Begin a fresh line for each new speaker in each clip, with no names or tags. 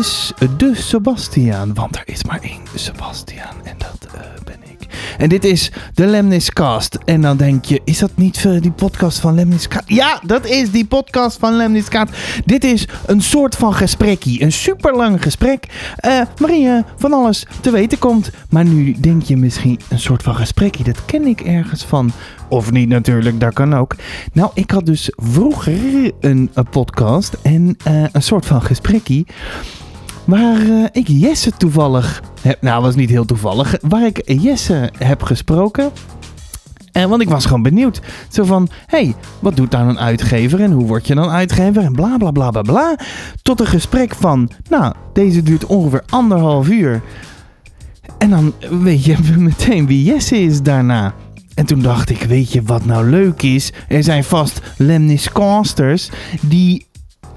is de Sebastiaan. Want er is maar één Sebastiaan en dat eh, ben ik. En dit is de Lemniscast. En dan denk je, is dat niet eh, die podcast van Lemniscaat? Ja, dat is die podcast van Lemniscaat. Dit is een soort van gesprekkie. Een superlang gesprek eh waarin je van alles te weten komt. Maar nu denk je misschien een soort van gesprekkie. Dat ken ik ergens van. Of niet natuurlijk, dat kan ook. Nou, ik had dus vroeger een, eh, podcast en eh, een soort van gesprekkie. Waar eh, ik Jesse toevallig heb. Nou, was niet heel toevallig. Waar ik Jesse heb gesproken. En, Eh, want ik was gewoon benieuwd. Zo van: hé, hey, wat doet dan een uitgever en hoe word je dan uitgever? En bla bla bla bla bla. Tot een gesprek van: nou, deze duurt ongeveer anderhalf uur. En dan weet je meteen wie Jesse is daarna. En toen dacht ik, weet je wat nou leuk is? Er zijn vast Lemniscasters die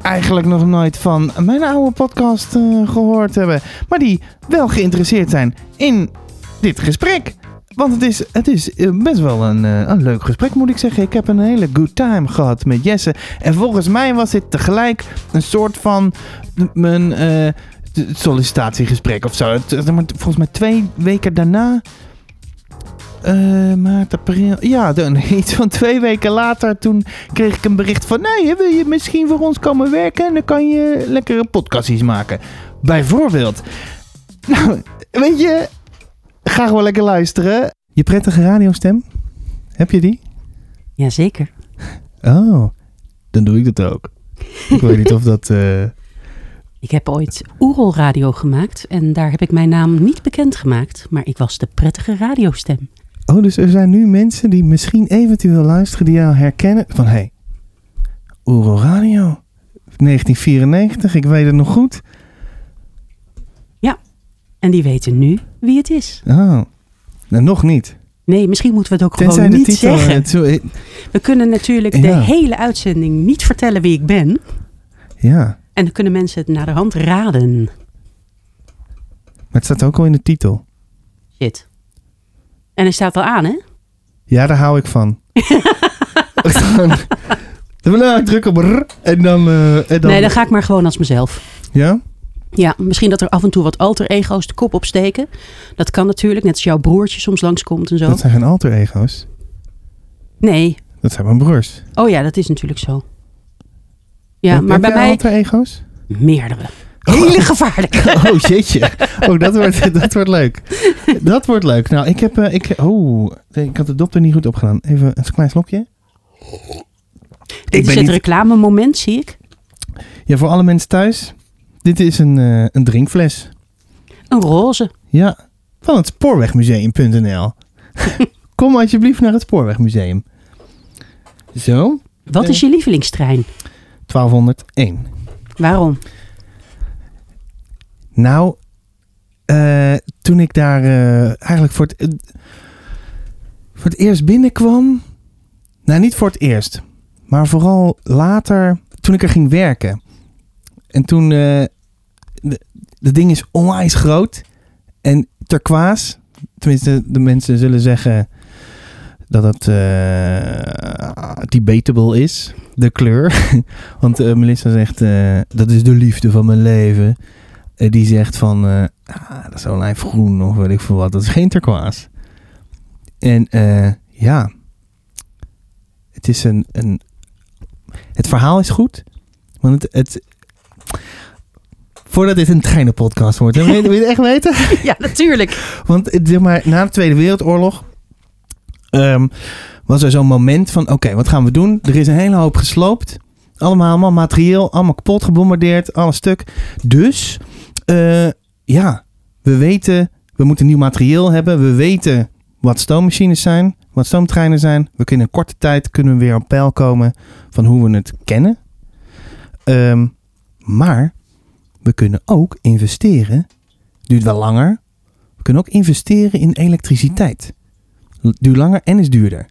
eigenlijk nog nooit van mijn oude podcast eh, gehoord hebben. Maar die wel geïnteresseerd zijn in dit gesprek. Want het is, het is eh, best wel een, eh, een leuk gesprek, moet ik zeggen. Ik heb een hele good time gehad met Jesse. En volgens mij was dit tegelijk een soort van m- mijn eh, t- sollicitatiegesprek of zo. Het- het- Volgens mij twee weken daarna eh, maart, april. Ja, dan, iets van twee weken later. Toen kreeg ik een bericht van: Nee, wil je misschien voor ons komen werken? En dan kan je lekkere podcastjes maken. Bijvoorbeeld. Nou, weet je, ga gewoon lekker luisteren. Je prettige radiostem? Heb je die?
Jazeker.
Oh, dan doe ik dat ook. Ik weet niet of dat. eh,
Ik heb ooit Oerol Radio gemaakt en daar heb ik mijn naam niet bekendgemaakt, maar ik was de prettige radiostem.
Oh, dus er zijn nu mensen die misschien eventueel luisteren, die jou herkennen. Van hé, hey, Oerol Radio, 1994, ik weet het nog goed.
En die weten nu wie het is.
Oh, nou, nog niet.
Nee, misschien moeten we het ook
Tenzij
gewoon
de
niet
titel.
zeggen.
het zo- eh,
We kunnen natuurlijk de
Ja.
hele uitzending niet vertellen wie ik ben.
ja, maar
En dan kunnen mensen het naar de hand raden.
het staat ook al in de titel.
Shit. En hij staat al aan, hè?
Ja, daar hou ik van. Dan wil ik druk op rrr, en dan. eh, en dan
Nee, dan ga ik maar gewoon als mezelf.
Ja?
Ja, misschien dat er af en toe wat alter ego's de kop opsteken. Dat kan natuurlijk, net als jouw broertje soms langskomt en zo.
Dat zijn geen alter ego's.
Nee.
Dat zijn mijn broers.
Oh ja, dat is natuurlijk zo. Ja,
Heb-
maar
heb
bij
jij Oh.
mij
alter ego's?
meerdere. Hele gevaarlijke.
Oh jeetje. Oh, dat wordt, dat wordt leuk. Dat wordt leuk. Nou, ik heb... eh, ik, oh, ik had de dop er niet goed op gedaan. Even een klein slokje.
Dit is
ben
het
niet-
reclamemoment, zie ik.
Ja, voor alle mensen thuis. Dit is een, eh, een drinkfles.
Een roze.
Ja, van het spoorwegmuseum.nl. Kom alsjeblieft naar het spoorwegmuseum. Zo,
Wat
Nee.
is je lievelingstrein?
1201.
Waarom?
Nou, eh, toen ik daar eh, eigenlijk voor het, eh, voor het eerst binnenkwam. Nou, niet voor het eerst. Maar vooral later, toen ik er ging werken. En toen, eh, de, de ding is onwijs groot. En turquoise, tenminste de mensen zullen zeggen dat het eh, debatable is, de kleur. Want eh, Melissa zegt, eh, dat is de liefde van mijn leven. Eh, die zegt van, eh, ah, dat is olijfgroen of weet ik veel wat. Dat is geen turquoise. En eh, ja, het is een, een... Het verhaal is goed, want het... het Voordat dit een treinenpodcast wordt, hè? wil je wil je het echt weten?
Ja, natuurlijk.
Want eh, zeg maar, na de Tweede Wereldoorlog ehm, was er zo'n moment van: oké, wat gaan we doen? Er is een hele hoop gesloopt. Allemaal, allemaal materieel, allemaal kapot gebombardeerd, alles stuk. Dus eh, ja, we weten, we moeten nieuw materieel hebben. We weten wat stoommachines zijn, wat stoomtreinen zijn. We kunnen in korte tijd kunnen we weer op peil komen van hoe we het kennen. Ehm, maar we kunnen ook investeren. Duurt wel langer, we kunnen ook investeren in elektriciteit. L- Duur langer en is duurder.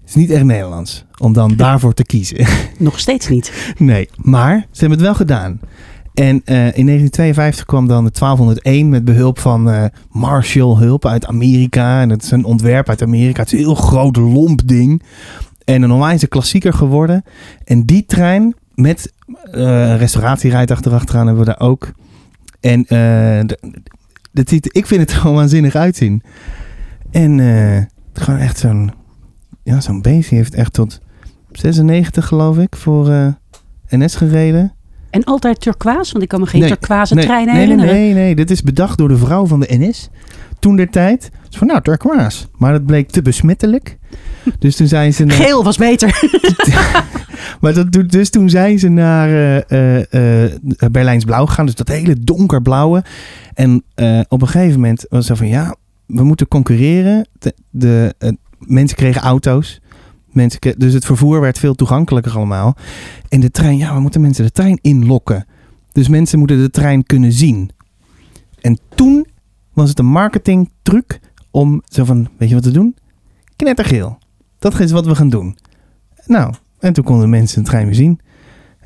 Het is niet echt Nederlands om dan daarvoor te kiezen.
Nog steeds niet.
Nee, maar ze hebben het wel gedaan. En eh, in 1952 kwam dan de 1201 met behulp van eh, Marshall Hulp uit Amerika. En dat is een ontwerp uit Amerika. Het is een heel groot lomp ding. En een onwijze klassieker geworden. En die trein, met eh, een restauratierijt achterachteraan hebben we daar ook. En eh, d- dat ziet, ik vind het gewoon waanzinnig uitzien. En eh, gewoon echt zo'n... Ja, zo'n beestje heeft echt tot 96 geloof ik voor eh, NS gereden.
En altijd turquoise, want ik kan me geen
Nee,
turquoise
nee,
treinen
nee, nee,
herinneren.
nee, nee. Dit is bedacht door de vrouw van de NS. Toen der tijd. Dus van nou, turquoise. Maar dat bleek te besmettelijk. Dus toen zijn ze... naar-
Geel was beter.
Maar dat, doet- dus toen zijn ze naar eh, eh, eh, Berlijns Blauw gegaan. Dus dat hele donkerblauwe. En eh, op een gegeven moment was het zo van... Ja, we moeten concurreren. De, de, eh, mensen kregen auto's. Mensen, kre- dus het vervoer werd veel toegankelijker allemaal. En de trein, ja, we moeten mensen de trein inlokken. Dus mensen moeten de trein kunnen zien. En toen was het een marketingtruc om zo van, weet je wat te doen? Knettergeel. Dat is wat we gaan doen. Nou, en toen konden mensen de trein weer zien.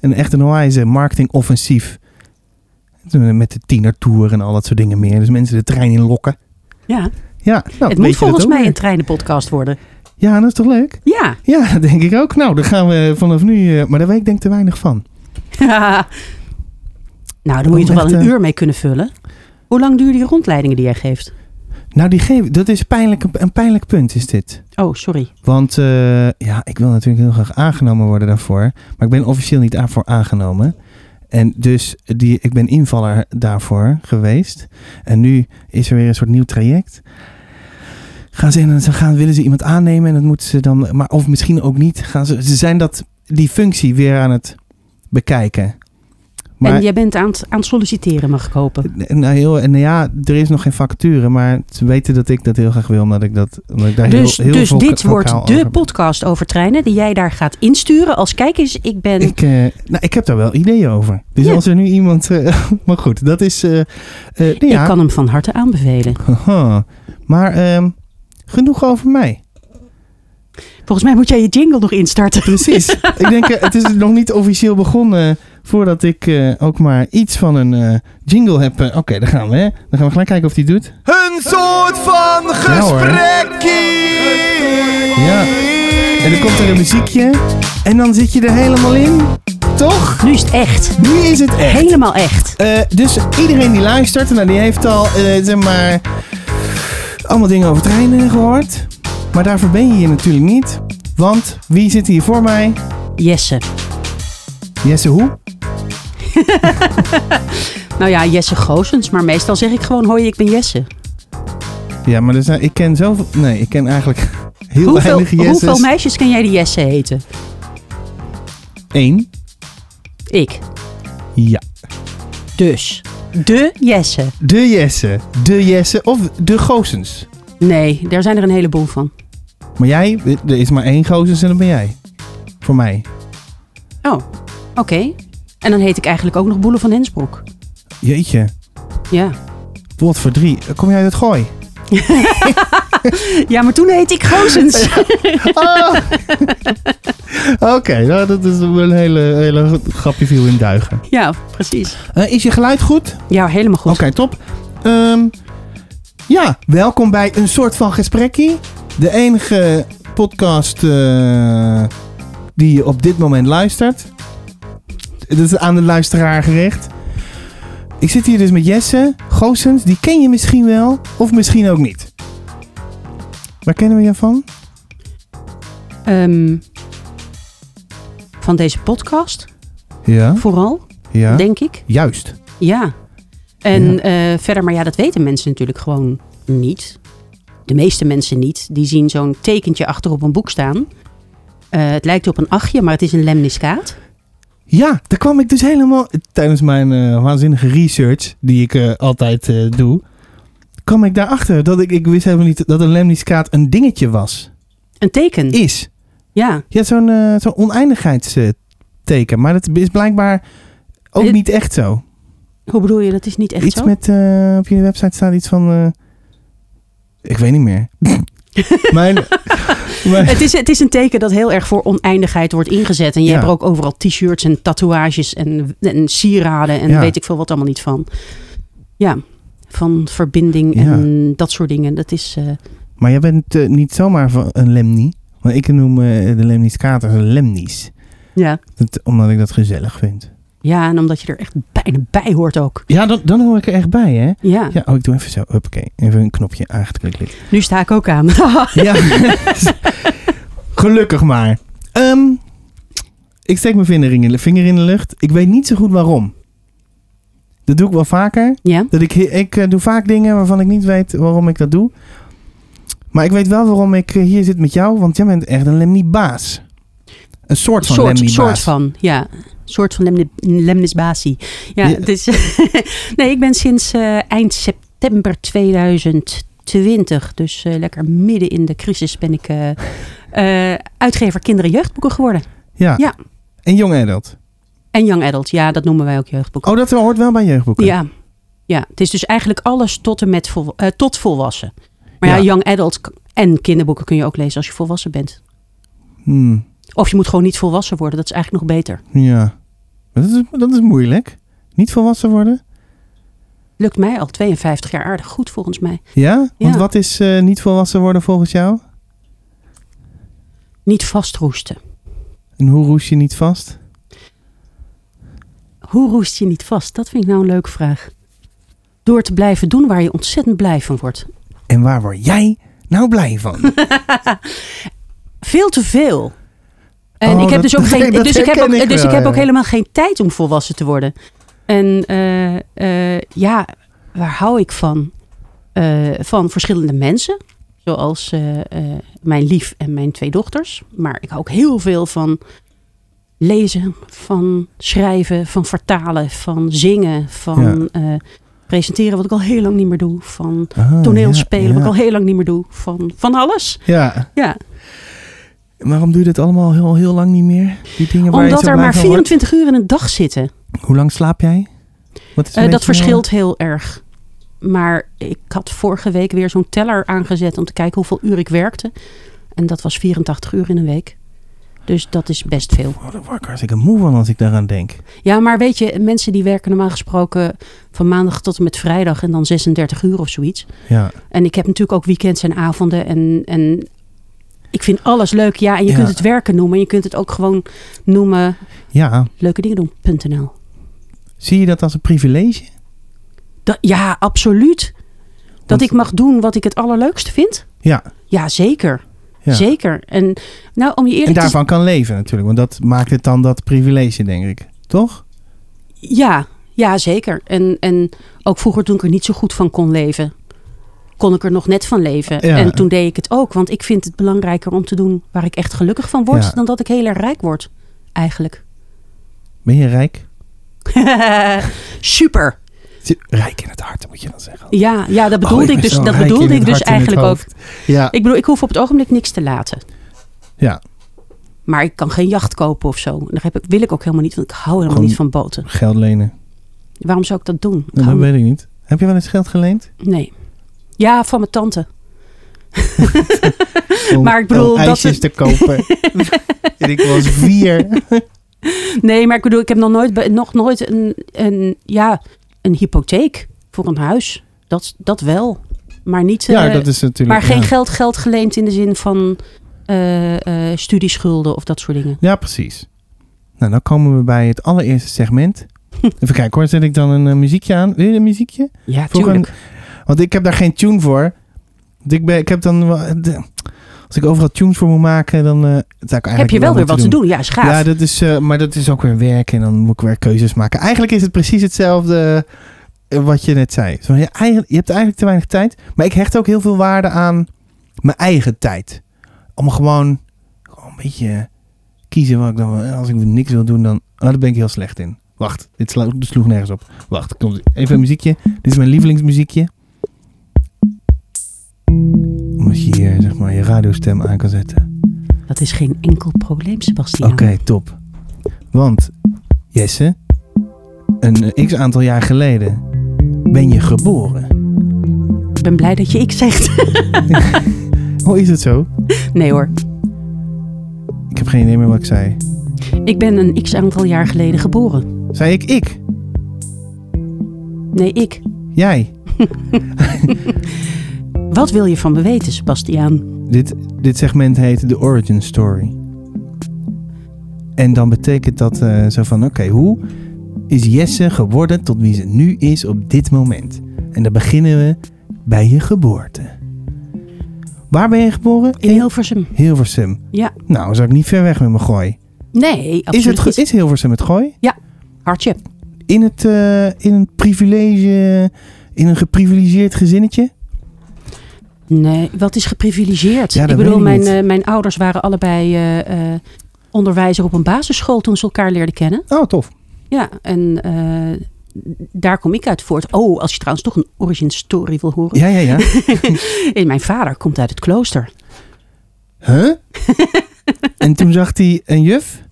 En echt een wijze eh, marketingoffensief. Toen eh, Met de tienertour en al dat soort dingen meer. Dus mensen de trein inlokken.
Ja,
Ja, nou, weet
het
je dat
moet volgens
ook
mij
weer.
een treinenpodcast worden.
Ja, dat is toch leuk?
Ja.
Ja, dat denk ik ook. Nou, dan gaan we vanaf nu... eh, maar daar weet ik denk te weinig van.
nou, daar moet je
Om
toch wel
echt,
een
eh,
uur mee kunnen vullen. Hoe lang duren die rondleidingen die jij geeft?
Nou, die geef, dat is pijnlijk, een pijnlijk punt is dit.
Oh, sorry.
Want eh, ja, ik wil natuurlijk heel graag aangenomen worden daarvoor. Maar ik ben officieel niet daarvoor aangenomen. En dus die, ik ben invaller daarvoor geweest. En nu is er weer een soort nieuw traject. Gaan ze, in, ze gaan, willen ze iemand aannemen en dat moeten ze dan. Maar, of misschien ook niet. Gaan ze, ze zijn dat, die functie weer aan het bekijken. Maar-
En jij bent aan het, aan het solliciteren, mag ik hopen.
Nou, heel, en ja, er is nog geen vacature, maar ze weten dat ik dat heel graag wil, omdat ik, dat, omdat ik daar
Dus,
heel, heel
dus
voca-
dit wordt
vocaal
de
over ben.
podcast over treinen die jij daar gaat insturen. Als kijk eens, ik ben...
Ik, eh, nou, ik heb daar wel ideeën over. Dus
Ja.
als er nu iemand... eh, maar goed, dat is... eh eh, nou ja.
Ik kan hem van harte aanbevelen.
Haha. Maar ehm, genoeg over mij.
Volgens mij moet jij je jingle nog instarten.
Precies. ik denk, eh, het is nog niet officieel begonnen voordat ik eh, ook maar iets van een eh, jingle heb. Eh, Oké, daar gaan we. Hè. Dan gaan we gelijk kijken of die het doet.
Een soort van
hoor.
gesprekkie.
Ja. En dan komt er een muziekje. En dan zit je er helemaal in. Toch?
Nu is het echt.
Nu is het echt.
Helemaal echt.
Eh, dus iedereen die luistert, nou, die heeft al, eh, zeg maar, allemaal dingen over treinen gehoord. Maar daarvoor ben je hier natuurlijk niet. Want wie zit hier voor mij?
Jesse.
Jesse Hoe?
Nou ja, Jesse Goosens. Maar meestal zeg ik gewoon, hoi, ik ben Jesse.
Ja, maar er zijn, ik ken zoveel... Nee, ik ken eigenlijk heel
Hoeveel,
weinig Jesses.
hoeveel meisjes kan jij die Jesse heten?
Eén.
Ik.
Ja.
Dus. De Jesse.
De Jesse. De Jesse of de Goosens.
Nee, daar zijn er een heleboel van.
Maar jij, er is maar één Goosens en dat ben jij. Voor mij.
Oh, oké. En dan heet ik eigenlijk ook nog Boele van Hensbroek.
Jeetje.
Ja.
Wat voor drie. Kom jij uit het gooi?
Ja, maar toen heet ik Goosens.
Oh. Oké, nou, dat is wel een hele, hele grapje viel in duigen.
ja, precies.
Eh, is je geluid goed? Oké,
Ja, helemaal goed.
top. Ehm, ja, welkom bij een soort van gesprekkie. De enige podcast eh, die je op dit moment luistert. Dat is aan de luisteraar gericht. Ik zit hier dus met Jesse Goosens. Die ken je misschien wel, of misschien ook niet. Waar kennen we je van?
Ehm, van deze podcast,
Ja,
vooral,
ja.
denk ik.
Juist.
Ja. En
Ja.
eh, verder, maar ja, dat weten mensen natuurlijk gewoon niet. De meeste mensen niet. Die zien zo'n tekentje achter op een boek staan. Eh, het lijkt op een achtje, maar het is een lemniscaat.
Ja, daar kwam ik dus helemaal tijdens mijn eh, waanzinnige research die ik eh, altijd eh, doe, kwam ik daarachter dat ik ik wist helemaal niet dat een lemniscaat een dingetje was.
Een teken.
Is.
Ja.
Ja, zo'n eh, zo'n oneindigheidsteken, maar dat is blijkbaar ook
Eh,
niet echt zo.
Hoe bedoel je, dat is niet echt
iets
zo?
met eh, op jullie website staat iets van eh, ik weet niet meer. mijn, mijn-
Het is, het is een teken dat heel erg voor oneindigheid wordt ingezet. En je
Ja.
hebt er ook overal t-shirts en tatoeages en, en sieraden en
Ja.
weet ik veel wat allemaal niet van. Ja, van verbinding
Ja.
en dat soort dingen. Dat is, eh,
maar jij bent eh, niet zomaar van een lemni, want ik noem eh, de lemniscaat als een lemnis.
Ja.
Dat- omdat ik dat gezellig vind.
ja, en omdat je er echt bijna bij hoort ook.
Ja, dan, dan hoor ik er echt bij, hè?
Ja,
Ja, oh, ik doe even zo. Oké, even een knopje aangeklikt.
nu sta ik ook aan.
Ja. Gelukkig maar. Ehm, ik steek mijn vinger in, de, vinger in de lucht. Ik weet niet zo goed waarom. Dat doe ik wel vaker.
ja,
Dat ik, ik eh, doe vaak dingen waarvan ik niet weet waarom ik dat doe. Maar ik weet wel waarom ik eh, hier zit met jou. Want jij bent echt een lemnibaas. Een soort van
soort,
lemnibaas.
soort van. Ja, soort van lemni- lemnisbatie. Ja,
Ja.
het is nee, ik ben sinds eh, eind september 2020, dus eh, lekker midden in de crisis, ben ik eh, eh, uitgever kinderen jeugdboeken geworden.
Ja.
Ja.
En jong adult.
En young adult, ja, dat noemen wij ook jeugdboeken.
Oh, dat hoort wel bij jeugdboeken.
Ja. ja, het is dus eigenlijk alles tot en met vol, eh, tot volwassen. Maar ja.
Ja.
young adult k- en kinderboeken kun je ook lezen als je volwassen bent.
Hmm,
Of je moet gewoon niet volwassen worden, dat is eigenlijk nog beter.
ja. Maar dat is, dat is moeilijk. Niet volwassen worden.
Lukt mij al 52 jaar aardig goed volgens mij.
Ja? Want
Ja.
wat is eh, niet volwassen worden volgens jou?
Niet vastroesten.
En hoe roes je niet vast?
Hoe roest je niet vast? Dat vind ik nou een leuke vraag. Door te blijven doen waar je ontzettend blij van wordt.
En waar word jij nou blij van?
Veel te veel. En
Oh,
ik
dat-
heb dus ook
dat-
geen.
dat
Dus ik heb ook,
herken ik
dus
wel,
ik heb
ja.
ook helemaal geen tijd om volwassen te worden. En eh, eh, ja, waar hou ik van? Eh, van verschillende mensen. Zoals eh, eh, mijn lief en mijn twee dochters. Maar ik hou ook heel veel van lezen, van schrijven, van vertalen, van zingen, van eh, presenteren, wat ik al heel lang niet meer doe. Van
Ah,
toneelspelen,
ja,
wat
ja.
ik al heel lang niet meer doe. Van, van alles.
Ja.
Ja.
En Waarom doe je dit allemaal heel, heel lang niet meer? Die dingen waar je
Omdat
zo
er
blij
maar
van wordt?
24 uur in een dag zitten.
Hoe lang slaap jij? Wat is een
Eh, dat
beetje-
verschilt heel erg. Maar ik had vorige week weer zo'n teller aangezet om te kijken hoeveel uur ik werkte. En dat was 84 uur in een week. Dus dat is best veel.
Oh, daar word ik hartstikke moe van als ik daaraan denk.
Ja, maar weet je, mensen die werken normaal gesproken van maandag tot en met vrijdag en dan 36 uur of zoiets.
Ja.
En ik heb natuurlijk ook weekends en avonden en, en ik vind alles leuk. Ja, en je
Ja.
kunt het werken noemen. Je kunt het ook gewoon noemen
Ja.
leuke dingen doen.nl.
Zie je dat als een privilege?
Dat, ja, absoluut. Dat
Want-
ik mag doen wat ik het allerleukste vind.
Ja.
Ja, zeker.
ja.
Zeker. En nou, om je
En
eerlijk te
daarvan kan leven natuurlijk. Want dat maakt het dan dat privilege, denk ik. Toch?
zijn. Ja, ja, zeker. En, en ook vroeger toen ik er niet zo goed van kon leven, kon ik er nog net van leven.
Ja.
En toen deed ik het ook. Want ik vind het belangrijker om te doen waar ik echt gelukkig van word,
Ja.
dan dat ik heel erg rijk word. Eigenlijk.
Ben je rijk?
Super.
Rijk in het hart, moet je dan zeggen.
Ja, ja dat bedoelde
Oh,
ik
ben
dus,
zo
dat
rijk in
bedoelde
het
ik dus
hart en het
eigenlijk ook.
hoofd. Ja.
Ik bedoel, ik hoef op het ogenblik niks te laten.
Ja.
Maar ik kan geen jacht kopen of zo. En Daar heb ik, wil ik ook helemaal niet, want ik hou helemaal
Gewoon-
niet van boten.
Geld lenen.
Waarom zou ik dat doen? Ik
Nou,
hou-
dat weet ik niet. Heb je wel eens geld geleend?
Nee. Ja, van mijn tante.
Om-
Maar ik bedoel,
om
dat
ijsjes
het-
te kopen. en ik was vier.
Nee, maar ik bedoel, ik heb nog nooit, be- nog nooit een, een, ja, een hypotheek voor een huis. Dat, dat wel. Maar, niet,
ja,
eh,
dat is natuurlijk...
maar geen
ja.
geld, geld geleend in de zin van eh, eh, studieschulden of dat soort dingen.
Ja, precies. Nou, dan komen we bij het allereerste segment. Even kijken hoor, zet ik dan een eh, muziekje aan? Wil je een muziekje?
Ja,
Vroeger-
tuurlijk.
Want ik heb daar geen tune voor. Want Ik, ben, ik heb dan... wel- de- Als ik overal tunes voor moet maken, dan... eh, zou ik eigenlijk
heb je wel weer wat te
moeten
doen. Ja, is gaaf.
Ja, dat is, eh, maar dat is ook weer werk en dan moet ik weer keuzes maken. Eigenlijk is het precies hetzelfde eh, wat je net zei. Zo, je, eigen- je hebt eigenlijk te weinig tijd, maar ik hecht ook heel veel waarde aan mijn eigen tijd. Om gewoon, gewoon een beetje kiezen wat ik dan wil. Als ik niks wil doen, dan oh, daar ben ik heel slecht in. Wacht, dit sla, dit sloeg nergens op. Wacht, komt even een muziekje. Dit is mijn lievelingsmuziekje. Omdat je hier zeg maar je radiostem aan kan zetten.
Dat is geen enkel probleem, Sebastian.
Oké, top. Want, Jesse, een eh, x aantal jaar geleden ben je geboren.
Ik ben blij dat je ik zegt.
Hoe is het zo?
Nee hoor.
Ik heb geen idee meer wat ik zei.
Ik ben een x aantal jaar geleden geboren.
Zei ik ik?
Nee, ik.
Jij?
Wat wil je van me weten, Sebastiaan?
Dit, dit segment heet The Origin Story. En En dan betekent dat eh, zo van, oké, hoe is Jesse geworden tot wie ze nu is op dit moment? En dan beginnen we bij je geboorte. Waar ben je geboren?
In Hilversum.
Hilversum.
Ja.
Nou, zou ik niet ver weg met mijn gooi.
Nee,
Is,
absoluut
het, ge-
niet.
is Hilversum het gooi?
Hartje.
In, het, eh, in een privilege, in een geprivilegeerd gezinnetje?
Nee, wat is geprivilegeerd?
Ja, dat
ik bedoel,
weet ik
mijn,
niet.
eh, mijn ouders waren allebei eh, eh, onderwijzer op een basisschool toen ze elkaar leerden kennen.
Oh, tof.
Ja, en eh, daar kom ik uit voort. Oh, als je trouwens toch een origin story wil horen.
Ja, ja, ja.
En mijn vader komt uit het klooster.
Huh? en toen zag hij een juf.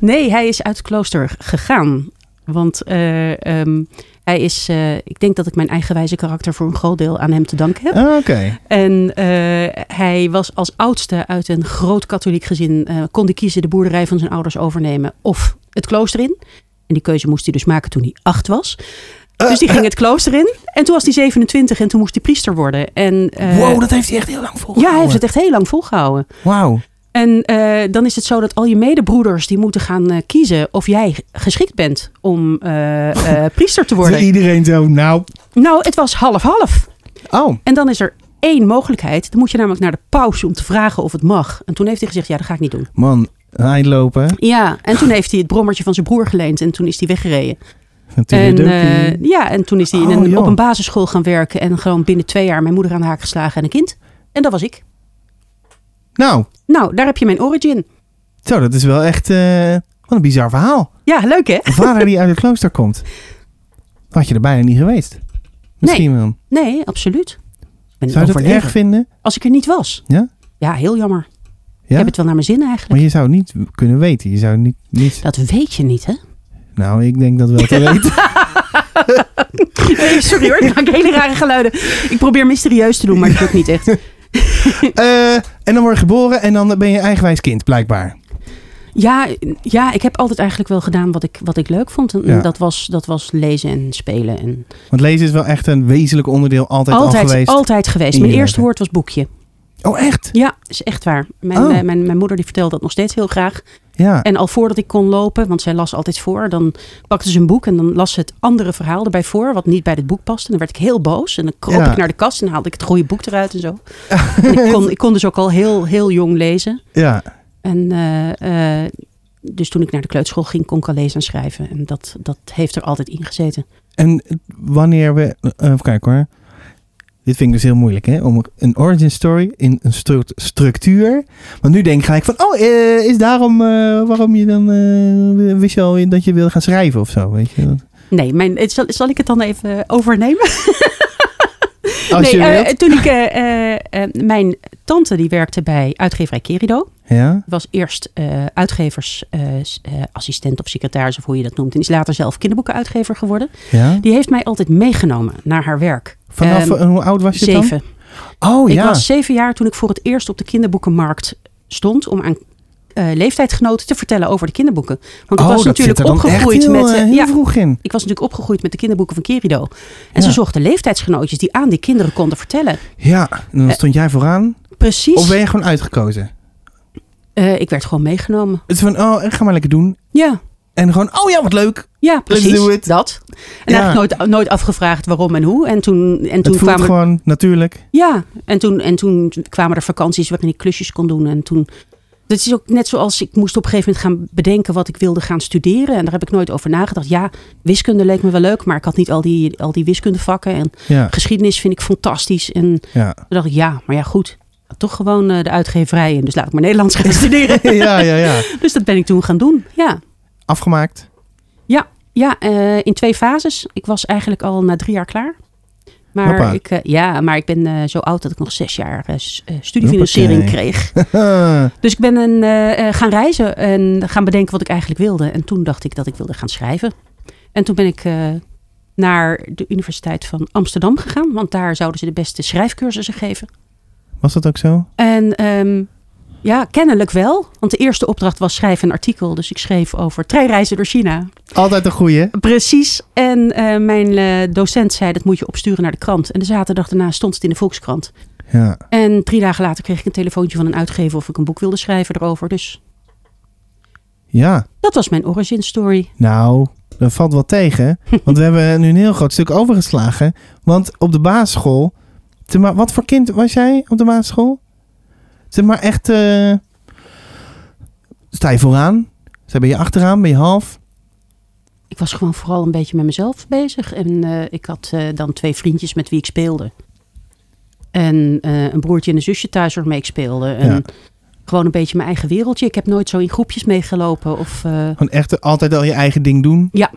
Nee, hij is uit het klooster gegaan. Want eh, ehm, hij is, eh, ik denk dat ik mijn eigenwijze karakter voor een groot deel aan hem te danken heb.
Ah, Oké.
En eh, hij was als oudste uit een groot katholiek gezin. eh kon hij kiezen de boerderij van zijn ouders overnemen of het klooster in. En die keuze moest hij dus maken toen hij acht was.
Eh,
Dus die ging het klooster in. En toen was hij 27 en toen moest hij priester worden. En, eh,
wow, dat heeft hij echt heel lang volgehouden.
ja, hij heeft het echt heel lang volgehouden.
Wauw.
En eh, dan is het zo dat al je medebroeders die moeten gaan eh, kiezen of jij geschikt bent om eh, eh, priester te
Toen
worden.
Iedereen zo, nou.
Nou, het was half-half.
Oh,
En dan is er één mogelijkheid. Dan moet je namelijk naar de paus om te vragen of het mag. En toen heeft hij gezegd, ja, dat ga ik niet doen.
man. Eindlopen.
Ja, en toen heeft hij het brommertje van zijn broer geleend en toen is hij weggereden. En,
Natuurlijk.
eh, ja, en toen is hij in
Oh,
een,
joh.
op een basisschool gaan werken en gewoon binnen twee jaar mijn moeder aan de haak geslagen en een kind. En dat was ik.
nou,
Nou, daar heb je mijn origin.
zo, dat is wel echt. eh, wat een bizar verhaal.
Ja, leuk hè?
Een vader die uit het klooster komt. Had je er bijna niet geweest. Misschien wel.
Nee, absoluut. Ik ben
Zou je dat
overlever.
erg vinden?
Als ik er niet was.
Ja?
Ja, heel jammer. Ik
Ja?
heb het wel naar mijn zin
Maar
eigenlijk.
je zou het niet kunnen weten. Je zou niet. niet...
Dat weet je niet, hè?
Nou, ik denk dat wel te weten.
Nee, sorry hoor, ik maak hele rare geluiden. Ik probeer mysterieus te doen, maar dat lukt niet echt.
Eh, en dan word je geboren en dan ben je eigenwijs kind, blijkbaar.
Ja, ja, ik heb altijd eigenlijk wel gedaan wat ik, wat ik leuk vond. En
Ja.
dat, was, dat was lezen en spelen. En
Want lezen is wel echt een wezenlijk onderdeel altijd, al
altijd,
geweest.
altijd geweest.
in
Mijn
je
eerste
leven.
woord was boekje.
Oh, echt?
Ja, is echt waar. Mijn,
Oh.
eh, mijn, mijn moeder die vertelde dat nog steeds heel graag.
Ja.
En al voordat ik kon lopen, want zij las altijd voor, dan pakte ze een boek en dan las ze het andere verhaal erbij voor, wat niet bij het boek paste. En dan werd ik heel boos. En dan kroop
Ja.
ik naar de kast en haalde ik het goede boek eruit en zo. en ik, kon, ik kon dus ook al heel, heel jong lezen.
ja.
En eh, eh, dus toen ik naar de kleuterschool ging, kon ik al lezen en schrijven. En dat, dat heeft er altijd in gezeten.
En wanneer we. eh, even kijken hoor. Dit vind ik dus heel moeilijk, hè? Om een origin story in een stru- structuur. Want nu denk ik gelijk van, oh, eh, is daarom eh, waarom je dan eh, wist je al in dat je wilde gaan schrijven of zo, weet je? dat?
Nee, mijn, het- zal, zal ik het dan even overnemen?
Als
nee,
je
eh,
wilt.
toen ik, eh, eh, eh, mijn tante die werkte bij uitgeverij Kerido.
Ja,
Was eerst eh, uitgeversassistent eh, of secretaris of hoe je dat noemt. En is later zelf kinderboekenuitgever geworden.
ja.
Die heeft mij altijd meegenomen naar haar werk.
Vanaf
Ehm,
eh, hoe oud was je
Zeven.
dan? Oh
ik
ja.
was zeven jaar toen ik voor het eerst op de kinderboekenmarkt stond om aan eh, leeftijdsgenoten te vertellen over de kinderboeken. Want ik
oh,
was
dat zit
natuurlijk
er dan echt
opgegroeid
heel,
met.
eh,
eh,
heel
ja,
vroeg in.
ik was natuurlijk opgegroeid met de kinderboeken van Kerido.
Ja.
En ze zochten leeftijdsgenootjes die aan die kinderen konden vertellen.
Ja, en dan
Eh,
stond jij vooraan.
Precies.
Of ben je gewoon uitgekozen?
Eh, ik werd gewoon meegenomen.
Het is van, oh, eh, ga maar lekker doen.
Ja.
En gewoon, oh ja, wat leuk.
Ja, precies.
do it.
Dat. En
Ja.
eigenlijk nooit, nooit afgevraagd waarom en hoe. En toen, en toen
Het voelt
kwamen
gewoon natuurlijk.
Ja, en toen, en toen kwamen er vakanties waarin ik klusjes kon doen. En toen. Dat is ook net zoals ik moest op een gegeven moment gaan bedenken wat ik wilde gaan studeren. En daar heb ik nooit over nagedacht. Ja, wiskunde leek me wel leuk, maar ik had niet al die, al die wiskundevakken. En
Ja,
geschiedenis vind ik fantastisch. En toen
ja.
dacht ik, ja, maar ja, goed. Toch gewoon eh, de uitgeverij in. Dus laat ik maar Nederlands gaan studeren.
ja, ja, ja.
Dus dat ben ik toen gaan doen. Ja,
Afgemaakt.
ja eh, in twee fases. Ik was eigenlijk al na drie jaar klaar.
Hoppa.
Maar ik, eh, ja, maar ik ben eh, zo oud dat ik nog zes jaar eh, s- eh, studiefinanciering
Hoppakee.
kreeg.
Ah,
Dus ik ben een, eh, eh, gaan reizen en gaan bedenken wat ik eigenlijk wilde. En toen dacht ik dat ik wilde gaan schrijven. En toen ben ik eh, naar de Universiteit van Amsterdam gegaan. Want daar zouden ze de beste schrijfcursussen geven.
was dat ook zo?
En ehm, ja, kennelijk wel. Want de eerste opdracht was schrijf een artikel. Dus ik schreef over treinreizen door China.
Altijd een goeie.
Precies. En eh, mijn eh, docent zei dat moet je opsturen naar de krant. En de zaterdag daarna stond het in de Volkskrant.
Ja.
En drie dagen later kreeg ik een telefoontje van een uitgever of ik een boek wilde schrijven erover. Dus
Ja,
Dat was mijn origin story.
nou, dat valt wel tegen. Want we hebben nu een heel groot stuk overgeslagen. Want op de basisschool... Zeg maar, wat voor kind was jij op de basisschool? Zeg maar echt... eh, sta je vooraan? Sta- Ben je achteraan? Ben je half?
Ik was gewoon vooral een beetje met mezelf bezig. En eh, ik had eh, dan twee vriendjes met wie ik speelde. En eh, een broertje en een zusje thuis waarmee ik speelde. En
Ja.
gewoon een beetje mijn eigen wereldje. Ik heb nooit zo in groepjes meegelopen. Of eh,
Gewoon echt altijd al je eigen ding doen?
heb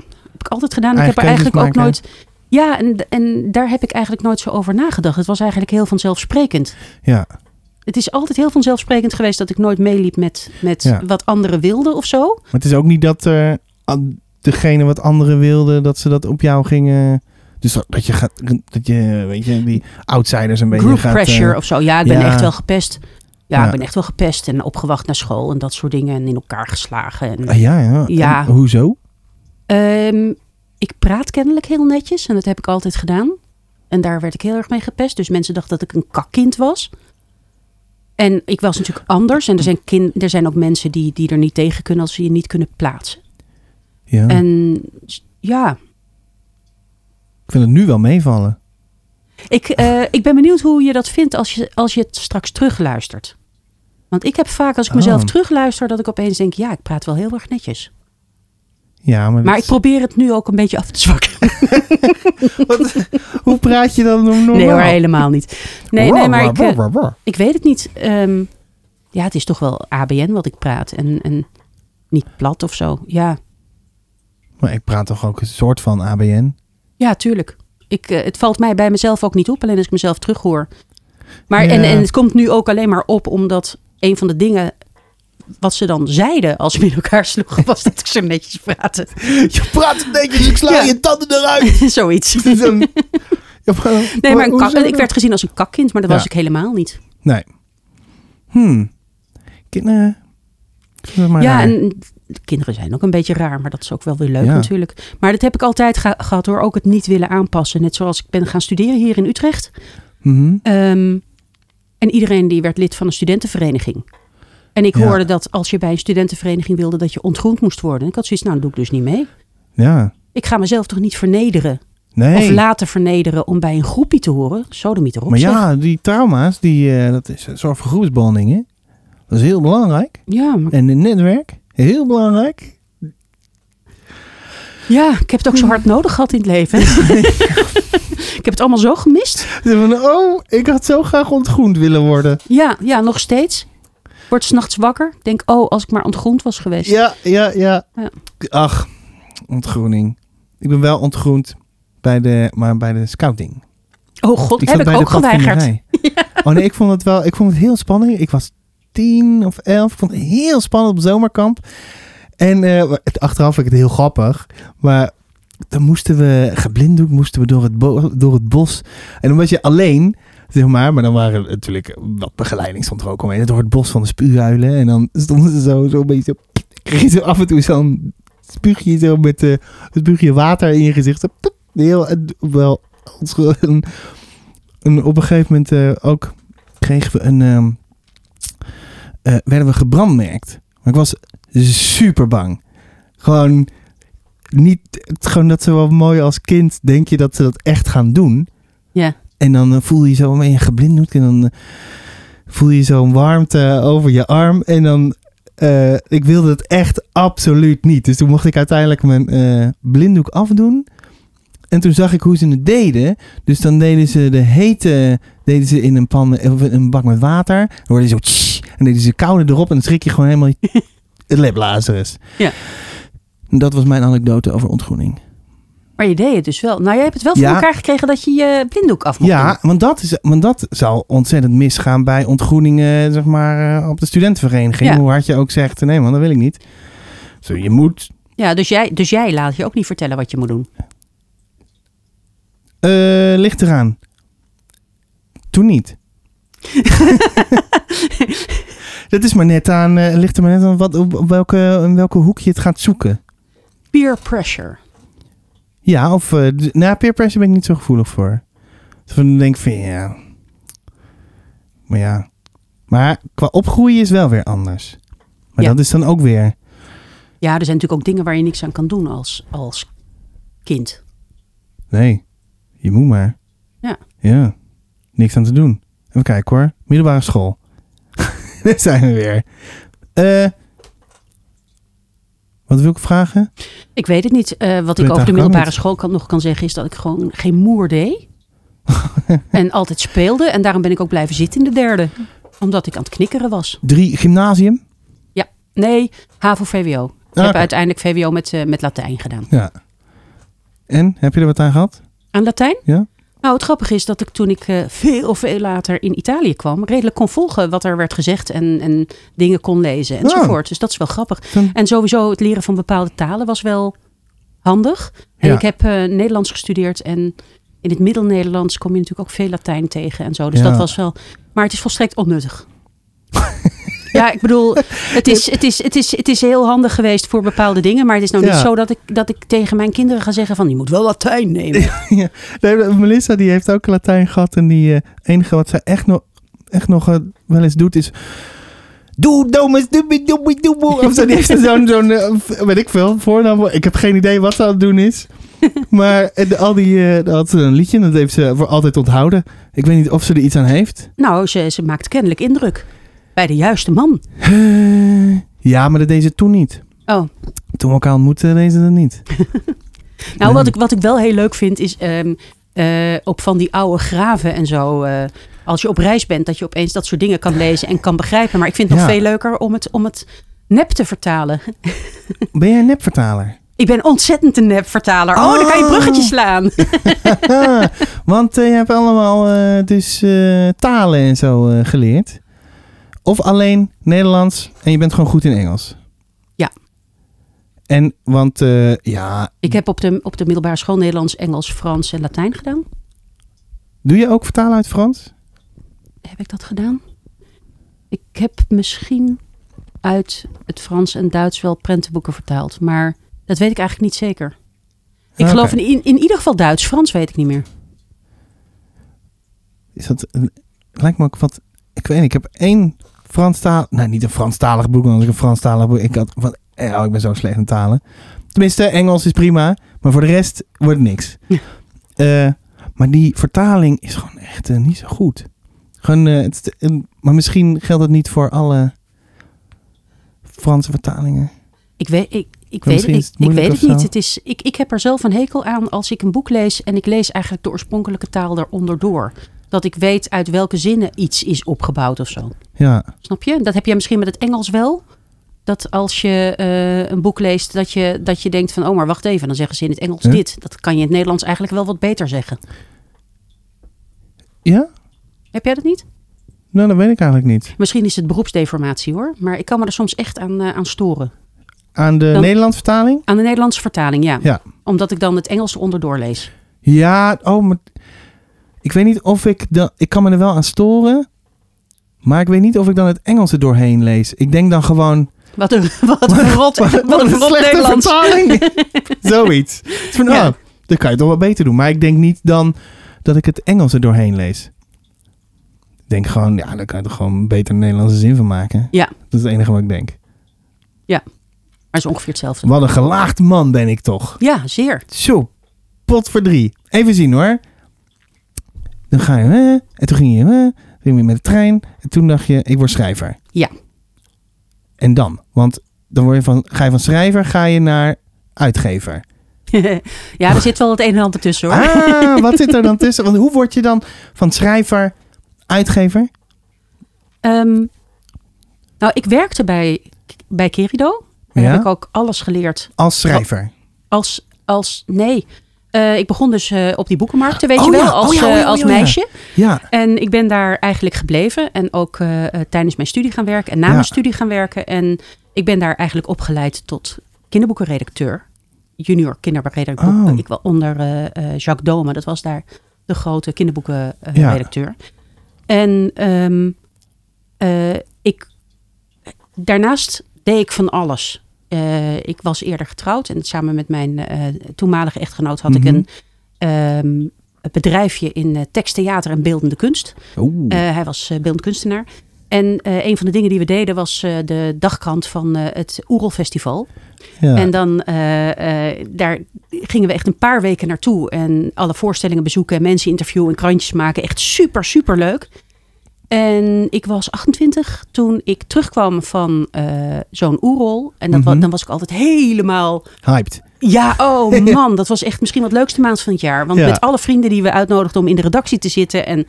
ik altijd gedaan. ik
Eigen
heb er eigenlijk ook
keuzes
nooit. Ja, en, en daar heb ik eigenlijk nooit zo over nagedacht. Het was eigenlijk heel vanzelfsprekend.
Ja.
Het is altijd heel vanzelfsprekend geweest dat ik nooit meeliep met, met
Ja.
wat anderen wilden of zo.
Maar het is ook niet dat er aan degene wat anderen wilden, dat ze dat op jou gingen. Dus dat- dat je gaat, dat je, weet je, die outsiders een beetje
Group
gaat. eh,
pressure of zo. Ja, ik ben
ja.
echt wel gepest. Ja,
Ja.
ik ben echt wel gepest en opgewacht naar school en dat soort dingen en in elkaar geslagen. En,
ah, ja, ja.
Ja.
En hoezo?
Ehm, ik praat kennelijk heel netjes en dat heb ik altijd gedaan. En daar werd ik heel erg mee gepest. Dus mensen dachten dat ik een kakkind was. En ik was natuurlijk anders. En er zijn, kin- er zijn ook mensen die, die er niet tegen kunnen als ze je niet kunnen plaatsen.
Ja.
En s- ja,
Ik vind het nu wel meevallen.
ik, eh, ik ben benieuwd hoe je dat vindt als je, als je het straks terugluistert. Want ik heb vaak als ik mezelf
Oh.
terugluister dat ik opeens denk, ja, ik praat wel heel erg netjes.
Ja, maar,
Maar
dat-
ik probeer het nu ook een beetje af te zwakken.
hoe praat je dan normaal?
Nee hoor, helemaal niet. Nee, nee maar ik, eh,
Brr, brr, brr.
Ik weet het niet. Ehm, ja, het is toch wel ABN wat ik praat. En, en niet plat of zo. Ja,
Maar ik praat toch ook een soort van ABN?
ja tuurlijk. Ik, eh, het valt mij bij mezelf ook niet op. Alleen als ik mezelf terughoor. Maar en,
Ja.
en het komt nu ook alleen maar op omdat een van de dingen... Wat ze dan zeiden als we in elkaar sloegen, was dat ik zo netjes praatte.
Je praat netjes, ik sla
Ja.
je tanden eruit.
Zoiets.
Het is een- Ja, maar-
Nee, maar een
hoezo
kak- en ik
dan?
werd gezien als een kakkind, maar dat
Ja.
was ik helemaal niet.
Nee. Hmm. Kinderen. Vind het maar
ja,
raar.
en de kinderen zijn ook een beetje raar, maar dat is ook wel weer leuk
Ja.
natuurlijk. Maar dat heb ik altijd ge- gehad hoor, ook het niet willen aanpassen. Net zoals ik ben gaan studeren hier in Utrecht.
Mhm.
Ehm, en iedereen die werd lid van een studentenvereniging. En ik
Ja.
hoorde dat als je bij een studentenvereniging wilde, dat je ontgroend moest worden. En ik had zoiets, nou dat doe ik dus niet mee.
Ja.
Ik ga mezelf toch niet vernederen
Nee.
of laten vernederen om bij een groepie te horen. Sodomiet erop
Maar
zeg.
ja, die trauma's, die, eh, dat is een soort van groepsbonding, hè? Dat is heel belangrijk.
Ja, maar-
En een netwerk, heel belangrijk.
ja, ik heb het ook zo hard nodig gehad in het leven. ik heb het allemaal zo gemist.
Ze Van, oh, ik had zo graag ontgroend willen worden.
Ja, ja, nog steeds. Word s'nachts wakker. Denk, oh, als ik maar ontgrond was geweest.
Ja, ja, ja,
Ja.
Ach, ontgroening. Ik ben wel ontgroend bij de, maar bij de scouting.
Oh god,
ik
heb
zat
ik
bij de
ook geweigerd.
padvinderij. Oh nee, ik vond het wel, ik vond het heel spannend. Ik was tien of elf. Ik vond het heel spannend op zomerkamp. En eh, maar het, achteraf vind ik het heel grappig. Maar dan moesten we, geblinddoekt, moesten we door het, bo- door het bos. En dan was je alleen, zeg maar. Maar dan waren er natuurlijk, wat begeleiding stond er ook omheen. Door het bos van de spuuhuilen. En dan stonden ze zo, zo een beetje, zo- kreeg je zo af en toe zo'n spuugje zo met eh, het spuugje water in je gezicht. Zo, pop, heel, eh, wel, onschuldig. En op een gegeven moment eh, ook kregen we een, ehm, eh, werden we gebrandmerkt. Maar ik was super bang. Gewoon niet, het- gewoon dat ze wel mooi als kind denk je dat ze dat echt gaan doen.
Ja.
En dan eh, voel je je zo mee geblinddoekt en dan eh, voel je zo'n warmte over je arm. En dan, eh, ik wilde het echt absoluut niet. Dus toen mocht ik uiteindelijk mijn eh, blinddoek afdoen. En toen zag ik hoe ze het deden. Dus dan deden ze de hete deden ze in een pan of in een bak met water. Dan hoorde je zo tsch, en deden ze koude erop en dan schrik je gewoon helemaal het lip Lazarus.
Ja.
En Dat was mijn anekdote over ontgroening.
Maar je deed het dus wel. Nou, jij hebt het wel voor
Ja.
elkaar gekregen dat je je blinddoek af mocht
Ja,
doen.
want dat, is, want dat zou ontzettend misgaan bij ontgroeningen zeg maar, eh, op de studentenvereniging.
Ja.
Hoe hard je ook zegt, nee man, dat wil ik niet. Zo, je moet.
Ja, dus jij, dus jij laat je ook niet vertellen wat je moet doen.
Eh, ligt eraan. Toen niet. dat is maar net aan, eh, ligt er maar net aan wat, op, op welke, in welke hoek je het gaat zoeken.
Peer pressure.
Ja, of eh, d- na peer pressure ben ik niet zo gevoelig voor. Dus dan denk ik van ja. Maar ja. Maar qua opgroeien is wel weer anders. Maar
Ja.
dat is dan ook weer.
Ja, er zijn natuurlijk ook dingen waar je niks aan kan doen als, als kind.
Nee, je moet maar.
Ja.
Ja, niks aan te doen. Even kijken hoor. Middelbare school. Daar zijn we weer. Eh, wat wil ik vragen?
Ik weet het niet. Eh, wat
Weet
ik over de
eigenlijk ook
middelbare
niet.
school kan, nog kan zeggen is dat ik gewoon geen moer deed. en altijd speelde. En daarom ben ik ook blijven zitten in de derde. Omdat ik aan het knikkeren was.
Drie, gymnasium?
Nee, HAVO-VWO. Ik
Ah,
heb
oké.
uiteindelijk VWO met, eh, met Latijn gedaan.
Ja. En, heb je er wat aan gehad?
Aan Latijn?
Ja.
Nou, het grappige is dat ik toen ik eh, veel, veel later in Italië kwam... redelijk kon volgen wat er werd gezegd en, en dingen kon lezen
Ah.
enzovoort. Dus dat is wel grappig.
Dan-
En sowieso het leren van bepaalde talen was wel handig. En
Ja.
ik heb eh, Nederlands gestudeerd en in het Middel-Nederlands kom je natuurlijk ook veel Latijn tegen en zo. Dus
Ja.
dat was wel... Maar het is volstrekt onnuttig. ja, ik bedoel, het is, het, is, het, is, het is heel handig geweest voor bepaalde dingen. Maar het is nou
Ja.
niet zo dat ik, dat ik tegen mijn kinderen ga zeggen van... je moet wel Latijn nemen.
Nee, Melissa die heeft ook Latijn gehad. En die eh, enige wat zij echt nog, echt nog eh, wel eens doet is... Doe, domes, doe, doe, doe. Oh, Of zo, die heeft er zo'n, zo'n eh, v- weet ik veel, voornaam. voor. Ik heb geen idee wat ze aan het doen is. Maar eh, de- al die, eh, daar had ze een liedje en dat heeft ze voor altijd onthouden. Ik weet niet of ze er iets aan heeft.
Nou, ze, ze maakt kennelijk indruk. Bij de juiste man.
Ja, maar dat deed ze toen niet.
Oh.
Toen we elkaar ontmoetten, deed ze dat niet.
Nou, wat ik, wat ik wel heel leuk vind is ehm, eh, op van die oude graven en zo. eh, als je op reis bent, dat je opeens dat soort dingen kan lezen en kan begrijpen. Maar ik vind het nog
Ja.
veel leuker om het, om het nep te vertalen.
Ben jij een nepvertaler?
Ik ben ontzettend een nep vertaler. Oh, dan kan je
Oh.
bruggetjes slaan.
Ja, want eh, je hebt allemaal eh, dus eh, talen en zo eh, geleerd. Of alleen Nederlands en je bent gewoon goed in Engels.
Ja.
En want eh, ja,
Ik heb op de, op de middelbare school Nederlands, Engels, Frans en Latijn gedaan.
doe je ook vertalen uit Frans?
Heb ik dat gedaan? Ik heb misschien uit het Frans en Duits wel prentenboeken vertaald. Maar dat weet ik eigenlijk niet zeker. Ik
Ah, Oké.
geloof in, in, in ieder geval Duits. Frans weet ik niet meer.
Is dat een- lijkt me ook wat. Ik weet niet, ik heb één Franstalig. Nou, niet een Franstalig boek, want als ik een Franstalig boek. Ik had van. eh, Oh, ik ben zo slecht in talen. Tenminste, Engels is prima, maar voor de rest wordt het niks.
Ja.
Eh, maar die vertaling is gewoon echt eh, niet zo goed. Gewoon, eh, het, is te- eh, maar misschien geldt dat niet voor alle Franse vertalingen.
Ik weet, ik, ik
Maar
weet,
misschien
ik,
is het
ik
moeilijk
weet
of
het
zo.
niet. Het is, ik, ik heb er zelf een hekel aan als ik een boek lees en ik lees eigenlijk de oorspronkelijke taal eronder door. Dat ik weet uit welke zinnen iets is opgebouwd of zo.
Ja,
Snap je? Dat heb jij misschien met het Engels wel. Dat als je eh, een boek leest, dat je, dat je denkt van... oh, maar wacht even, dan zeggen ze in het Engels
Ja.
dit. Dat kan je in het Nederlands eigenlijk wel wat beter zeggen.
ja?
Heb jij dat niet?
Nou, dat weet ik eigenlijk niet.
Misschien is het beroepsdeformatie hoor. Maar ik kan me er soms echt aan, eh, aan storen.
Aan de
Dan-
Nederlandse vertaling?
Aan de Nederlandse vertaling, ja.
Ja.
Omdat ik dan het Engels onderdoor lees.
Ja, oh, maar ik weet niet of ik dan. Ik kan me er wel aan storen. Maar ik weet niet of ik dan het Engels er doorheen lees. Ik denk dan gewoon.
Wat een, wat een rot, wat een rot Nederlands.
vertaling. Zoiets. Het is van,
Ja.
oh, dat kan je toch wel beter doen. Maar ik denk niet dan dat ik het Engels er doorheen lees. Ik denk gewoon, ja, daar kan je toch gewoon een beter Nederlandse zin van maken.
Ja.
Dat is het enige wat ik denk.
Maar het is ongeveer hetzelfde.
Wat een gelaagd man ben ik toch.
Ja, zeer.
Zo, pot voor drie. Even zien hoor. Dan ga je, hè? en toen ging je, hè? Toen ging je met de trein. En toen dacht je, ik word schrijver.
Ja.
En dan? Want dan word je van, ga je van schrijver, ga je naar uitgever.
ja, er zit wel het een en ander tussen hoor.
Ah, wat zit er dan tussen? Want hoe word je dan van schrijver, uitgever?
Ehm, nou, ik werkte bij, bij Kerido. Daar
Ja?
heb ik ook alles geleerd.
Als schrijver.
Als, als nee. Eh, ik begon dus eh, op die boekenmarkten, weet
Oh
je wel,
ja, oh
als,
ja, oh ja,
eh, als
oh ja.
meisje.
Ja.
En ik ben daar eigenlijk gebleven. En ook eh, eh, tijdens mijn studie gaan werken en na
Ja.
mijn studie gaan werken. En ik ben daar eigenlijk opgeleid tot kinderboekenredacteur. Junior kinderboekenredacteur.
Oh.
Ik wel onder eh, eh, Jacques Dome. Dat was daar de grote
Ja.
kinderboekenredacteur. En ehm, eh, ik, daarnaast deed ik van alles. Eh, ik was eerder getrouwd en samen met mijn eh, toenmalige echtgenoot had
Mhm.
ik een ehm, een bedrijfje in eh, teksttheater en beeldende kunst.
Oeh.
Eh, hij was eh, beeldend kunstenaar. En eh, een van de dingen die we deden was eh, de dagkrant van eh, het Oerol Festival.
Ja.
En dan eh, eh, daar gingen we echt een paar weken naartoe. En alle voorstellingen bezoeken, mensen interviewen en krantjes maken. Echt super, super leuk. En ik was 28 toen ik terugkwam van eh, zo'n oerol. En dat wa-
Mhm.
dan was ik altijd helemaal...
Hyped.
Ja, oh man, dat was echt misschien wel het leukste maand van het jaar. Want
Ja.
met alle vrienden die we uitnodigden om in de redactie te zitten... en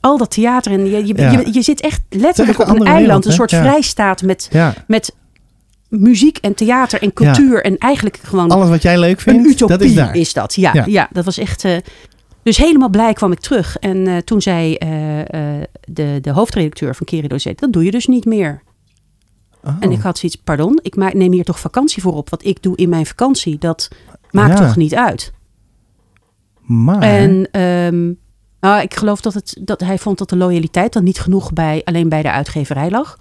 al dat theater. En je, je,
Ja.
je, je zit echt
echt
letterlijk
een
op een
andere wereld,
eiland. een
hè?
soort
Ja.
vrijstaat met,
Ja.
met muziek en theater en cultuur. En eigenlijk gewoon
Alles wat jij leuk
een
vindt,
utopie
dat is daar.
dat. Ja,
Ja.
ja. dat was echt. eh, dus helemaal blij kwam ik terug. En eh, toen zei eh, eh, de, de hoofdredacteur van Kerido, zei, dat doe je dus niet meer.
Oh.
En ik had zoiets, pardon, ik maak, neem hier toch vakantie voor op. Wat ik doe in mijn vakantie, dat maakt
Ja.
toch niet uit.
Maar,
En ehm, nou, ik geloof dat, het, dat hij vond dat de loyaliteit dan niet genoeg bij, alleen bij de uitgeverij lag.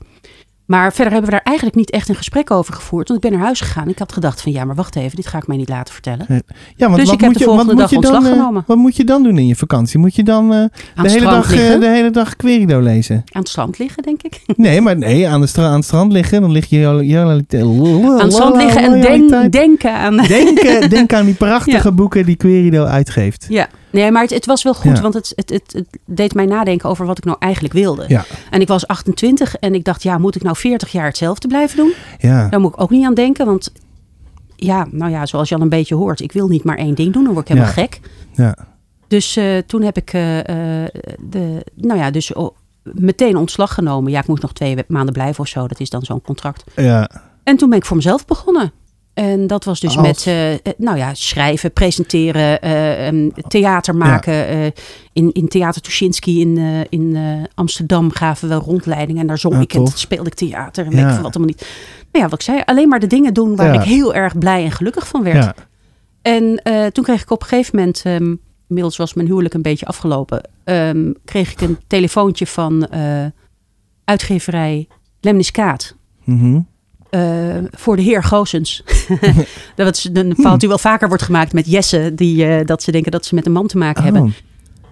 Maar verder hebben we daar eigenlijk niet echt een gesprek over gevoerd. Want ik ben naar huis gegaan. Ik had gedacht van ja, maar wacht even, dit ga ik mij niet laten vertellen.
ja, want
dus
wat
ik heb
moet
de
je, wat
volgende
moet
dag
je dan,
ontslag
eh,
genomen.
Wat moet je dan doen in je vakantie? Moet je dan eh,
Aan
de,
het
hele
strand
dag, eh,
liggen.
de hele dag Querido lezen?
Aan het strand liggen, denk ik.
Nee, maar nee, aan, de stra- aan het strand liggen, dan lig je... Aan
Aan
het
het strand liggen en denk, denken aan...
Denk, denk aan die prachtige boeken die Querido uitgeeft.
Ja, nee, maar het, het was wel goed,
Ja.
want het, het, het, het deed mij nadenken over wat ik nou eigenlijk wilde.
Ja.
En ik was 28 en ik dacht, ja, moet ik nou 40 jaar hetzelfde blijven doen?
Ja.
Daar moet ik ook niet aan denken, want ja, nou ja, zoals je al een beetje hoort, ik wil niet maar één ding doen, dan word ik helemaal
Ja.
gek.
Ja.
Dus eh, toen heb ik eh, eh, de, nou ja, dus oh, meteen ontslag genomen. Ja, ik moest nog twee we- maanden blijven of zo, dat is dan zo'n contract.
ja.
En toen ben ik voor mezelf begonnen. En dat was dus
Als?
met eh, eh, nou ja, schrijven, presenteren, eh, em, theater maken. eh, in, in Theater Tuschinski in, eh, in eh, Amsterdam gaven we rondleidingen. En daar zong
Ah,
ik en
tof.
toen speelde ik theater. En
Ja.
weet ik veel wat allemaal niet. Nou ja, wat ik zei, alleen maar de dingen doen waar
Ja.
ik heel erg blij en gelukkig van werd.
ja.
En eh, toen kreeg ik op een gegeven moment, ehm, inmiddels was mijn huwelijk een beetje afgelopen, ehm, kreeg ik een telefoontje van eh, uitgeverij Lemniskaat
Mhm.
eh, voor de heer Goosens. dat is een fout die wel vaker wordt gemaakt met Jesse. Die, eh, dat ze denken dat ze met een man te maken hebben.
Oh.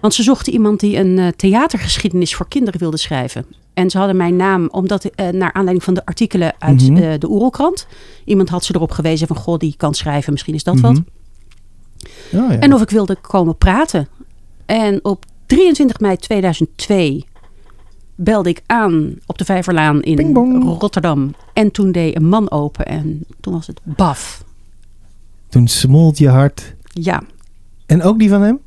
Want ze zochten iemand die een eh, theatergeschiedenis voor kinderen wilde schrijven. En ze hadden mijn naam, omdat eh, naar aanleiding van de artikelen uit
Mhm.
eh, de Oerelkrant. Iemand had ze erop gewezen van, goh, die kan schrijven, misschien is dat wat.
Mhm. Oh, ja.
En of ik wilde komen praten. En op 23 mei 2002 belde ik aan op de Vijverlaan
Ping
in
bong.
Rotterdam. En toen deed een man open en toen was het baf.
Toen smolt je hart.
Ja,
En ook die van hem?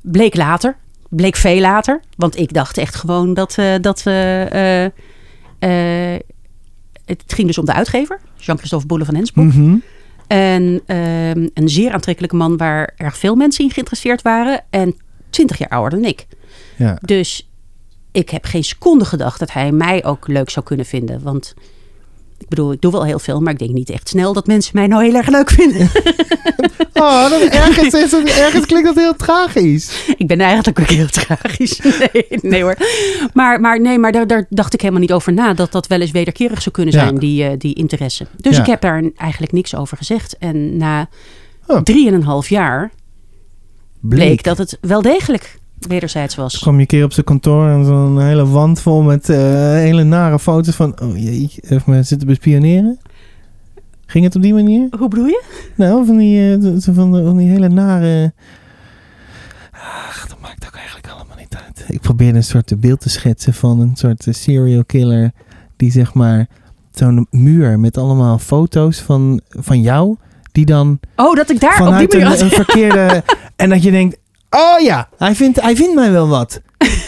bleek later. Bleek veel later. Want ik dacht echt gewoon dat... eh, dat eh, eh, eh, het ging dus om de uitgever. Jean-Christophe Boele van Hensbroek.
Mhm.
En ehm, een zeer aantrekkelijke man waar erg veel mensen in geïnteresseerd waren. En 20 jaar ouder dan ik.
Ja.
Dus ik heb geen seconde gedacht dat hij mij ook leuk zou kunnen vinden. Want ik bedoel, ik doe wel heel veel, maar ik denk niet echt snel dat mensen mij nou heel erg leuk vinden.
Oh, dat is ergens, is het- ergens klinkt dat heel tragisch.
ik ben eigenlijk ook heel tragisch. Nee, nee hoor. Maar, maar nee, maar daar, daar dacht ik helemaal niet over na. Dat dat wel eens wederkerig zou kunnen
Ja.
zijn, die, eh, die interesse. Dus
Ja.
ik heb daar eigenlijk niks over gezegd. En na
Oh.
drieënhalf jaar bleek,
Bleek.
dat het wel degelijk wederzijds was.
Toen kwam je een keer op zijn kantoor en zo'n hele wand vol met eh, hele nare foto's van... Oh jee, even me zitten bespioneren. Ging het op die manier?
Hoe bedoel je?
Nou, van die, eh, zo van, van die hele nare... Ach, dat maakt ook eigenlijk allemaal niet uit. Ik probeerde een soort beeld te schetsen van een soort eh, serial killer... die zeg maar zo'n muur met allemaal foto's van, van jou... die dan
Oh, dat ik daar op die
vanuit
manier
een,
had.
een verkeerde... en dat je denkt, oh ja, hij vindt, hij vindt mij wel wat.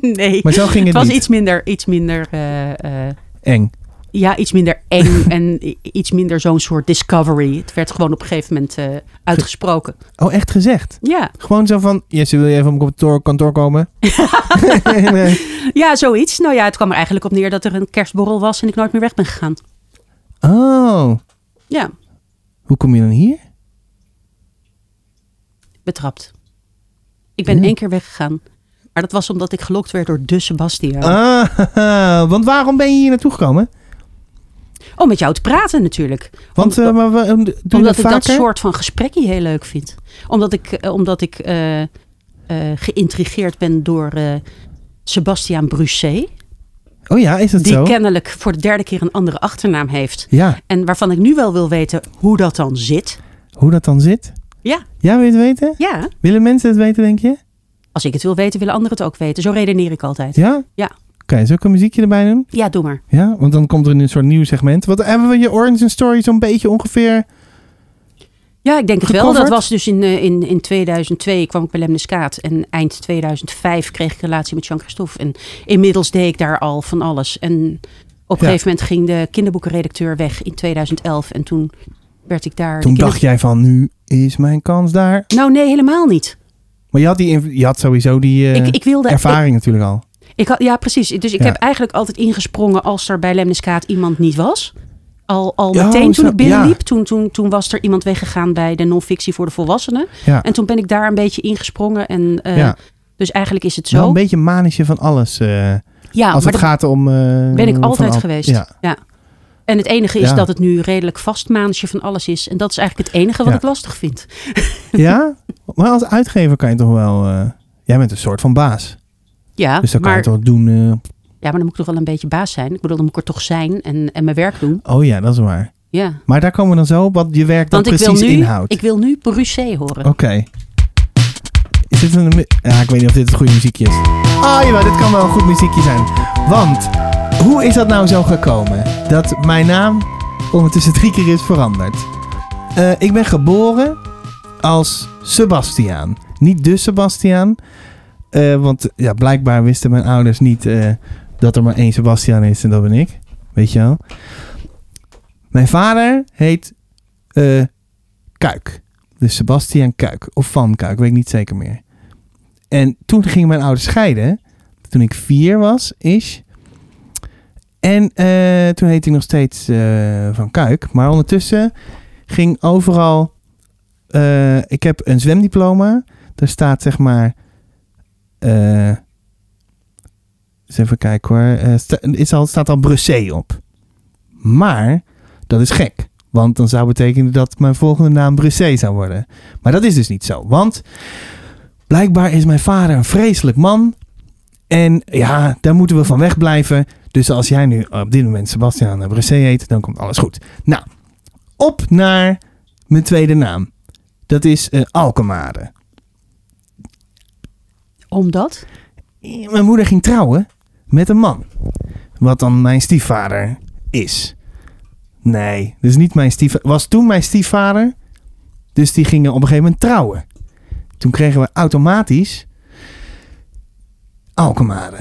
nee.
eh, Maar zo ging het,
Het was
niet.
iets minder, iets minder, eh, eh,
Eng.
ja, iets minder eng en i- iets minder zo'n soort discovery. Het werd gewoon op een gegeven moment eh, uitgesproken.
Oh, echt gezegd?
Ja,
Gewoon zo van, Jesse, wil je even op mijn kantoor, kantoor komen? En, eh,
ja, zoiets. Nou ja, het kwam er eigenlijk op neer dat er een kerstborrel was en ik nooit meer weg ben gegaan.
oh,
Ja,
hoe kom je dan hier?
betrapt. Ik ben
Ja.
één keer weggegaan. Maar dat was omdat ik gelokt werd door de Sebastian.
Ah, want waarom ben je hier naartoe gekomen?
Om Oh, met jou te praten natuurlijk.
Want, eh,
Om-
maar, wa- um, doe je dat
omdat ik
vaker?
dat soort van gesprekje heel leuk vind. Omdat ik, eh, omdat ik eh, eh, geïntrigeerd ben door eh Sebastian Brusset.
Oh ja, is dat
Die
zo?
kennelijk voor de derde keer een andere achternaam heeft.
Ja,
En waarvan ik nu wel wil weten hoe dat dan zit.
hoe dat dan zit?
Ja.
Ja, wil je het weten?
Ja,
Willen mensen het weten, denk je?
als ik het wil weten, willen anderen het ook weten. Zo redeneer ik altijd.
Ja?
Ja.
Oké, zou ik een muziekje erbij doen?
Ja, doe maar.
Ja, want dan komt er een soort nieuw segment. Wat hebben we je Origin Story zo'n beetje ongeveer?
Ja, ik denk het wel. Dat
Gecoverd?
was dus in, eh, in, in 2002 kwam ik bij Lemniskaat. En eind 2005 kreeg ik een relatie met Jean-Christophe. En inmiddels deed ik daar al van alles. En op een
Ja.
gegeven moment ging de kinderboekenredacteur weg in 2011. En toen werd ik daar... de
Toen
kinder-
dacht jij van, nu is mijn kans daar.
Nou nee, helemaal niet.
Maar je had, die, inv- je had sowieso die eh,
ik, ik wilde...
ervaring natuurlijk al.
Ik, ik had, ja, precies. Dus ik
Ja.
heb eigenlijk altijd ingesprongen als er bij Lemniskaat iemand niet was. Al, al
Ja,
meteen toen
zo-
ik binnenliep,
ja.
toen, toen, toen was er iemand weggegaan bij de non-fictie voor de volwassenen.
Ja.
En toen ben ik daar een beetje ingesprongen. En, eh,
ja.
Dus eigenlijk is het zo.
Wel Nou, een beetje manisje van alles. eh,
Ja,
als
maar
het
dat
gaat om... eh,
ben ik
van
altijd
al-
geweest.
Ja.
Ja. En het enige is
Ja.
dat het nu redelijk vast maandje van alles is. En dat is eigenlijk het enige wat
Ja.
ik lastig vind.
ja? Maar als uitgever kan je toch wel... eh, jij bent een soort van baas.
Ja,
Dus dan kan
Ah, maar,
je toch doen... eh,
ja, maar dan moet ik toch wel een beetje baas zijn. Ik bedoel, dan moet ik er toch zijn en, en mijn werk doen.
oh ja, dat is waar.
Ja.
Maar daar komen we dan zo op wat je werk dan
Want ik wil,
precies
nu,
inhoudt.
ik wil nu Brussé horen.
Oké. Is dit een... mu- Ja, ik weet niet of dit het goede muziekje is. Ah, jawel, dit kan wel een goed muziekje zijn. Want, hoe is dat nou zo gekomen? Dat mijn naam ondertussen drie keer is veranderd. Eh, ik ben geboren als Sebastiaan. Niet de Sebastiaan. Eh, want ja, blijkbaar wisten mijn ouders niet eh, dat er maar één Sebastiaan is en dat ben ik. Weet je wel. Mijn vader heet eh, Kuik. Dus Sebastian Kuik. Of Van Kuik, weet ik niet zeker meer. En toen gingen mijn ouders scheiden. Toen ik vier was, is. En eh, toen heette ik nog steeds eh, Van Kuik. Maar ondertussen ging overal... eh, ik heb een zwemdiploma. Daar staat zeg maar... eh, eens even kijken hoor. Eh, sta- is al, staat al Brussé op. Maar dat is gek. Want dan zou betekenen dat mijn volgende naam Brussé zou worden. Maar dat is dus niet zo. Want blijkbaar is mijn vader een vreselijk man. En ja, daar moeten we van wegblijven. Dus als jij nu op dit moment Sebastian Brussé heet, dan komt alles goed. Nou, op naar mijn tweede naam. Dat is eh, Alkemade.
Omdat?
Eh, Mijn moeder ging trouwen met een man. Wat dan mijn stiefvader is. Nee, dus niet mijn stiefvader. Was toen mijn stiefvader. Dus die gingen op een gegeven moment trouwen. Toen kregen we automatisch Alkemade.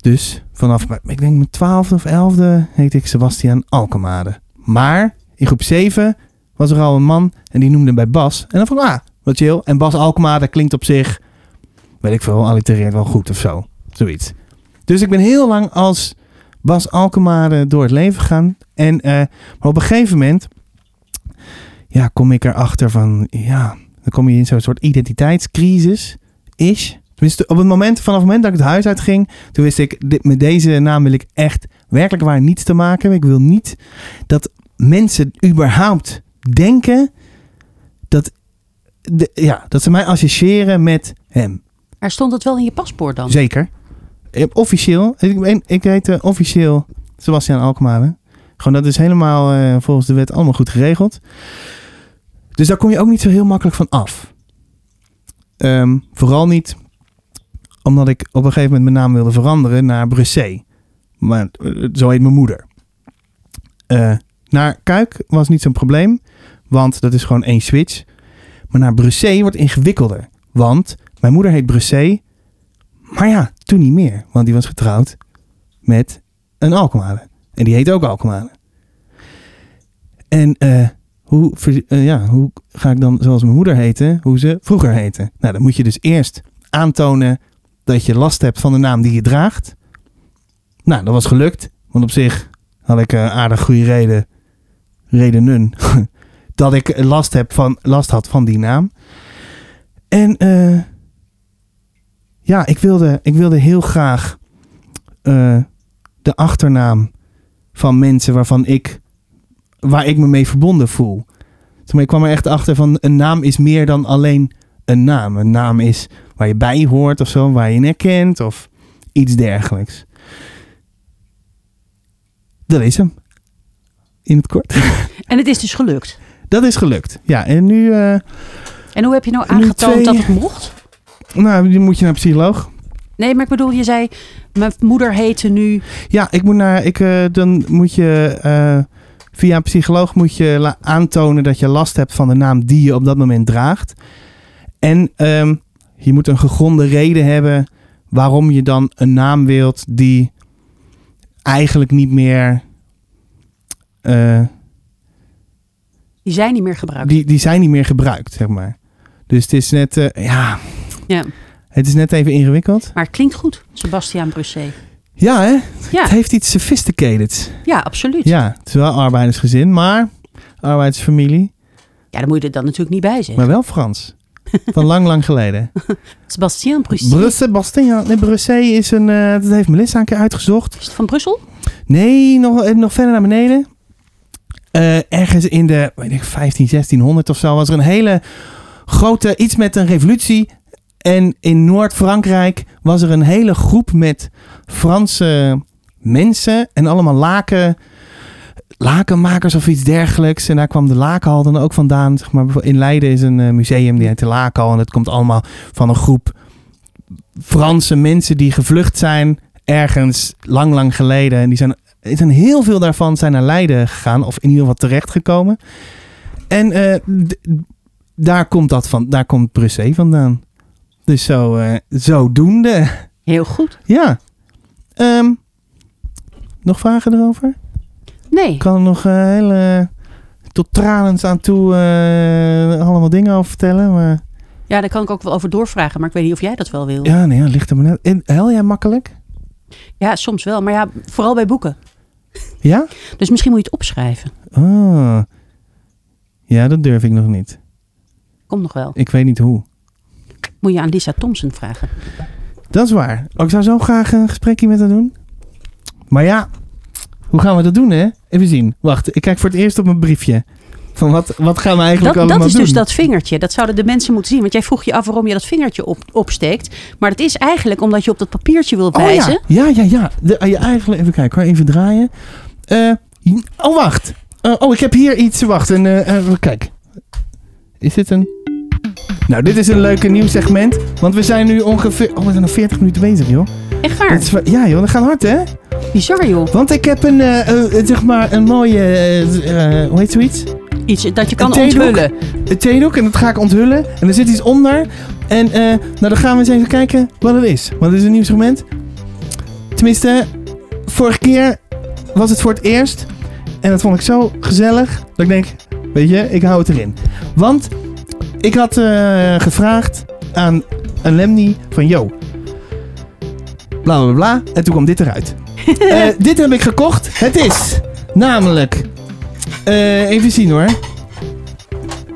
Dus vanaf, mijn- ik denk mijn twaalfde of elfde heette ik Sebastian Alkemade. Maar in groep 7 was er al een man en die noemde hem bij Bas. En dan vond ik, ah, wat chill. En Bas Alkemade klinkt op zich, weet ik veel, allitereert wel goed of zo. Zoiets. Dus ik ben heel lang als Bas Alkemade door het leven gegaan. En eh, maar op een gegeven moment ja, kom ik erachter van, ja, dan kom je in zo'n soort identiteitscrisis. Is. Tenminste, op het moment, vanaf het moment dat ik het huis uitging, toen wist ik, dit, met deze naam wil ik echt werkelijk waar niets te maken hebben. Ik wil niet dat mensen überhaupt denken dat, de, ja, dat ze mij associëren met hem.
Maar stond het wel in je paspoort dan?
Zeker. Eh, Officieel. Ik, ben- ik heet eh, officieel Sebastian Alkmaar. Gewoon dat is helemaal eh, volgens de wet allemaal goed geregeld. Dus daar kom je ook niet zo heel makkelijk van af. Ehm, vooral niet omdat ik op een gegeven moment mijn naam wilde veranderen naar Brussé. Maar eh, zo heet mijn moeder. Eh, naar Kuik was niet zo'n probleem, want dat is gewoon één switch. Maar naar Brussé wordt ingewikkelder, want mijn moeder heet Brussé maar ja, toen niet meer. Want die was getrouwd met een Alkmaarder. En die heet ook Alkmaarder. En eh, hoe, ver- eh, ja, hoe ga ik dan, zoals mijn moeder heette, hoe ze vroeger heette? Nou, dan moet je dus eerst aantonen dat je last hebt van de naam die je draagt. Nou, dat was gelukt. Want op zich had ik eh, aardig goede reden, redenen, dat ik last, heb van, last had van die naam. En eh, ja, ik wilde, ik wilde heel graag eh, de achternaam van mensen waarvan ik, waar ik me mee verbonden voel. Zeg maar, Ik kwam er echt achter van een naam is meer dan alleen een naam. Een naam is waar je bij hoort of zo, waar je in herkent of iets dergelijks. Dat is hem. In het kort.
En het is dus gelukt.
Dat is gelukt. Ja, en nu, eh,
En hoe heb je nou
Nu
aangetoond
twee-
dat het mocht?
nou, nu moet je naar een psycholoog.
Nee, maar ik bedoel, je zei, mijn moeder heette nu...
Ja, ik moet naar, ik, eh, dan moet je eh, via een psycholoog moet je la- aantonen dat je last hebt van de naam die je op dat moment draagt. En ehm, je moet een gegronde reden hebben waarom je dan een naam wilt die eigenlijk niet meer. eh,
Die zijn niet meer gebruikt.
die, die zijn niet meer gebruikt, zeg maar. Dus het is net, eh, ja,
Ja.
het is net even ingewikkeld.
Maar het klinkt goed, Sebastiaan Brusset.
Ja, hè?
Ja.
Het heeft iets sophisticateds.
Ja, absoluut. Ja.
Ja, het is wel arbeidersgezin, maar arbeidersfamilie.
dan moet je er dan natuurlijk niet bij zeggen.
Maar wel Frans. Van lang, lang geleden.
Sebastiaan Brusset.
Brussel, Bastien. Nee, Brussel is een... eh, dat heeft Melissa een keer uitgezocht.
Is het van Brussel?
Nee, nog, eh, nog verder naar beneden. Eh, ergens in de weet ik, 15, 1600 of zo was er een hele grote... Iets met een revolutie. En in Noord-Frankrijk was er een hele groep met Franse mensen. En allemaal laken... Lakenmakers of iets dergelijks. En daar kwam de lakenhal dan ook vandaan. Zeg maar, in Leiden is een eh, museum die heet de lakenhal. En dat komt allemaal van een groep Franse mensen die gevlucht zijn ergens lang, lang geleden. En die zijn, er zijn heel veel daarvan zijn naar Leiden gegaan, of in ieder geval terechtgekomen. En eh, d- daar komt dat van, daar komt Brussel vandaan. Dus zo, eh, zodoende.
Heel goed.
Ja. Ehm, nog vragen erover?
Nee.
Ik kan er nog eh, hele tot tranens aan toe eh, allemaal dingen over vertellen. Maar
Ja, daar kan ik ook wel over doorvragen, maar ik weet niet of jij dat wel wil. Ja,
ja, nee, ja, ligt er maar net. En Huil jij makkelijk?
soms wel. Maar ja, vooral bij boeken.
Ja?
Dus misschien moet je het opschrijven.
Ah. Ja, dat durf ik nog niet.
Komt nog wel.
Ik weet niet hoe.
Moet je aan Lisa Thompson vragen.
Dat is waar. Oh, ik zou zo graag een gesprekje met haar doen. Maar ja, hoe gaan we dat doen, hè? Even zien. Wacht, ik kijk voor het eerst op mijn briefje. Van wat, wat gaan we
Dat,
eigenlijk allemaal
dat is
doen?
dus dat vingertje. Dat zouden de mensen moeten zien. Want jij vroeg je af waarom je dat vingertje op, opsteekt. Maar dat is eigenlijk omdat je op dat papiertje wil
oh,
wijzen.
ja. ja, ja, ja. De, eh, je eigenlijk, even kijken hoor, even draaien. Eh, oh, wacht. Eh, oh, ik heb hier iets. Wacht, een, eh, eh, kijk. Is dit een... Nou, dit is een leuke nieuw segment. Want we zijn nu ongeveer... Oh, we zijn nog 40 minuten bezig, joh.
Echt waar.
Dat is wel- ja joh, dat gaat hard hè?
Bizar joh.
Want ik heb een, eh, eh, zeg maar, een mooie, eh, eh, hoe heet zoiets?
Iets dat je kan
Een theedoek.
onthullen.
Een theedoek en dat ga ik onthullen. En er zit iets onder. En eh, nou, dan gaan we eens even kijken wat het is. Want het is een nieuw segment. Tenminste, vorige keer was het voor het eerst. En dat vond ik zo gezellig. Dat ik denk, weet je, ik hou het erin. Want ik had eh, gevraagd aan een Lemni van, yo, bla bla bla. En toen kwam dit eruit. Eh, dit heb ik gekocht. Het is namelijk, eh, even zien hoor.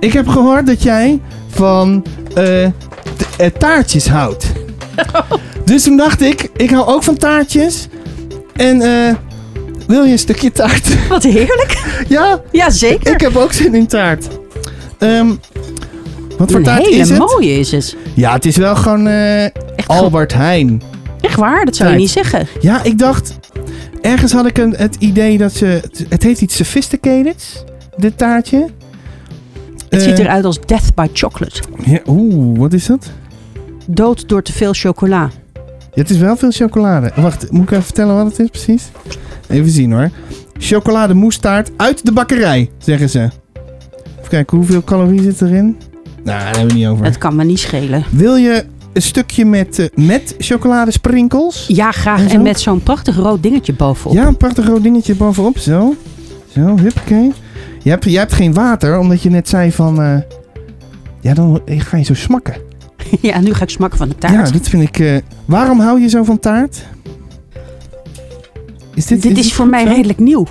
Ik heb gehoord dat jij van eh, t- eh, taartjes houdt. Dus toen dacht ik, ik hou ook van taartjes. En eh, wil je een stukje taart?
Wat heerlijk.
ja,
Ja, zeker.
ik heb ook zin in taart. Ehm, wat voor
Een
taart
hele
is het?
mooie is het.
Ja, het is wel gewoon eh,
Echt, goed.
Albert Heijn.
echt waar, dat zou je
Tijd.
niet zeggen.
Ja, ik dacht... Ergens had ik een, het idee dat ze... Het, het heeft iets sophisticateds, dit taartje. Eh.
Het ziet eruit als death by chocolate.
Oeh, wat is dat?
Dood door te veel chocola.
Ja, het is wel veel chocolade. Wacht, moet ik even vertellen wat het is precies? Even zien hoor. Chocolademoustaart uit de bakkerij, zeggen ze. Even kijken, hoeveel calorie zit erin? Nou, daar hebben we het niet over.
Het kan me niet schelen.
Wil je een stukje met, eh, met chocoladesprinkels?
Ja, graag.
En
En,
zo?
met zo'n prachtig rood dingetje bovenop.
Ja, een prachtig rood dingetje bovenop. Zo. Zo, huppakee. Je hebt, je hebt geen water, omdat je net zei van... eh, ja, dan eh, ga je zo smakken.
Ja, nu ga ik smakken van de taart.
Ja, dat vind ik... eh, waarom hou je zo van taart? Is
dit, is voor mij
zo?
redelijk nieuw.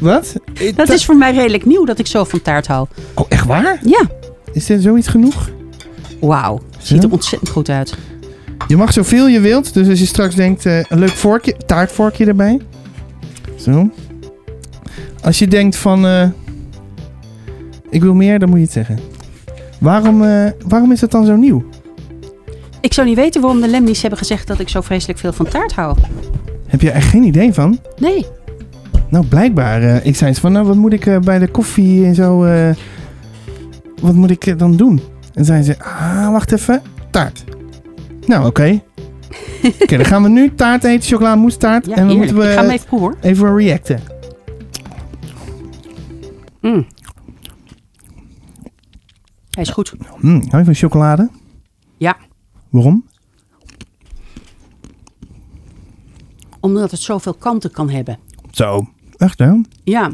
Wat?
Dat is voor mij redelijk nieuw dat ik zo van taart hou.
Oh, echt waar?
Ja,
Is dit zoiets genoeg?
wauw. Ziet er ontzettend goed uit.
Je mag zoveel je wilt. Dus als je straks denkt, eh, een leuk vorkje, taartvorkje erbij. Zo. Als je denkt van, eh, ik wil meer, dan moet je het zeggen. Waarom, eh, waarom is dat dan zo nieuw?
Ik zou niet weten waarom de Lemnies hebben gezegd dat ik zo vreselijk veel van taart hou.
Heb je echt geen idee van?
Nee.
Nou, blijkbaar. eh, ik zei eens van, nou, wat moet ik eh, bij de koffie en zo... eh, wat moet ik eh, dan doen? En zei ze, ah, wacht even. Taart. Nou, oké. Oké, dan gaan we nu taart eten, chocolademoustaart.
Ja,
en dan
heerlijk.
moeten
Ik ga hem
we
even proeven hoor.
even reacten.
Mm. Hij is goed.
Mm, hou je van chocolade?
Ja.
Waarom?
Omdat het zoveel kanten kan hebben.
Zo. Echt, hè?
Ja.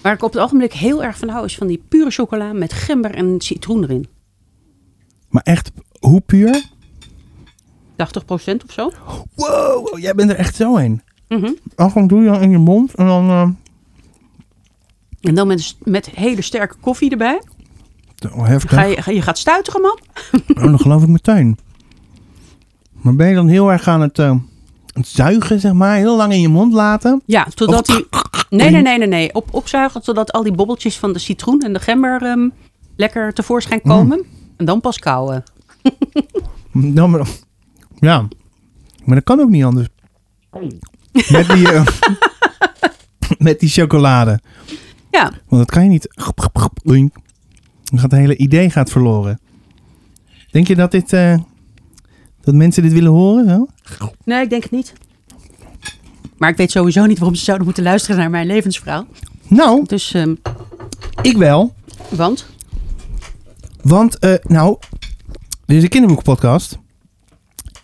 Waar ik op het ogenblik heel erg van hou is van die pure chocola met gember en citroen erin.
Maar echt, hoe puur?
80% of zo.
Wow, jij bent er echt zo in.
Mhm.
Alkom doe je dan in je mond en dan... eh,
En dan met, met hele sterke koffie erbij.
zo heftig.
Ga je, ga- je gaat stuiteren, man.
Oh, dat geloof ik meteen. Maar ben je dan heel erg aan het, eh, het zuigen, zeg maar? Heel lang in je mond laten?
Ja, totdat
Of-
die... Nee, nee, nee, nee. nee. Op, opzuigen totdat al die bobbeltjes van de citroen en de gember ehm, lekker tevoorschijn komen.
Mm.
En dan pas kauwen.
Dan, Nou, maar- ja, maar dat kan ook niet anders. Met die, eh, met die chocolade.
Ja,
Want dat kan je niet. Dan gaat het hele idee gaat verloren. Denk je dat, dit, eh, dat mensen dit willen horen? Zo?
nee, ik denk het niet. Maar ik weet sowieso niet waarom ze zouden moeten luisteren naar mijn levensverhaal.
Nou,
Dus, ehm,
ik wel.
want...
Want, eh, nou, dit is een kinderboekpodcast.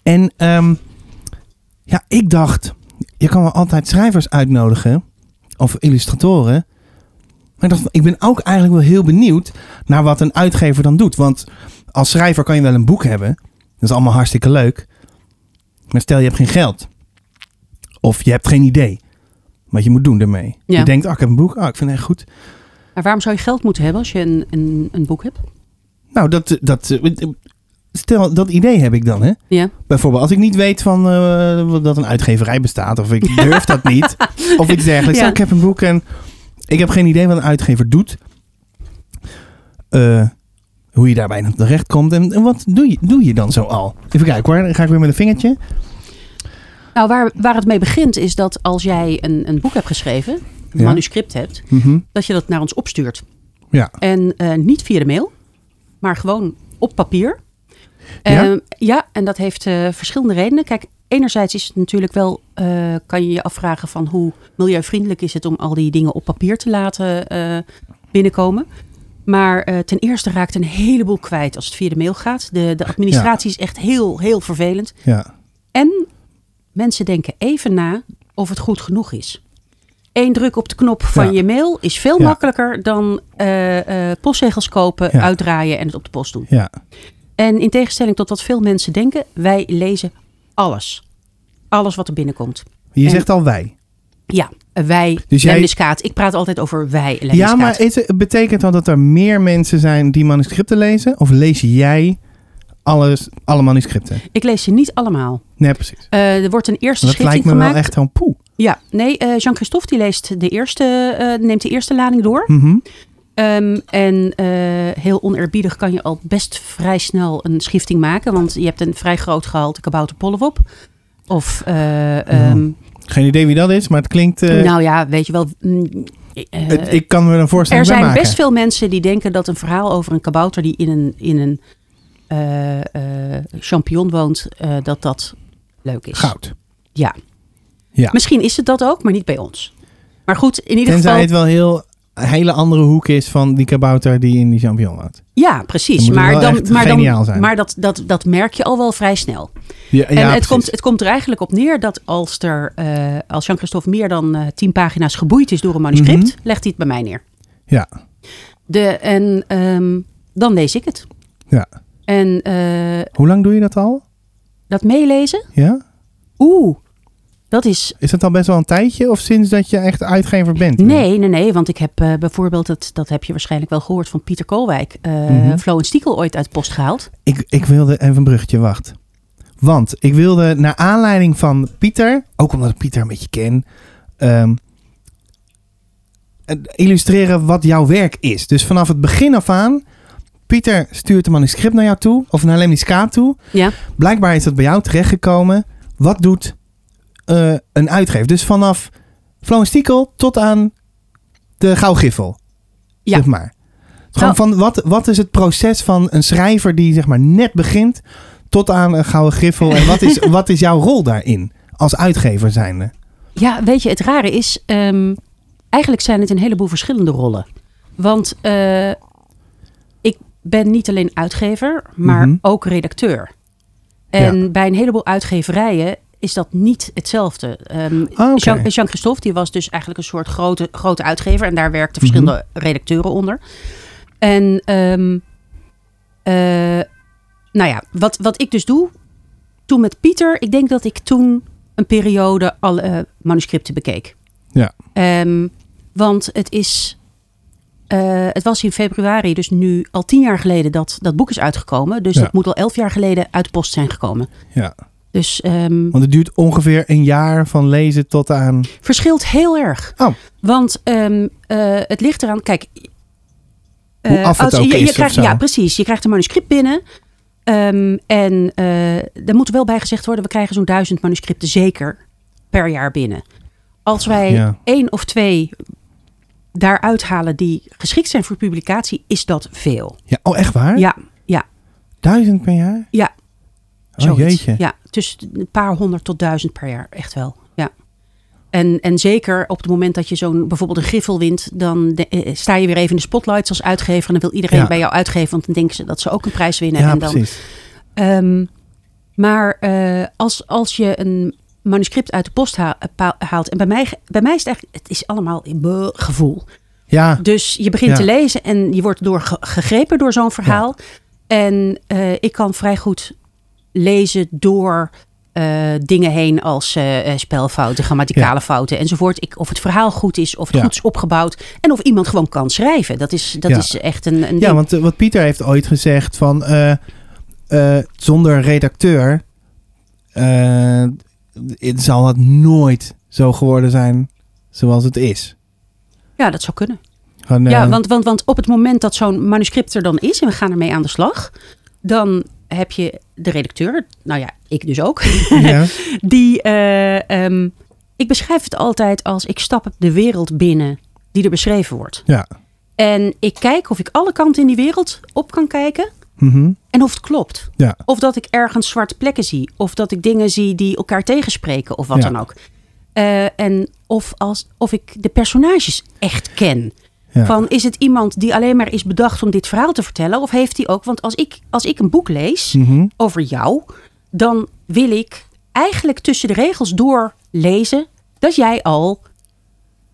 En ehm, ja, ik dacht, je kan wel altijd schrijvers uitnodigen of illustratoren. Maar ik dacht, ik ben ook eigenlijk wel heel benieuwd naar wat een uitgever dan doet. Want als schrijver kan je wel een boek hebben. Dat is allemaal hartstikke leuk. Maar stel je hebt geen geld. Of je hebt geen idee wat je moet doen daarmee.
Ja.
Je denkt, ah, ik heb een boek. Ah, ik vind het echt goed.
Maar waarom zou je geld moeten hebben als je een, een, een boek hebt?
Nou, dat, dat, stel, dat idee heb ik dan, hè?
Ja.
Bijvoorbeeld, als ik niet weet van, eh, dat een uitgeverij bestaat, of ik durf dat niet, of iets dergelijks.
Ja.
Nou, ik heb een boek en ik heb geen idee wat een uitgever doet. Eh, hoe je daarbij dan terechtkomt en, en wat doe je, doe je dan zo al? Even kijken hoor, dan ga ik weer met een vingertje.
Nou, waar, waar het mee begint is dat als jij een, een boek hebt geschreven, een
Ja.
manuscript hebt, dat je dat naar ons opstuurt.
Ja.
En eh, niet via de mail, maar gewoon op papier.
Ja?
Eh, ja, en dat heeft eh, verschillende redenen. Kijk, enerzijds is het natuurlijk wel, eh, kan je je afvragen van hoe milieuvriendelijk is het om al die dingen op papier te laten eh, binnenkomen. Maar eh, ten eerste raakt een heleboel kwijt als het via de mail gaat. De, de administratie is echt heel, heel vervelend.
Ja.
En mensen denken even na of het goed genoeg is. Eén druk op de knop van
Ja.
je mail is veel
Ja.
makkelijker dan eh, eh, postzegels kopen,
Ja.
uitdraaien en het op de post doen.
Ja.
En in tegenstelling tot wat veel mensen denken, wij lezen alles. Alles wat er binnenkomt.
Je
En-
zegt al wij.
Ja, eh, wij,
Dus
dus
jij-
Ik praat altijd over wij, Lemniskaat.
Ja, maar is, het- betekent dat dat er meer mensen zijn die manuscripten lezen? Of lees jij alles, alle manuscripten?
Ik lees ze niet allemaal.
Nee, precies.
Eh, er wordt een eerste
Dat
schikking
lijkt me
gemaakt.
wel echt een poe.
Ja, nee, eh, Jean-Christophe die leest de eerste, eh, neemt de eerste lading door.
Mhm.
Ehm, en eh, heel oneerbiedig kan je al best vrij snel een schifting maken. Want je hebt een vrij groot gehalte kabouterpollen op. Of, eh, ehm,
Geen idee wie dat is, maar het klinkt. eh,
nou ja, weet je wel. mm, eh,
het- ik kan me er een
er
voorstelling bij
zijn
maken.
best veel mensen die denken dat een verhaal over een kabouter die in een, in een eh, eh, champignon woont, eh, dat dat leuk is.
goud.
Ja.
Ja.
Misschien is het dat ook, maar niet bij ons. Maar goed, in ieder
Tenzij
geval.
het wel heel een hele andere hoek is van die kabouter die in die champignon woont.
Ja,
Dan
precies.
moet het
maar
wel
dan,
echt
maar,
geniaal
dan,
zijn.
maar dat, dat, dat merk je al wel vrij snel.
Ja,
En het, komt, het komt er eigenlijk op neer dat als, er, eh, als Jean-Christophe meer dan eh tien pagina's geboeid is door een manuscript,
Mhm.
legt hij het bij mij neer.
Ja.
De, en ehm, dan lees ik het.
Ja.
En eh,
Hoe lang doe je dat al?
dat meelezen,
Ja?
oeh, dat is.
Is dat al best wel een tijdje of sinds dat je echt uitgever bent?
Nee, nee, nee, want ik heb eh, bijvoorbeeld, dat, dat heb je waarschijnlijk wel gehoord van Pieter Koolwijk, eh
Mhm.
Flo en Stiekel ooit uit post gehaald.
Ik, ik wilde even een bruggetje wacht. Want ik wilde naar aanleiding van Pieter, ook omdat ik Pieter een beetje ken, ehm, eh, illustreren wat jouw werk is. Dus vanaf het begin af aan, Pieter stuurt een manuscript naar jou toe, of naar Lemniska toe.
Ja.
Blijkbaar is dat bij jou terechtgekomen. Wat doet eh, een uitgever. Dus vanaf Florence Stiekel tot aan de Gauwgiffel.
Ja. Nou.
Zeg maar. Gewoon van wat, wat is het proces van een schrijver die zeg maar net begint tot aan een Gouden Griffel? En wat is, wat is jouw rol daarin als uitgever zijnde?
Ja, weet je, het rare is, ehm, eigenlijk zijn het een heleboel verschillende rollen. Want eh, ik ben niet alleen uitgever, maar
Mhm.
ook redacteur. En bij een heleboel uitgeverijen is dat niet hetzelfde. Ehm,
Ah, oké.
Jean, Jean-Christophe die was dus eigenlijk een soort grote, grote uitgever. En daar werkten verschillende
Mhm.
redacteuren onder. En ehm, eh, nou ja, wat, wat ik dus doe, toen met Pieter, ik denk dat ik toen een periode alle eh, manuscripten bekeek.
Ja.
Ehm, want het is, eh, het was in februari, dus nu al tien jaar geleden dat dat boek is uitgekomen. Dus
Ja.
dat moet al elf jaar geleden uit de post zijn gekomen.
Ja.
Dus ehm,
Want het duurt ongeveer een jaar van lezen tot aan.
verschilt heel erg.
Oh.
Want ehm, eh, het ligt eraan, kijk. eh,
Hoe af het ook
je, je
is of
krijgt,
zo.
Ja, precies. Je krijgt een manuscript binnen. ehm, en eh er moet wel bij gezegd worden, we krijgen zo'n duizend manuscripten zeker per jaar binnen. Als wij
Ja.
één of twee daaruit halen die geschikt zijn voor publicatie, is dat veel.
Ja, oh, echt waar?
Ja, ja,
Duizend per jaar?
ja.
Oh,
Zoiets.
jeetje.
Ja, tussen een paar honderd tot duizend per jaar. Echt wel, ja. En, en zeker op het moment dat je zo'n bijvoorbeeld een griffel wint, dan de- eh, sta je weer even in de spotlights als uitgever. En dan wil iedereen
Ja.
bij jou uitgeven, want dan denken ze dat ze ook een prijs winnen.
Ja,
en dan,
precies.
Ehm, maar eh, als, als je een manuscript uit de post ha- eh, pa- haalt, en bij mij, ge- bij mij is het eigenlijk, het is allemaal in be- gevoel.
Ja,
Dus je begint
Ja.
te lezen en je wordt door ge- gegrepen door zo'n verhaal. En eh, ik kan vrij goed lezen door eh, dingen heen als eh, eh, spelfouten, grammaticale fouten enzovoort. Ik, of het verhaal goed is, of het
Ja.
goed is opgebouwd. En of iemand gewoon kan schrijven. Dat is, dat
Ja.
is echt een, een
ja
ding.
want eh, wat Pieter heeft ooit gezegd van eh, eh, zonder redacteur eh, het zal het nooit zo geworden zijn zoals het is.
ja, dat zou kunnen.
Gewoon, eh,
Ja, want, want, want op het moment dat zo'n manuscript er dan is en we gaan ermee aan de slag, dan heb je de redacteur, nou ja, ik dus ook,
ja.
die, eh, ehm, ik beschrijf het altijd als ik stap de wereld binnen die er beschreven wordt.
Ja.
En ik kijk of ik alle kanten in die wereld op kan kijken
Mhm.
en of het klopt.
Ja.
Of dat ik ergens zwarte plekken zie. Of dat ik dingen zie die elkaar tegenspreken of wat
Ja.
dan ook. Eh, en of, als, of ik de personages echt ken.
Ja.
Van is het iemand die alleen maar is bedacht om dit verhaal te vertellen? Of heeft hij ook. Want als ik, als ik een boek lees
Mhm.
over jou, dan wil ik eigenlijk tussen de regels door lezen dat jij al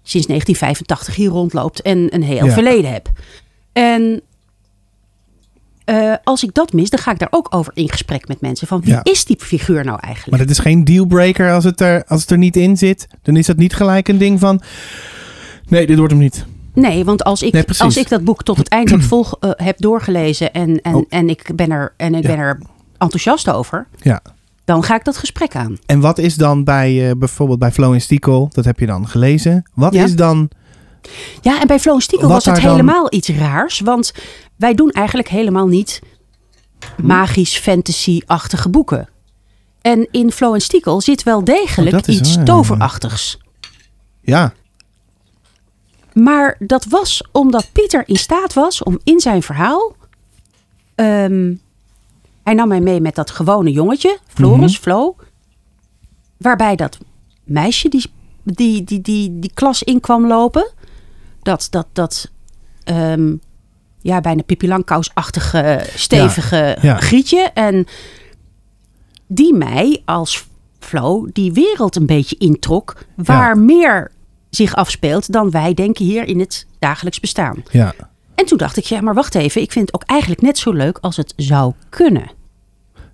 sinds 1985 hier rondloopt en een heel
Ja.
verleden hebt. En eh, als ik dat mis, dan ga ik daar ook over in gesprek met mensen. Van wie
Ja.
is die figuur nou eigenlijk?
Maar dat is geen dealbreaker als het, er, als het er niet in zit. Dan is dat niet gelijk een ding van... Nee, dit wordt hem niet.
Nee, want als ik,
Nee, precies.
als ik dat boek tot het eind heb, volg, eh, heb doorgelezen en, en,
Oh.
en ik, ben er, en ik
Ja.
ben er enthousiast over,
Ja.
dan ga ik dat gesprek aan.
En wat is dan bij eh, bijvoorbeeld bij Flow en Stiekel... Dat heb je dan gelezen. Wat
Ja.
is dan...
Ja, en bij Flo en Stiekel
Wat
was het
daar dan-
helemaal iets raars. Want wij doen eigenlijk helemaal niet
Hm?
magisch fantasy-achtige boeken. En in Flo en Stiekel zit wel
Oh,
degelijk
dat is
iets
waar, ja.
toverachtigs.
Ja,
Maar dat was omdat Pieter in staat was om in zijn verhaal. ehm, hij nam mij mee met dat gewone jongetje, Floris, Flo. Waarbij dat meisje die, die, die, die, die klas in kwam lopen. Dat, dat, dat ehm, ja, bijna Pippi Langkous-achtige, stevige
ja.
grietje. En die mij als Flo die wereld een beetje introk. Waar meer zich afspeelt dan wij denken hier in het dagelijks bestaan.
ja.
En toen dacht ik, ja, maar wacht even, ik vind het ook eigenlijk net zo leuk als het zou kunnen.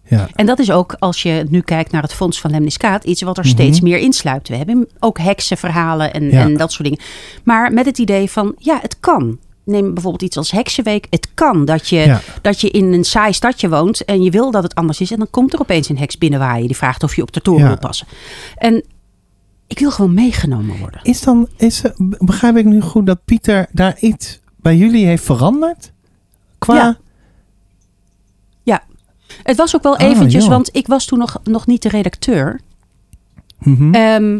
Ja,
En dat is ook, als je nu kijkt naar het Fonds van Lemniskaat, iets wat er steeds meer insluipt. We hebben ook heksenverhalen en,
Mhm. Ja.
en dat soort dingen. Maar met het idee van, ja, het kan. Neem bijvoorbeeld iets als Heksenweek. Het kan dat je,
Ja.
dat je in een saai stadje woont en je wil dat het anders is. En dan komt er opeens een heks binnenwaaien die vraagt of je op de toren
Ja.
wil passen. En ik wil gewoon meegenomen worden.
Is dan, is, eh, b- begrijp ik nu goed dat Pieter daar iets bij jullie heeft veranderd? Qua...
Ja. Het was ook wel
Ah,
eventjes,
joh.
want ik was toen nog, nog niet de redacteur.
Mhm.
Ehm,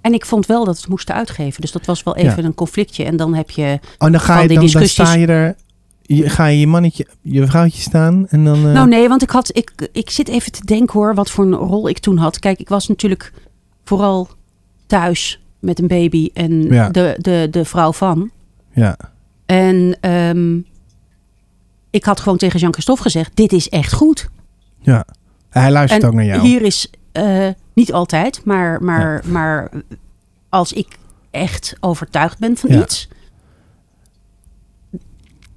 en ik vond wel dat we het moesten uitgeven. Dus dat was wel even een conflictje. En dan heb je...
oh, dan ga
van
je,
die
dan, dan
discussies-
sta je er, je, ga je je mannetje, je vrouwtje staan en dan... eh,
Nou nee, want ik, had, ik, ik zit even te denken hoor, wat voor een rol ik toen had. Kijk, ik was natuurlijk vooral thuis met een baby en
Ja.
de, de, de vrouw van.
Ja,
En ehm, ik had gewoon tegen Jean-Christophe gezegd, dit is echt goed.
ja. Hij luistert
En
ook naar jou.
Hier is eh, niet altijd, maar, maar, maar als ik echt overtuigd ben van
Ja.
iets.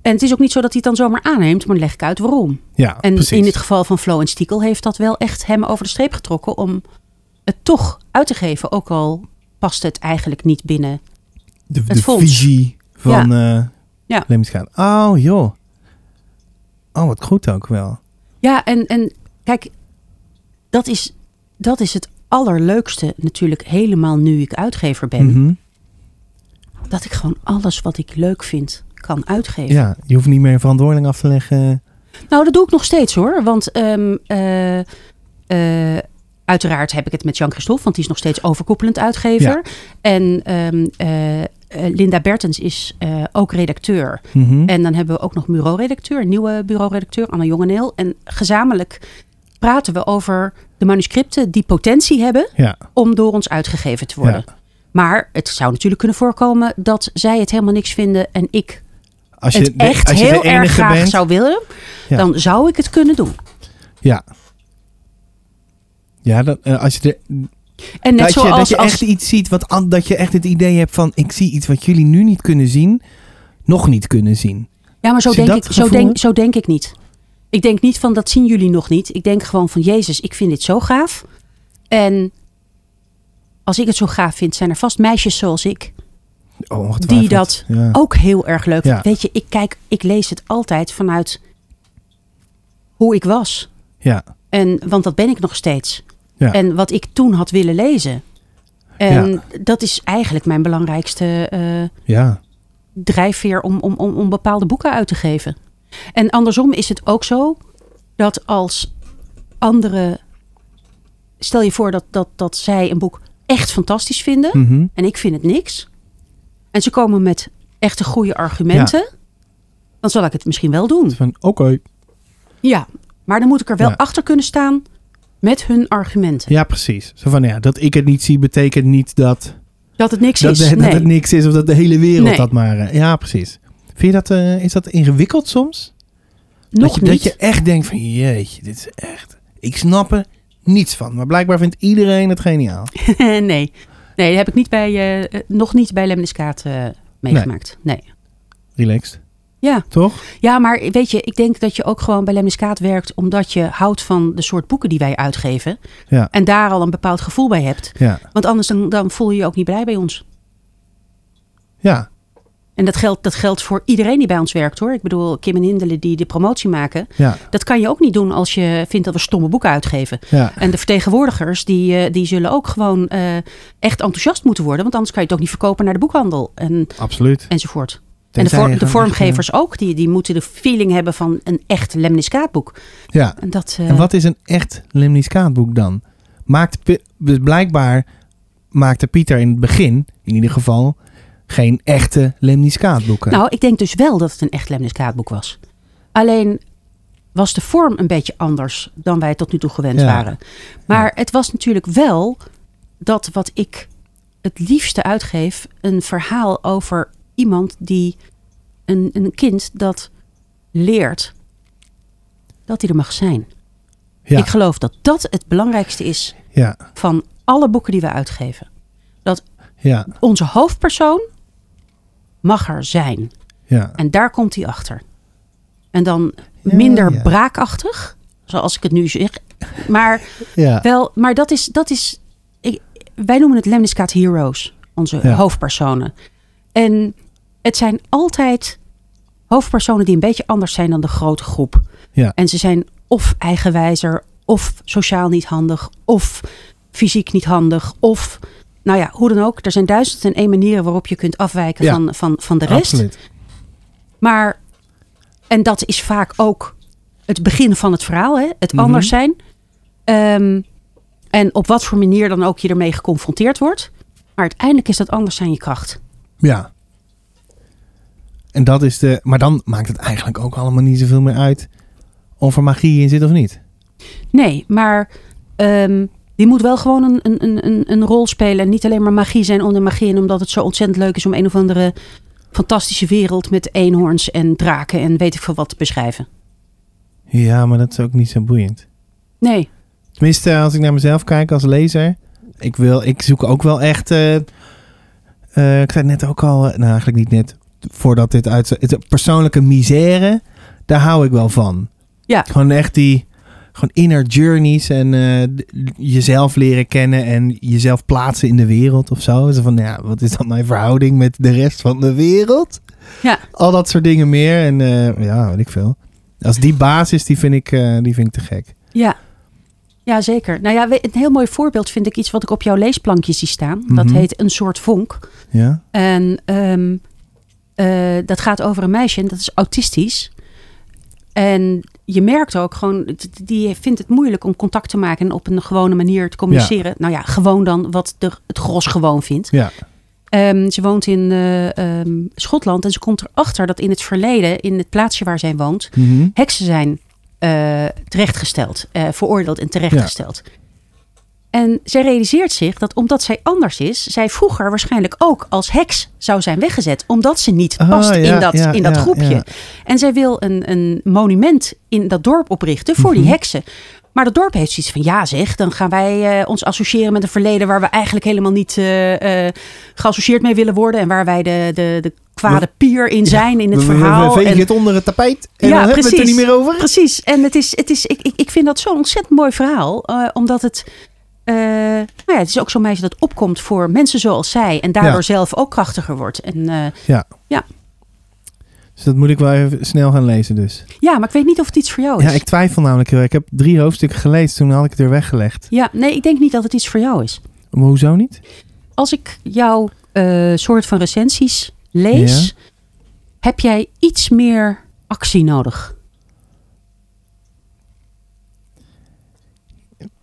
En het is ook niet zo dat hij het dan zomaar aanneemt, maar dan leg ik uit waarom.
ja,
En
Ah, precies.
in het geval van Flo en Stiekel heeft dat wel echt hem over de streep getrokken om het toch uit te geven. Ook al past het eigenlijk niet binnen.
de,
het
de
fonds.
visie van eh
Ja.
Lemmings gaan. Oh, joh. Oh, wat goed ook wel.
Ja, en, en kijk, dat is, dat is het allerleukste natuurlijk helemaal nu ik uitgever ben.
Mhm.
Dat ik gewoon alles wat ik leuk vind kan uitgeven.
Ja, je hoeft niet meer verantwoording af te leggen.
Nou, dat doe ik nog steeds hoor. Want ehm, eh, eh, uiteraard heb ik het met Jean-Christophe, want die is nog steeds overkoepelend uitgever. En ehm, eh, eh, Linda Bertens is eh, ook redacteur.
Mhm.
En dan hebben we ook nog bureauredacteur, een nieuwe bureauredacteur, Anna Jongeneel. En gezamenlijk praten we over de manuscripten die potentie hebben
Ja,
om door ons uitgegeven te worden. Maar het zou natuurlijk kunnen voorkomen dat zij het helemaal niks vinden en ik
als je,
het
de-
echt
als je
heel
de
erg
enige
graag
bent.
zou willen,
Ja.
dan zou ik het kunnen doen.
Ja. Ja, dat, eh, als je de,
En net
dat, je,
zoals
dat je
als,
echt iets ziet, wat, an- dat je echt het idee hebt van... ik zie iets wat jullie nu niet kunnen zien, nog niet kunnen zien.
Ja, maar zo
Zie je
denk,
dat
ik, zo,
gevoel?
denk, zo denk ik niet. Ik denk niet van dat zien jullie nog niet. Ik denk gewoon van Jezus, ik vind dit zo gaaf. En als ik het zo gaaf vind, zijn er vast meisjes zoals ik
Oh, ongetwijfeld.
die dat Oh.
Ja.
ook heel erg leuk
Ja.
vinden. Weet je, ik kijk, ik lees het altijd vanuit hoe ik was.
ja.
En, want dat ben ik nog steeds.
Ja.
En wat ik toen had willen lezen. En dat is eigenlijk mijn belangrijkste eh,
Ja.
drijfveer om, om, om, om bepaalde boeken uit te geven. En andersom is het ook zo dat als andere. Stel je voor dat, dat, dat zij een boek echt fantastisch vinden
Mhm.
en ik vind het niks. En ze komen met echte goede argumenten. Dan zal ik het misschien wel doen.
Van, oké.
Ja, maar dan moet ik er wel
Ja.
achter kunnen staan met hun argumenten.
Ja, precies. Zo van, ja, dat ik het niet zie, betekent niet dat...
Dat het niks
dat,
is.
dat
nee.
het niks is of dat de hele wereld
Nee.
dat maar... eh, Ja, precies. Vind je dat, eh, is dat ingewikkeld soms?
Nog
dat, je,
niet.
dat je echt denkt van, jeetje, dit is echt... Ik snap er niets van. Maar blijkbaar vindt iedereen het geniaal.
nee. nee, dat heb ik niet bij, eh, eh, nog niet bij Lemniskaat eh, meegemaakt. Nee.
Relaxed.
Ja.
Toch?
ja, maar weet je, ik denk dat je ook gewoon bij Lemniskaat werkt omdat je houdt van de soort boeken die wij uitgeven.
Ja.
En daar al een bepaald gevoel bij hebt.
Ja.
Want anders dan, dan voel je je ook niet blij bij ons.
Ja.
En dat geldt, dat geldt voor iedereen die bij ons werkt hoor. Ik bedoel, Kim en Hindelen die de promotie maken.
Ja.
Dat kan je ook niet doen als je vindt dat we stomme boeken uitgeven.
Ja.
En de vertegenwoordigers die, eh, die zullen ook gewoon eh, echt enthousiast moeten worden. Want anders kan je het ook niet verkopen naar de boekhandel en,
Absoluut.
enzovoort. En de,
Tenzij
vor-
je
de
gewoon
vormgevers ook. Die, die moeten de feeling hebben van een echt lemniskaatboek.
echt, eh, ja.
En dat, eh,
En wat is een echt lemniskaatboek dan? Maakt Pi- dus blijkbaar maakte Pieter in het begin, in ieder geval, geen echte lemniskaatboeken.
Nou, ik denk dus wel dat het een echt lemniskaatboek was. Alleen was de vorm een beetje anders dan wij tot nu toe gewend
Ja.
waren. Maar het was natuurlijk wel dat wat ik het liefste uitgeef... een verhaal over iemand die... een, een kind dat leert dat hij er mag zijn.
ja,
Ik geloof dat dat het belangrijkste is
ja,
van alle boeken die we uitgeven. Dat
ja,
onze hoofdpersoon mag er zijn.
ja,
En daar komt hij achter. En dan
Ja,
minder
ja.
braakachtig, zoals ik het nu zeg. Maar,
ja,
wel, maar dat is. Dat is ik, wij noemen het Lemniscaat Heroes, onze
Ja.
hoofdpersonen. En het zijn altijd hoofdpersonen die een beetje anders zijn dan de grote groep.
ja,
En ze zijn of eigenwijzer, of sociaal niet handig, of fysiek niet handig, of. Nou ja, hoe dan ook. Er zijn duizend en één manieren waarop je kunt afwijken
Ja.
van, van, van de rest.
absoluut.
Maar, en dat is vaak ook het begin van het verhaal, hè? het
Mhm.
anders zijn. Ehm, En op wat voor manier dan ook je ermee geconfronteerd wordt. Maar uiteindelijk is dat anders zijn je kracht.
Ja. En dat is de. Maar dan maakt het eigenlijk ook allemaal niet zoveel meer uit. Of er magie in zit of niet.
Nee, maar ehm, die moet wel gewoon een, een- een, een, een rol spelen. En niet alleen maar magie zijn om de magie. En omdat het zo ontzettend leuk is om een of andere fantastische wereld met eenhoorns en draken en weet ik veel wat te beschrijven.
Ja, maar dat is ook niet zo boeiend.
Nee,
Tenminste, als ik naar mezelf kijk als lezer. Ik, wil, ik zoek ook wel echt. eh, eh, ik zei het net ook al. eh, nou, eigenlijk niet net. Voordat dit uit. Het, persoonlijke misère. Daar hou ik wel van.
Ja.
Gewoon echt die. Gewoon inner journeys en eh, d- jezelf leren kennen en jezelf plaatsen in de wereld of zo. Zo van, nou ja, wat is dan mijn verhouding met de rest van de wereld?
Ja.
Al dat soort dingen meer en eh, ja, weet ik veel. Als die basis, die vind ik, eh, die vind ik te gek.
ja. Ja, zeker. Nou ja, we- een heel mooi voorbeeld vind ik iets wat ik op jouw leesplankje zie staan. Dat
Mhm.
heet Een soort vonk.
Ja?
En ehm, eh, dat gaat over een meisje en dat is autistisch. En je merkt ook gewoon, d- d- die vindt het moeilijk om contact te maken en op een gewone manier te communiceren. Nou ja, gewoon dan wat de, het gros gewoon vindt.
Ja.
Ehm, ze woont in eh, ehm, Schotland en ze komt erachter dat in het verleden, in het plaatsje waar zij woont,
Mhm.
heksen zijn eh, terechtgesteld, eh, veroordeeld en terechtgesteld. En zij realiseert zich dat omdat zij anders is, zij vroeger waarschijnlijk ook als heks zou zijn weggezet, omdat ze niet
Ah,
past
ja,
in dat,
ja,
in dat
ja,
groepje.
ja.
En zij wil een, een monument in dat dorp oprichten voor die
Mhm.
heksen. Maar dat dorp heeft zoiets van, ja zeg, dan gaan wij eh, ons associëren met een verleden waar we eigenlijk helemaal niet eh, eh, geassocieerd mee willen worden. En waar wij de, de, de kwade pier in zijn in het
We- we- we
verhaal.
vegen
En-
het onder het tapijt en
Ja,
dan hebben we het er
precies.
niet meer over.
Precies. En het is, het is, ik, ik, ik vind dat zo'n ontzettend mooi verhaal. eh, omdat het. eh, nou ja, het is ook zo'n meisje dat opkomt voor mensen zoals zij. En daardoor
Ja.
zelf ook krachtiger wordt. En, eh,
Dus dat moet ik wel even snel gaan lezen dus.
ja, maar ik weet niet of het iets voor jou Oh, is.
Ja, ik twijfel namelijk heel erg. Ik heb drie hoofdstukken gelezen, toen had ik het er weggelegd.
Ja, nee, ik denk niet dat het iets voor jou is.
Maar hoezo niet?
Als ik jouw eh, soort van recensies lees, heb jij iets meer actie nodig.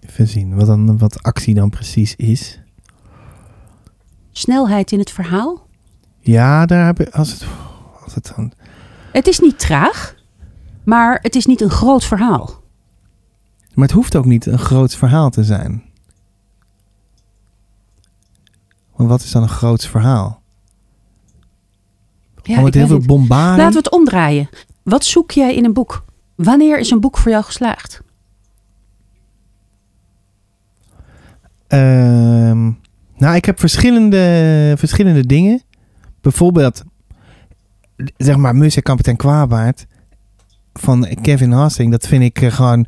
Even zien wat, dan, wat actie dan precies is.
Snelheid in het verhaal.
Ja, daar heb ik... Als het, als het dan,
Het is niet traag, maar het is niet een groot verhaal.
maar het hoeft ook niet een groot verhaal te zijn. Want wat is dan een groot verhaal?
Ja,
Gewoon
ik
Oh, met heel
weet
veel
niet.
bombardie?
Laten we het omdraaien. Wat zoek jij in een boek? Wanneer is een boek voor jou geslaagd?
Ehm, nou, ik heb verschillende, verschillende dingen. Bijvoorbeeld, zeg maar, Musse Kapitein Kwaadbaard van Kevin Hassing. Dat vind ik eh, gewoon...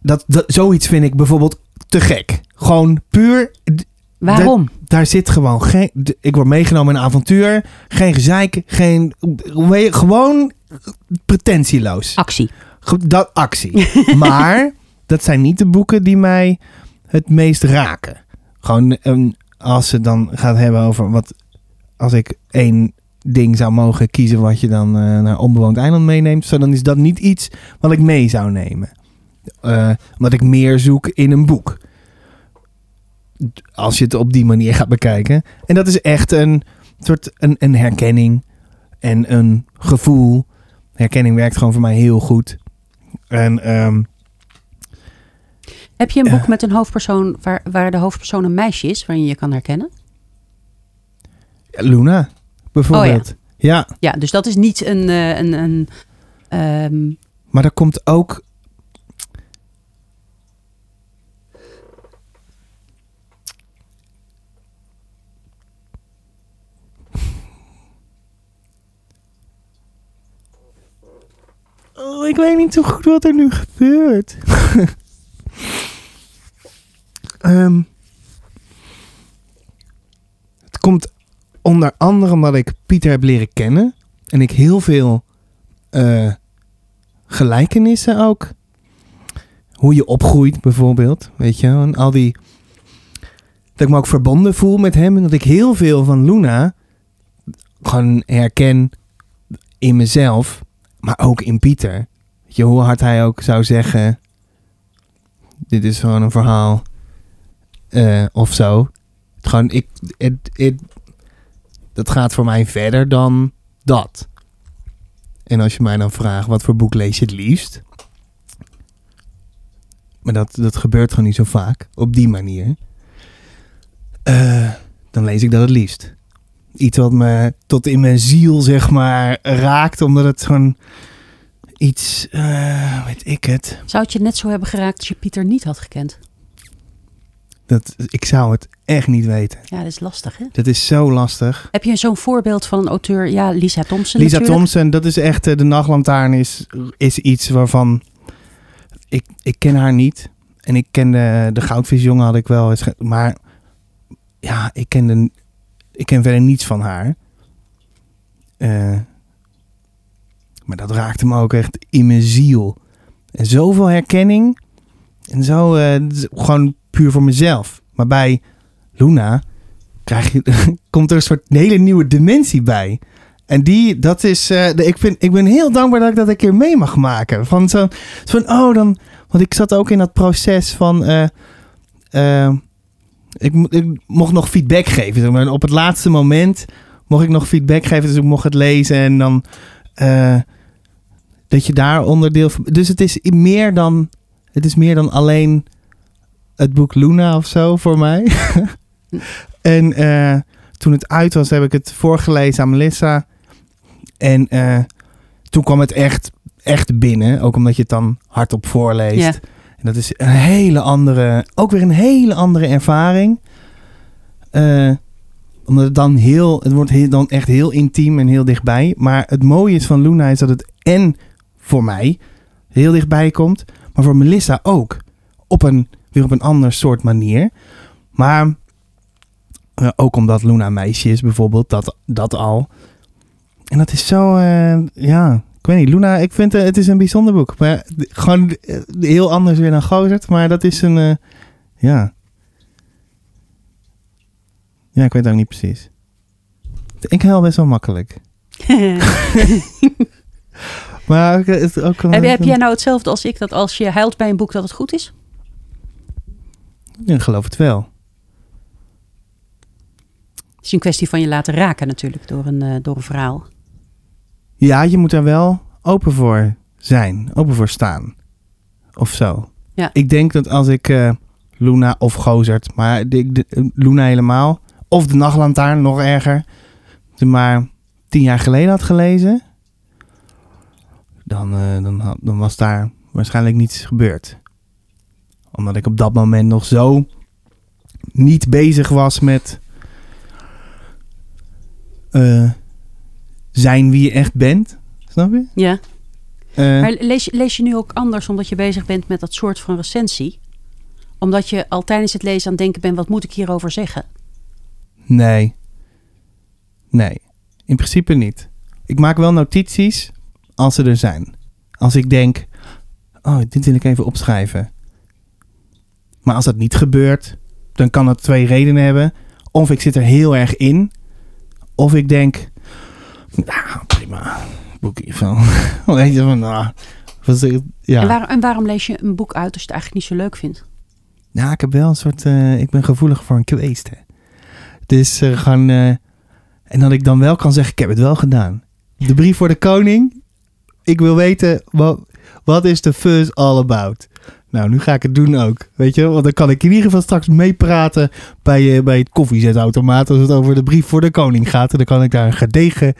Dat, dat, zoiets vind ik bijvoorbeeld te gek. Gewoon puur... d-
Waarom?
Daar zit gewoon geen... d- Ik word meegenomen in een avontuur. Geen gezeik. Geen... we- Gewoon pretentieloos.
Actie.
Goed, Dat actie. maar dat zijn niet de boeken die mij het meest raken. Gewoon ehm, als ze dan gaat hebben over wat. Als ik één ding zou mogen kiezen wat je dan eh, naar onbewoond eiland meeneemt, zo, dan is dat niet iets wat ik mee zou nemen. Eh, omdat ik meer zoek in een boek. Als je het op die manier gaat bekijken. En dat is echt een soort een, een herkenning en een gevoel. Herkenning werkt gewoon voor mij heel goed. En ehm,
Heb je een
Ja.
boek met een hoofdpersoon waar, waar de hoofdpersoon een meisje is, waarin je kan herkennen?
Luna, bijvoorbeeld. ja.
Ja, dus dat is niet een. eh, een, een ehm,
maar er komt ook... Oh, ik weet niet zo goed wat er nu gebeurt. Ehm, het komt onder andere omdat ik Pieter heb leren kennen. En ik heel veel eh, gelijkenissen ook. Hoe je opgroeit bijvoorbeeld. Weet je, wel, en al die. Dat ik me ook verbonden voel met hem. En dat ik heel veel van Luna gewoon herken in mezelf. Maar ook in Pieter. Weet je, hoe hard hij ook zou zeggen. Dit is gewoon een verhaal. eh, of zo. Het gewoon, ik, het, het, dat gaat voor mij verder dan dat. En als je mij dan vraagt, wat voor boek lees je het liefst? Maar dat, dat gebeurt gewoon niet zo vaak. Op die manier. Eh, dan lees ik dat het liefst. Iets wat me tot in mijn ziel, zeg maar, raakt. Omdat het gewoon iets, eh, weet ik het.
Zou het je net zo hebben geraakt als je Pieter niet had gekend?
Dat, ik zou het echt niet weten.
Ja, dat is lastig, hè?
Dat is zo lastig.
Heb je zo'n voorbeeld van een auteur? Ja, Lisa Thompson
Lisa
natuurlijk.
Thompson, dat is echt... eh, De Nachtlantaarn is, is iets waarvan... Ik, ik ken haar niet. En ik ken de, de Goudvisjongen had ik wel eens... ge- Maar ja, ik ken, de, ik ken verder niets van haar. Eh, maar dat raakte me ook echt in mijn ziel. En zoveel herkenning. En zo eh, het is gewoon puur voor mezelf. Maar bij Luna krijg je, komt er een soort hele nieuwe dimensie bij. En die, dat is, eh, de- ik, vind, ik ben heel dankbaar dat ik dat een keer mee mag maken. Van zo, zo van, oh dan, want ik zat ook in dat proces van, eh, eh, ik, mo- ik mocht nog feedback geven. Zeg maar. Op het laatste moment mocht ik nog feedback geven, dus ik mocht het lezen en dan, eh, dat je daar onderdeel van, dus het is meer dan, het is meer dan alleen het boek Luna of zo voor mij. en eh, toen het uit was, heb ik het voorgelezen aan Melissa. En eh, toen kwam het echt, echt binnen. Ook omdat je het dan hardop voorleest.
Ja.
En dat is een hele andere, ook weer een hele andere ervaring. Eh, omdat het dan heel, het wordt heel, dan echt heel intiem en heel dichtbij. Maar het mooie is van Luna is dat het en voor mij heel dichtbij komt. Maar voor Melissa ook. Op een, weer op een ander soort manier. Maar eh, ook omdat Luna een meisje is bijvoorbeeld. Dat, dat al. En dat is zo... eh, ja, ik weet niet. Luna, ik vind eh, het is een bijzonder boek. Maar d- gewoon eh, heel anders weer dan Gozert. Maar dat is een... eh, ja. Ja, ik weet het ook niet precies. Ik huil best wel makkelijk. Maar ook, eh, het, ook
heb, heb jij nou hetzelfde als ik, dat als je huilt bij een boek dat het goed is?
Ja, ik geloof het wel.
Het is een kwestie van je laten raken natuurlijk door een, eh, door een verhaal.
Ja, je moet daar wel open voor zijn, open voor staan. Of zo.
Ja.
Ik denk dat als ik eh, Luna of Gozert, maar de, de- eh, Luna helemaal, of de Nachtlantaarn nog erger, de maar tien jaar geleden had gelezen, dan, eh, dan, had- dan was daar waarschijnlijk niets gebeurd. Omdat ik op dat moment nog zo niet bezig was met eh, zijn wie je echt bent. Snap je?
Ja.
Eh,
Maar lees, je- lees je nu ook anders omdat je bezig bent met dat soort van recensie? Omdat je al tijdens het lezen aan het denken bent, wat moet ik hierover zeggen?
Nee. Nee. In principe niet. Ik maak wel notities als ze er zijn. Als ik denk, oh, dit wil ik even opschrijven. Maar als dat niet gebeurt, dan kan dat twee redenen hebben. Of ik zit er heel erg in. Of ik denk, nou, prima. Boek hiervan. Weet je, van, nou. was het- ja.
En, waar- en waarom lees je een boek uit als je het eigenlijk niet zo leuk vindt?
Ja, Nou, ik heb wel een soort. eh, ik ben gevoelig voor een kwestie. Dus eh, gewoon. eh, en dat ik dan wel kan zeggen: ik heb het wel gedaan. De brief voor de koning. Ik wil weten. Wat, wat is de fuzz all about? Nou, nu ga ik het doen ook. Weet je, want dan kan ik in ieder geval straks meepraten bij, eh, bij het koffiezetautomaat. Als het over de brief voor de koning gaat. En dan kan ik daar een gedegen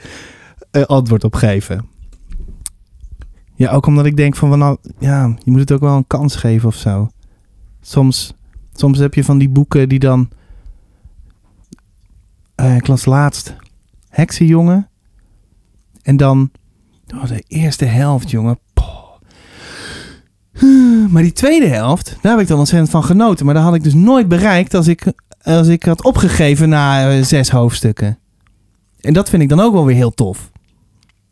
eh, antwoord op geven. Ja, ook omdat ik denk van, van nou, ja, je moet het ook wel een kans geven of zo soms, soms heb je van die boeken die dan. eh ik las laatst Heksenjongen. En dan. Oh, de eerste helft, jongen. Poh. Maar die tweede helft, daar heb ik dan ontzettend van genoten. Maar dat had ik dus nooit bereikt als ik, als ik had opgegeven na eh, zes hoofdstukken. En dat vind ik dan ook wel weer heel tof.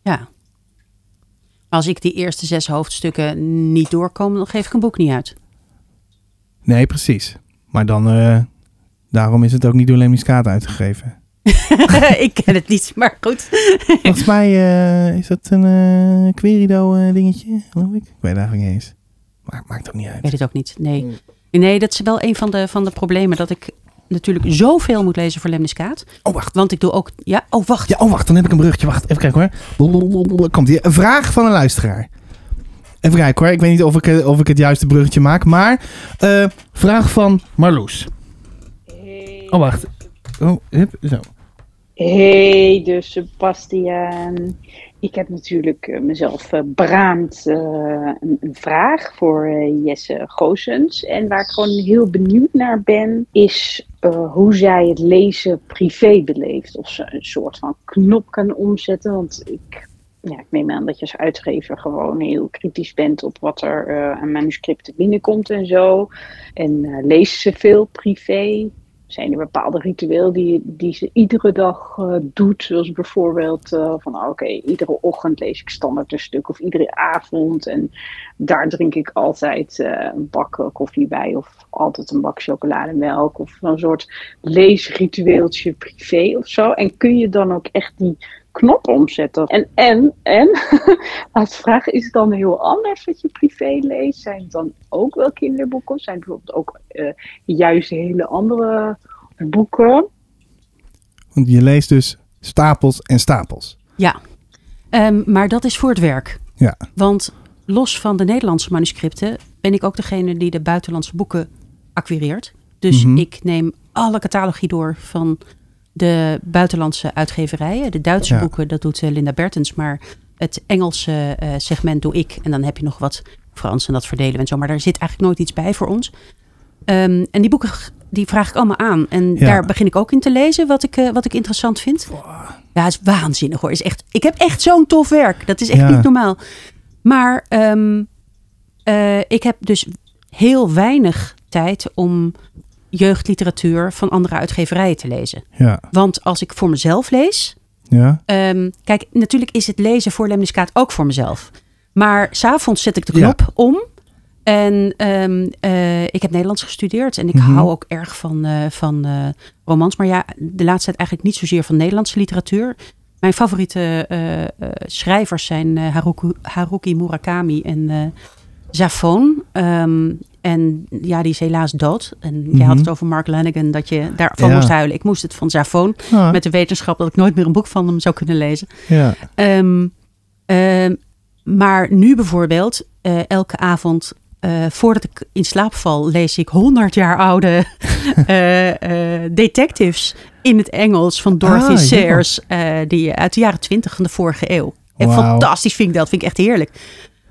Ja. Als ik die eerste zes hoofdstukken niet doorkom, dan geef ik een boek niet uit.
Nee, precies. Maar dan, eh, daarom is het ook niet door Lemmiskaat uitgegeven.
ik ken het niet, maar goed.
Volgens mij eh, is dat een eh, Querido eh, dingetje, geloof ik. Ik weet het eigenlijk niet eens. Maakt, maakt ook niet uit.
Ik weet het ook niet. Nee. Nee, dat is wel een van de, van de problemen. Dat ik natuurlijk zoveel moet lezen voor Lemniskaat.
Oh, wacht.
Want ik doe ook... Ja, oh, wacht.
Ja, oh wacht, dan heb ik een bruggetje. Wacht, even kijken hoor. Komt hier. Een vraag van een luisteraar. Even kijken hoor. Ik weet niet of ik, eh, of ik het juiste bruggetje maak. Maar eh, vraag van Marloes. Oh wacht. Oh, hup, zo.
Hey, dus Sebastian. Ik heb natuurlijk eh, mezelf eh, beraamd eh, een, een vraag voor eh, Jesse Goosens. En waar ik gewoon heel benieuwd naar ben, is eh, hoe zij het lezen privé beleeft. Of ze een soort van knop kan omzetten. Want ik, ja, ik neem aan dat je als uitgever gewoon heel kritisch bent op wat er eh, aan manuscripten binnenkomt en zo. En eh, leest ze veel privé? zijn er bepaalde ritueel die, die ze iedere dag eh, doet. Zoals bijvoorbeeld eh, van oké, iedere ochtend lees ik standaard een stuk of iedere avond. En daar drink ik altijd eh, een bak eh, koffie bij of altijd een bak chocolademelk. Of zo'n soort leesritueeltje privé of zo. En kun je dan ook echt die knop omzetten? En, en, en, als vraag is het dan heel anders wat je privé leest? Zijn het dan ook wel kinderboeken? Of zijn het bijvoorbeeld ook... eh, juist hele andere boeken.
Want je leest dus stapels en stapels.
Ehm, maar dat is voor het werk.
Ja.
Want los van de Nederlandse manuscripten ben ik ook degene die de buitenlandse boeken acquireert. Dus
Mhm.
ik neem alle catalogie door van de buitenlandse uitgeverijen. De Duitse
Ja.
boeken, dat doet eh, Linda Bertens. Maar het Engelse eh, segment doe ik. En dan heb je nog wat Frans en dat verdelen we en zo. Maar daar zit eigenlijk nooit iets bij voor ons. Ehm, en die boeken g- die vraag ik allemaal aan. En
Ja.
daar begin ik ook in te lezen wat ik, eh, wat ik interessant vind. Ja, het is waanzinnig hoor. Is echt, ik heb echt zo'n tof werk. Dat is echt
Ja.
niet normaal. Maar ehm, eh, ik heb dus heel weinig tijd om jeugdliteratuur van andere uitgeverijen te lezen.
Ja.
Want als ik voor mezelf lees,
Ja.
Ehm, kijk, natuurlijk is het lezen voor Lemniskaat ook voor mezelf. Maar s'avonds zet ik de
Ja.
knop om. En ehm, eh, ik heb Nederlands gestudeerd. En ik
Mhm.
hou ook erg van, eh, van eh, romans. Maar ja, de laatste tijd eigenlijk niet zozeer van Nederlandse literatuur. Mijn favoriete eh, eh, schrijvers zijn eh, Haruki, Haruki Murakami en eh Zafon. Ehm, en ja, die is helaas dood. En jij had
Mhm.
het over Mark Lanigan, dat je daarvan
Ja.
moest huilen. Ik moest het van Zafon
Ah,
met de wetenschap dat ik nooit meer een boek van hem zou kunnen lezen.
ja.
Ehm, ehm, maar nu bijvoorbeeld, eh, elke avond eh, voordat ik in slaap val, lees ik 100 jaar oude eh, eh, detectives in het Engels van Dorothy
Ah, ja.
Sayers, eh, die uit de jaren 20 van de vorige eeuw. En
Wauw.
fantastisch vind ik dat, vind ik echt heerlijk.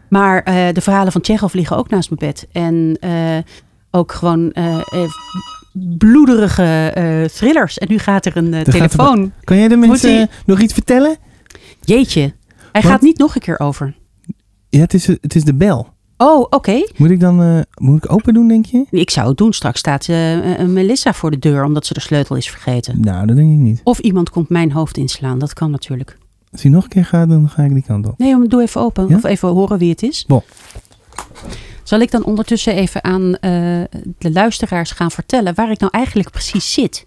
Maar eh, de verhalen van Tsjechov liggen ook naast mijn bed. En eh, ook gewoon eh, eh, bloederige eh, thrillers. En nu gaat er een
Er
eh,
gaat er-
telefoon.
Kan jij de mensen
Moet-ie?
eh, nog iets vertellen?
Jeetje, hij
Wat?
gaat niet nog een keer over.
Ja, het is, het is de bel.
Oh, oké.
Moet ik dan eh, moet ik open doen, denk je?
Ik zou het doen. Straks staat eh, een Melissa voor de deur omdat ze de sleutel is vergeten.
Nou, dat denk ik niet.
Of iemand komt mijn hoofd inslaan. Dat kan natuurlijk.
Als hij nog een keer gaat, dan ga ik die kant op.
Nee, joh, doe even open.
Ja?
Of even horen wie het is.
Bon.
Zal ik dan ondertussen even aan eh, de luisteraars gaan vertellen waar ik nou eigenlijk precies zit?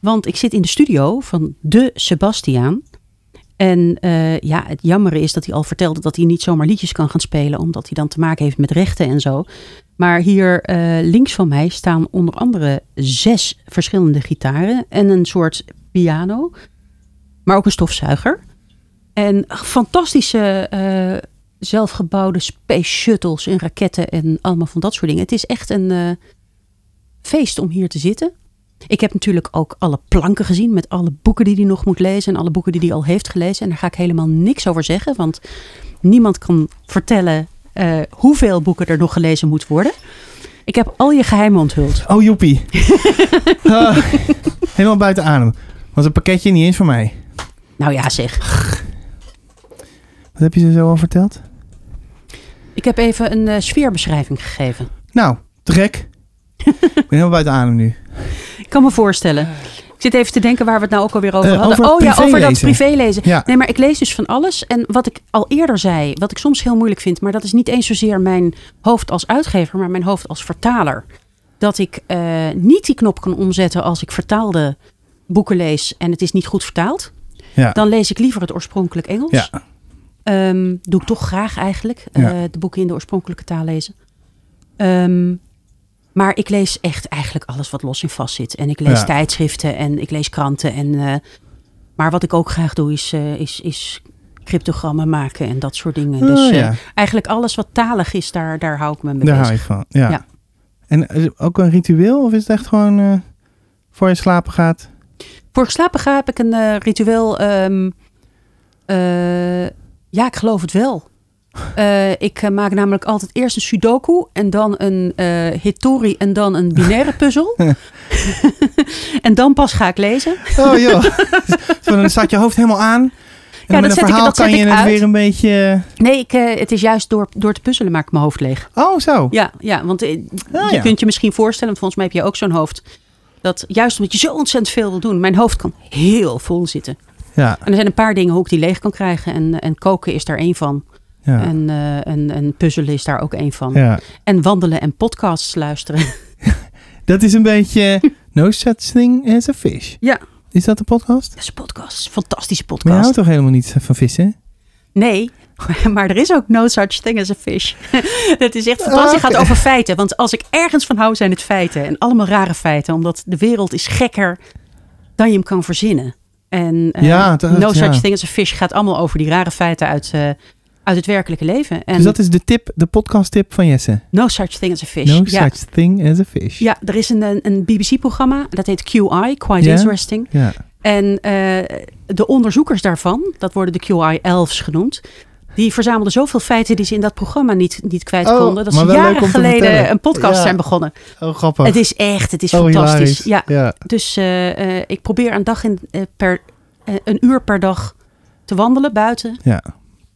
Want ik zit in de studio van de Sebastiaan. En eh, ja, het jammere is dat hij al vertelde dat hij niet zomaar liedjes kan gaan spelen, omdat hij dan te maken heeft met rechten en zo. Maar hier eh, links van mij staan onder andere zes verschillende gitaren en een soort piano, maar ook een stofzuiger. En fantastische eh, zelfgebouwde space shuttles en raketten en allemaal van dat soort dingen. Het is echt een eh, feest om hier te zitten. Ik heb natuurlijk ook alle planken gezien met alle boeken die hij nog moet lezen en alle boeken die hij al heeft gelezen. En daar ga ik helemaal niks over zeggen, want niemand kan vertellen eh, hoeveel boeken er nog gelezen moet worden. Ik heb al je geheimen onthuld.
Oh, joepie. Ah, helemaal buiten adem. Was een pakketje niet eens voor mij.
Nou ja, zeg.
Wat heb je ze zo al verteld?
Ik heb even een eh, sfeerbeschrijving gegeven.
Nou, te gek. ik ben helemaal buiten adem nu.
Ik kan me voorstellen. Ik zit even te denken waar we het nou ook alweer over
Eh,
hadden.
over
oh ja, over dat
privélezen.
privélezen.
Ja,
Nee, maar ik lees dus van alles. En wat ik al eerder zei, wat ik soms heel moeilijk vind, maar dat is niet eens zozeer mijn hoofd als uitgever, maar mijn hoofd als vertaler. Dat ik eh, niet die knop kan omzetten als ik vertaalde boeken lees en het is niet goed vertaald.
ja.
Dan lees ik liever het oorspronkelijk Engels.
Ja.
Ehm, doe ik toch graag eigenlijk.
Ja.
eh, de boeken in de oorspronkelijke taal lezen. Ehm, maar ik lees echt eigenlijk alles wat los en vast zit. En ik lees
Ja.
tijdschriften en ik lees kranten. En, eh, maar wat ik ook graag doe is, eh, is, is cryptogrammen maken en dat soort dingen. dus
Oh,
eh,
ja.
eigenlijk alles wat talig is, daar, daar hou ik me mee
Daar hou
bezig.
je van. Ja.
Ja.
En is het ook een ritueel of is het echt gewoon eh, voor je slapen gaat?
Voor ik slapen ga heb ik een eh, ritueel. ehm, eh, ja, ik geloof het wel. Eh, ik eh, maak namelijk altijd eerst een sudoku en dan een eh hitori en dan een binaire puzzel. en dan pas ga ik lezen.
Oh joh. Zo, dan staat je hoofd helemaal aan. En
dat
met een
zet ik-
verhaal
dat
kan
zet
je
ik
het
uit.
weer een beetje...
Nee, ik, eh, het is juist door, door te puzzelen maak ik mijn hoofd leeg.
Oh zo.
Ja, ja want eh,
Ah,
je
ja.
kunt je misschien voorstellen, volgens mij heb je ook zo'n hoofd. Dat juist omdat je zo ontzettend veel wil doen, mijn hoofd kan heel vol zitten.
Ja.
En er zijn een paar dingen hoe ik die leeg kan krijgen. En, en koken is daar één van.
Ja.
En, eh, en, en puzzelen is daar ook één van.
ja.
En wandelen en podcasts luisteren.
Dat is een beetje No Such Thing as a Fish.
Ja.
Is dat de podcast?
Dat is een podcast. Fantastische
Maar je houdt
podcast.
toch helemaal niet van vissen? Dus
Nee, maar er is ook no such thing as a fish. Dat is echt fantastisch. Het gaat
Ah, Oké.
over feiten. Want als ik ergens van hou, zijn het feiten. En allemaal rare feiten. Omdat de wereld is gekker dan je hem kan verzinnen. En eh,
Ja, dat-
no
ja.
such thing as a fish gaat allemaal over die rare feiten uit, eh, uit het werkelijke leven. En
dus dat is de tip, de podcast tip van Jesse.
no such thing as a fish.
No
ja.
Such Thing as a Fish.
ja, er is een, een- een BBC-programma. Dat heet QI, Quite
Ja?
Interesting.
Ja.
En eh, de onderzoekers daarvan, dat worden de QI-elfs genoemd, die verzamelden zoveel feiten die ze in dat programma niet, niet kwijt
Oh,
konden, dat
maar
ze
wel leuk
jaren
om te vertellen.
geleden een podcast
Ja.
zijn begonnen.
Oh grappig.
Het is echt, het is
oh,
fantastisch.
hilarisch.
Ja.
ja.
Dus eh, eh, ik probeer een, dag in, eh, per, eh, een uur per dag te wandelen buiten,
Ja.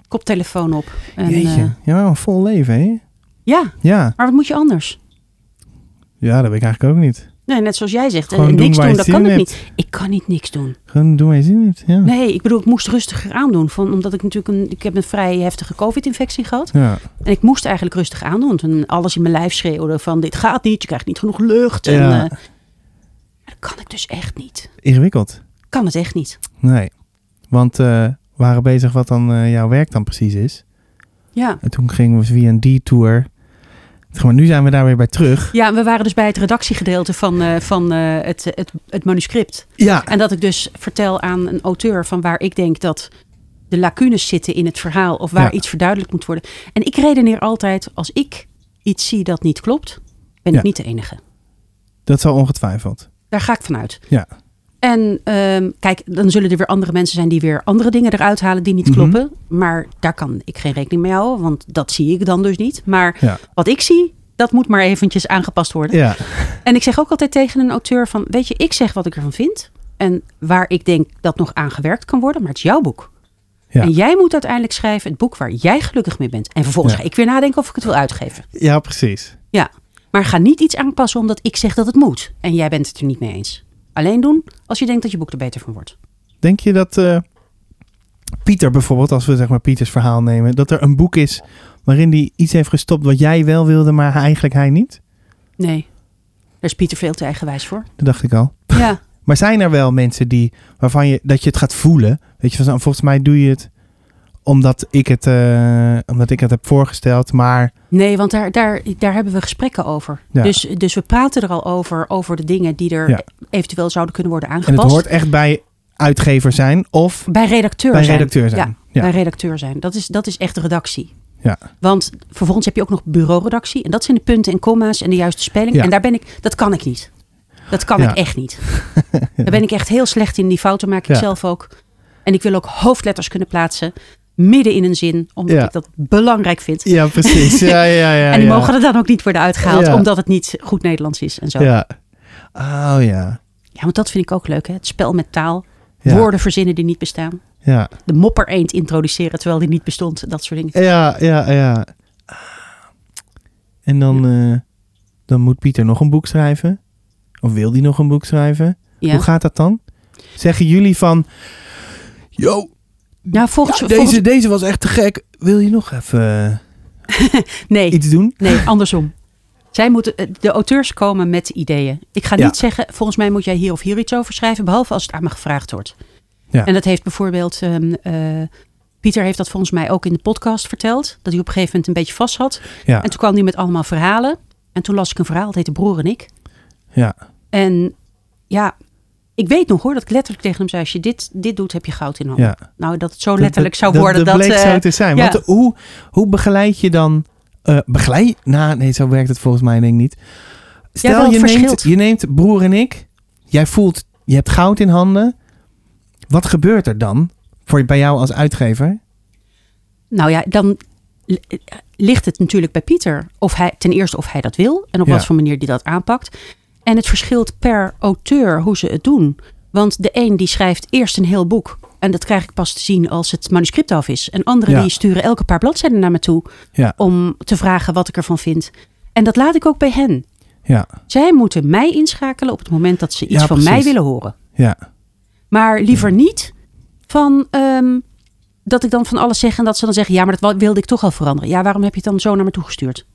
koptelefoon op. En,
Jeetje.
eh,
ja, wel een vol leven, hè?
ja,
Ja.
maar wat moet je anders?
Ja, dat weet ik eigenlijk ook niet.
Nee, net zoals jij zegt, eh,
Gewoon doen
niks
waar
doen,
je
dat
zin
kan ik
in
niet. Ik kan niet niks doen.
Gewoon doen waar je zin in hebt. Ja.
Nee, ik bedoel, ik moest rustiger aandoen. Van, omdat ik natuurlijk een, ik heb een vrij heftige COVID-infectie gehad.
Ja.
En ik moest eigenlijk rustig aandoen. Toen alles in mijn lijf schreeuwde van dit gaat niet, je krijgt niet genoeg lucht. En,
Ja.
eh, dat kan ik dus echt niet.
Ingewikkeld.
Kan het echt niet.
Nee. Want eh, we waren bezig wat dan eh, jouw werk dan precies is.
Ja.
En toen gingen we via een detour. Zeg maar, nu zijn we daar weer bij terug.
ja, we waren dus bij het redactiegedeelte van, eh, van eh, het, het, het manuscript.
Ja.
En dat ik dus vertel aan een auteur van waar ik denk dat de lacunes zitten in het verhaal. Of waar
Ja.
iets verduidelijkt moet worden. En ik redeneer altijd, als ik iets zie dat niet klopt, ben
Ja.
ik niet de enige.
Dat zal ongetwijfeld.
Daar ga ik vanuit.
Ja.
En ehm, kijk, dan zullen er weer andere mensen zijn die weer andere dingen eruit halen die niet
Mhm.
kloppen. Maar daar kan ik geen rekening mee houden, want dat zie ik dan dus niet. Maar
Ja.
wat ik zie, dat moet maar eventjes aangepast worden.
Ja.
En ik zeg ook altijd tegen een auteur van, weet je, ik zeg wat ik ervan vind. En waar ik denk dat nog aan gewerkt kan worden, maar het is jouw boek.
Ja.
En jij moet uiteindelijk schrijven het boek waar jij gelukkig mee bent. En vervolgens
Ja.
ga ik weer nadenken of ik het wil uitgeven.
Ja, precies.
Ja, maar ga niet iets aanpassen omdat ik zeg dat het moet. En jij bent het er niet mee eens. Alleen doen als je denkt dat je boek er beter van wordt.
Denk je dat eh, Pieter bijvoorbeeld, als we zeg maar Pieters verhaal nemen, dat er een boek is waarin hij iets heeft gestopt wat jij wel wilde, maar eigenlijk hij niet?
Nee. Daar is Pieter veel te eigenwijs voor.
Dat dacht ik al.
Ja.
Maar zijn er wel mensen die, waarvan je, dat je het gaat voelen? Weet je, van, zo, volgens mij doe je het omdat ik het, eh, omdat ik het heb voorgesteld, maar
Nee, want daar, daar, daar hebben we gesprekken over.
Ja.
Dus, dus we praten er al over, over de dingen die er
Ja.
eventueel zouden kunnen worden
en het
aangepast.
hoort echt bij uitgever zijn of
Bij redacteur
bij
zijn.
redacteur zijn.
Ja,
Ja.
bij redacteur zijn. Dat is, dat is echt redactie.
Ja.
Want vervolgens heb je ook nog bureauredactie. En dat zijn de punten en comma's en de juiste spelling.
Ja.
En daar ben ik, dat kan ik niet. Dat kan
Ja.
ik echt niet. Daar ben ik echt heel slecht in. Die fouten maak ik
Ja.
zelf ook. En ik wil ook hoofdletters kunnen plaatsen. Midden in een zin. Omdat
Ja.
ik dat belangrijk vind.
Ja, precies. Ja, ja, ja.
en die
ja.
mogen er dan ook niet worden uitgehaald.
Ja.
Omdat het niet goed Nederlands is en zo. Ja.
Ja. Oh ja.
want dat vind ik ook leuk. Hè? Het spel met taal.
Ja.
Woorden verzinnen die niet bestaan.
Ja.
De mopper eend introduceren terwijl die niet bestond. Dat soort dingen.
Ja, ja, ja. En dan, eh, dan moet Pieter nog een boek schrijven. Of wil die nog een boek schrijven?
Ja.
Hoe gaat dat dan? Zeggen jullie van... Yo,
Nou, volgens, volgens-
deze, deze was echt te gek. Wil je nog even eh,
nee,
iets doen?
nee, andersom. Zij moeten, eh, de auteurs komen met ideeën. Ik ga
Ja.
niet zeggen, volgens mij moet jij hier of hier iets over schrijven, behalve als het aan me gevraagd wordt.
Ja.
En dat heeft bijvoorbeeld, ehm, eh, Pieter heeft dat volgens mij ook in de podcast verteld, dat hij op een gegeven moment een beetje vast had.
Ja.
En toen kwam hij met allemaal verhalen. En toen las ik een verhaal, het heette Broer en ik.
Ja.
En ja, ik weet nog hoor, dat ik letterlijk tegen hem zei, als je dit, dit doet, heb je goud in handen.
ja.
Nou, dat het zo letterlijk zou
dat-
worden.
Dat,
Dat,
bleek
eh,
zo te zijn.
ja.
Want hoe, hoe begeleid je dan... eh, begeleid? Nou, nee, zo werkt het volgens mij denk ik niet. Stel,
wel, het
je, neemt,
verschilt.
je neemt broer en ik. Jij voelt, je hebt goud in handen. Wat gebeurt er dan voor, bij jou als uitgever?
Nou ja, dan li- ligt het natuurlijk bij Pieter. Of hij, ten eerste of hij dat wil en op
Ja.
wat voor manier die dat aanpakt. En het verschilt per auteur hoe ze het doen. Want de een die schrijft eerst een heel boek. En dat krijg ik pas te zien als het manuscript af is. En anderen
Ja.
die sturen elke paar bladzijden naar me toe.
Ja.
Om te vragen wat ik ervan vind. En dat laat ik ook bij hen.
Ja,
Zij moeten mij inschakelen op het moment dat ze iets
Ja,
van mij
precies.
willen horen.
ja.
Maar liever niet van ehm, dat ik dan van alles zeg en dat ze dan zeggen: ja, maar dat wa- wilde ik toch al veranderen. Ja, waarom heb je het dan zo naar me toe gestuurd?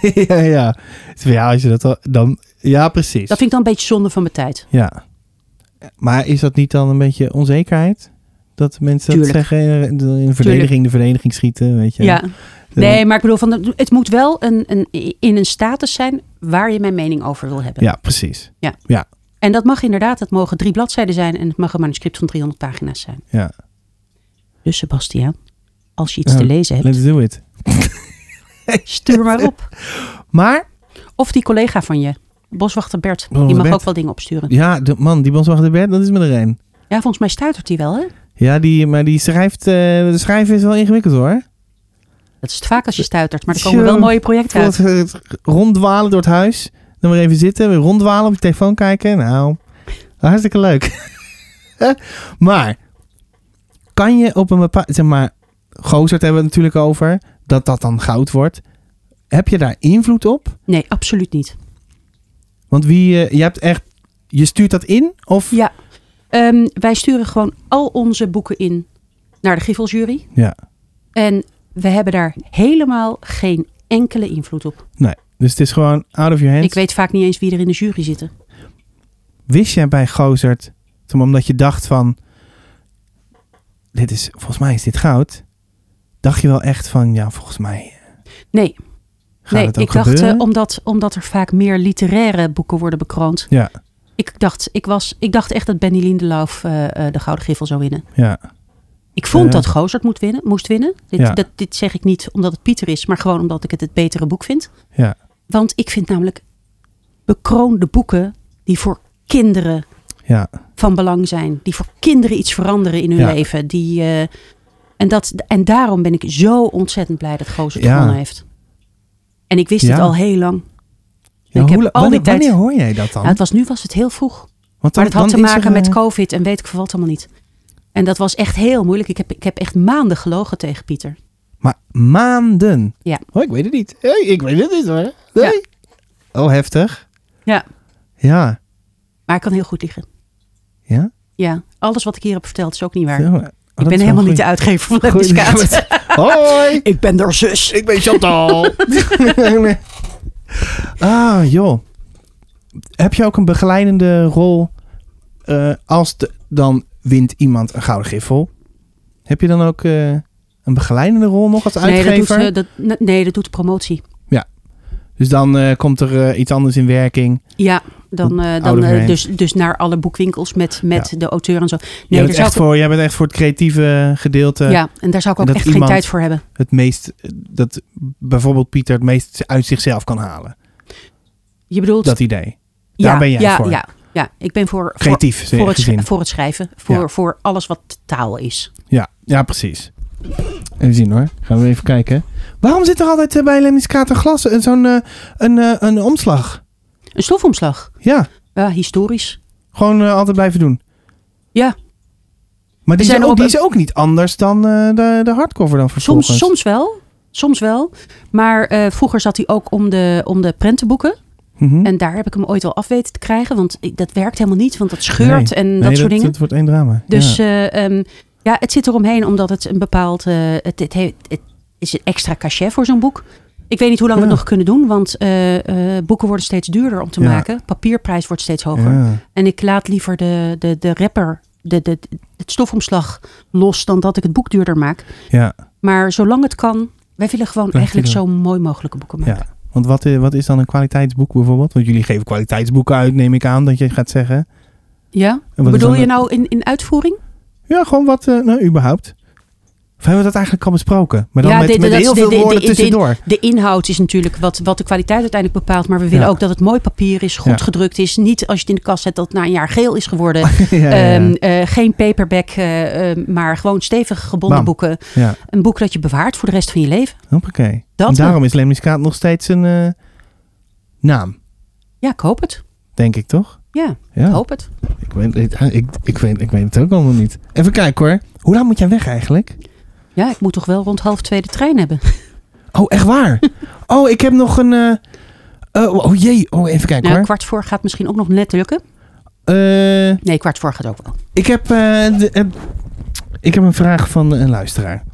ja, ja. Dus Ja, als je dat al- dan... Ja, precies.
Dat vind ik dan een beetje zonde van mijn tijd.
Ja. Maar is dat niet dan een beetje onzekerheid? Dat mensen
Tuurlijk.
dat zeggen, eh, in de verdediging, de verdediging schieten, weet je.
Ja. Nee, maar ik bedoel, van, het moet wel een, een, in een status zijn waar je mijn mening over wil hebben.
Ja, precies.
En dat mag inderdaad, het mogen drie bladzijden zijn en het mag een manuscript van 300 pagina's zijn.
Ja.
Dus Sebastiaan, als je iets
Ja,
te lezen hebt,
Let's do it.
stuur maar op.
Maar,
Of die collega van je, boswachter Bert, die
Boswachter
mag
Bert.
ook wel dingen opsturen.
ja, de man, die bonswachter Bert, dat is me er een.
Ja, volgens mij stuitert die wel, hè?
Ja, die, maar die schrijft, eh, de schrijven is wel ingewikkeld hoor.
Dat is het vaak als je stuitert, maar er komen wel
Tjoh.
mooie projecten uit.
Bijvoorbeeld, eh, ronddwalen door het huis. Dan maar even zitten, weer ronddwalen op je telefoon kijken. Nou, hartstikke leuk. maar, kan je op een bepaalde, zeg maar, Gozert hebben we het natuurlijk over, dat dat dan goud wordt. Heb je daar invloed op?
Nee, absoluut niet.
Want wie, eh, je hebt echt, je stuurt dat in? Of?
Ja. Ehm, wij sturen gewoon al onze boeken in naar de Giffelsjury.
Ja.
En we hebben daar helemaal geen enkele invloed op.
Nee, dus het is gewoon out of your hands.
Ik weet vaak niet eens wie er in de jury zitten.
Wist jij bij Gozert, zeg maar, omdat je dacht van, dit is, volgens mij is dit goud. Dacht je wel echt van, ja, volgens mij eh,
Nee,
gaat
nee
het ook
ik dacht
gebeuren?
eh, omdat, omdat er vaak meer literaire boeken worden bekroond.
Ja.
Ik dacht, ik was, ik dacht echt dat Benny Lindelauf eh, eh, de Gouden Giffel zou winnen.
Ja,
Ik vond
Ja.
dat Gozert moet winnen, moest winnen. Dit,
Ja.
dat, dit zeg ik niet omdat het Pieter is, maar gewoon omdat ik het het betere boek vind.
Ja.
Want ik vind namelijk bekroonde boeken die voor kinderen
ja,
van belang zijn. Die voor kinderen iets veranderen in hun
Ja.
leven. Die, eh, en, dat, en daarom ben ik zo ontzettend blij dat Gozert
Ja.
gewonnen heeft. En ik wist
Ja.
het al heel lang.
ja.
ik heb
hoe la-
al die
wanneer,
tijd...
wanneer hoor jij dat dan?
Nou, het was, nu was het heel vroeg.
Want dan
Maar dat had
dan
te
is er,
maken met
eh,
COVID en weet ik veel wat allemaal niet. En dat was echt heel moeilijk. Ik heb, ik heb echt maanden gelogen tegen Pieter.
Maar maanden.
Ja.
Oh, ik weet het niet. Hey, ik weet het niet hoor. Nee. Oh, heftig.
Ja.
Ja.
Maar ik kan heel goed liggen.
Ja?
Ja, alles wat ik hier heb verteld is ook niet waar.
Oh, oh,
ik ben helemaal niet de uitgever van
Goeie-
Lemniskaat.
Hoi.
ik ben daar zus.
ik ben Chantal. Nee. ah, joh. Heb je ook een begeleidende rol eh, als de- dan wint iemand een gouden giffel? Heb je dan ook eh, een begeleidende rol nog als
Nee
uitgever?
dat, doet, eh, dat, ne- nee, dat doet de promotie.
Dus dan eh, komt er eh, iets anders in werking.
Ja, dan, eh, dan,
Oude
eh,
Vereen.
dus, dus naar alle boekwinkels met, met de auteur en zo.
jij,
Nee, daar
bent
zou
echt
ik,
voor, jij bent echt voor het creatieve gedeelte.
ja, en daar zou ik
en
ook
dat
echt
iemand-
geen tijd voor hebben.
Het meest, eh, dat bijvoorbeeld Pieter het meest uit zichzelf kan halen.
Je bedoelt,
Dat idee.
ja,
daar ben jij
ja,
voor.
Ja, ja, ik ben voor, voor,
Creatief
voor, het,
gezien.
sch- voor het schrijven. Voor,
Ja.
voor alles wat taal is.
Ja, ja, precies. Even zien hoor. Gaan we even kijken. Waarom zit er altijd eh, bij Lemniskaat een glas, een- zo'n eh, een, eh, een omslag?
Een stofomslag.
Ja,
Ja, historisch.
gewoon eh, altijd blijven doen.
Ja.
Maar die,
zijn
is ook,
op-
die is ook niet anders dan eh, de, de hardcover dan vervolgens.
Soms, soms wel. Soms wel. Maar eh, vroeger zat hij ook om de, om de prentenboeken.
Mhm.
En daar heb ik hem ooit al af weten te krijgen. Want ik- dat werkt helemaal niet, want dat scheurt en dat
Nee,
soort dingen.
Dat wordt één drama.
Dus
ja.
ja. ja, het zit eromheen omdat het een bepaald... eh, het, het, heeft, het is een extra cachet voor zo'n boek. Ik weet niet hoe lang we
Ja.
het nog kunnen doen. Want eh, eh, boeken worden steeds duurder om te
Ja.
maken. Papierprijs wordt steeds hoger.
Ja.
En ik laat liever de, de, de rapper, de, de, het stofomslag los... dan dat ik het boek duurder maak.
ja.
Maar zolang het kan... Wij willen gewoon
Blijf je
eigenlijk
doen.
zo mooi mogelijke boeken maken.
Ja. Want wat, eh, wat is dan een kwaliteitsboek bijvoorbeeld? Want jullie geven kwaliteitsboeken uit, neem ik aan, dat je gaat zeggen.
Ja?
En wat is
Bedoel
dan
je
een-
nou in, in uitvoering?
Ja, gewoon wat, eh, nou, überhaupt. Of hebben we dat eigenlijk al besproken? Maar dan
Ja,
met,
dit-
met
dat is-
heel
dit-
veel
dit-
woorden
dit- dit-
tussendoor.
De inhoud is natuurlijk wat, wat de kwaliteit uiteindelijk bepaalt. Maar we willen
Ja.
ook dat het mooi papier is, goed
Ja.
gedrukt is. Niet als je het in de kast zet dat het na een jaar geel is geworden.
ja, ja,
Ehm,
ja.
eh, geen paperback, eh, eh, maar gewoon stevig gebonden
Bam.
boeken.
ja,
Een boek dat je bewaart voor de rest van je leven.
hoppakee.
Dat
en daarom is Lemniskaat nog steeds een eh, naam,
Ja, ik hoop het.
denk ik toch?
Ja, ik
Ja,
hoop het.
ik weet, ik, eh, ik, ik weet, ik weet het ook allemaal niet. Even kijken hoor. Hoe lang moet jij weg eigenlijk?
Ja, ik moet toch wel rond half twee de trein hebben.
Oh, echt waar? oh, ik heb nog een... eh, eh, oh jee, oh, even kijken
Nou,
hoor.
kwart voor gaat misschien ook nog net lukken.
Eh,
Nee, kwart voor gaat ook wel.
ik, heb, eh, de- eh, ik heb een vraag van eh, een luisteraar.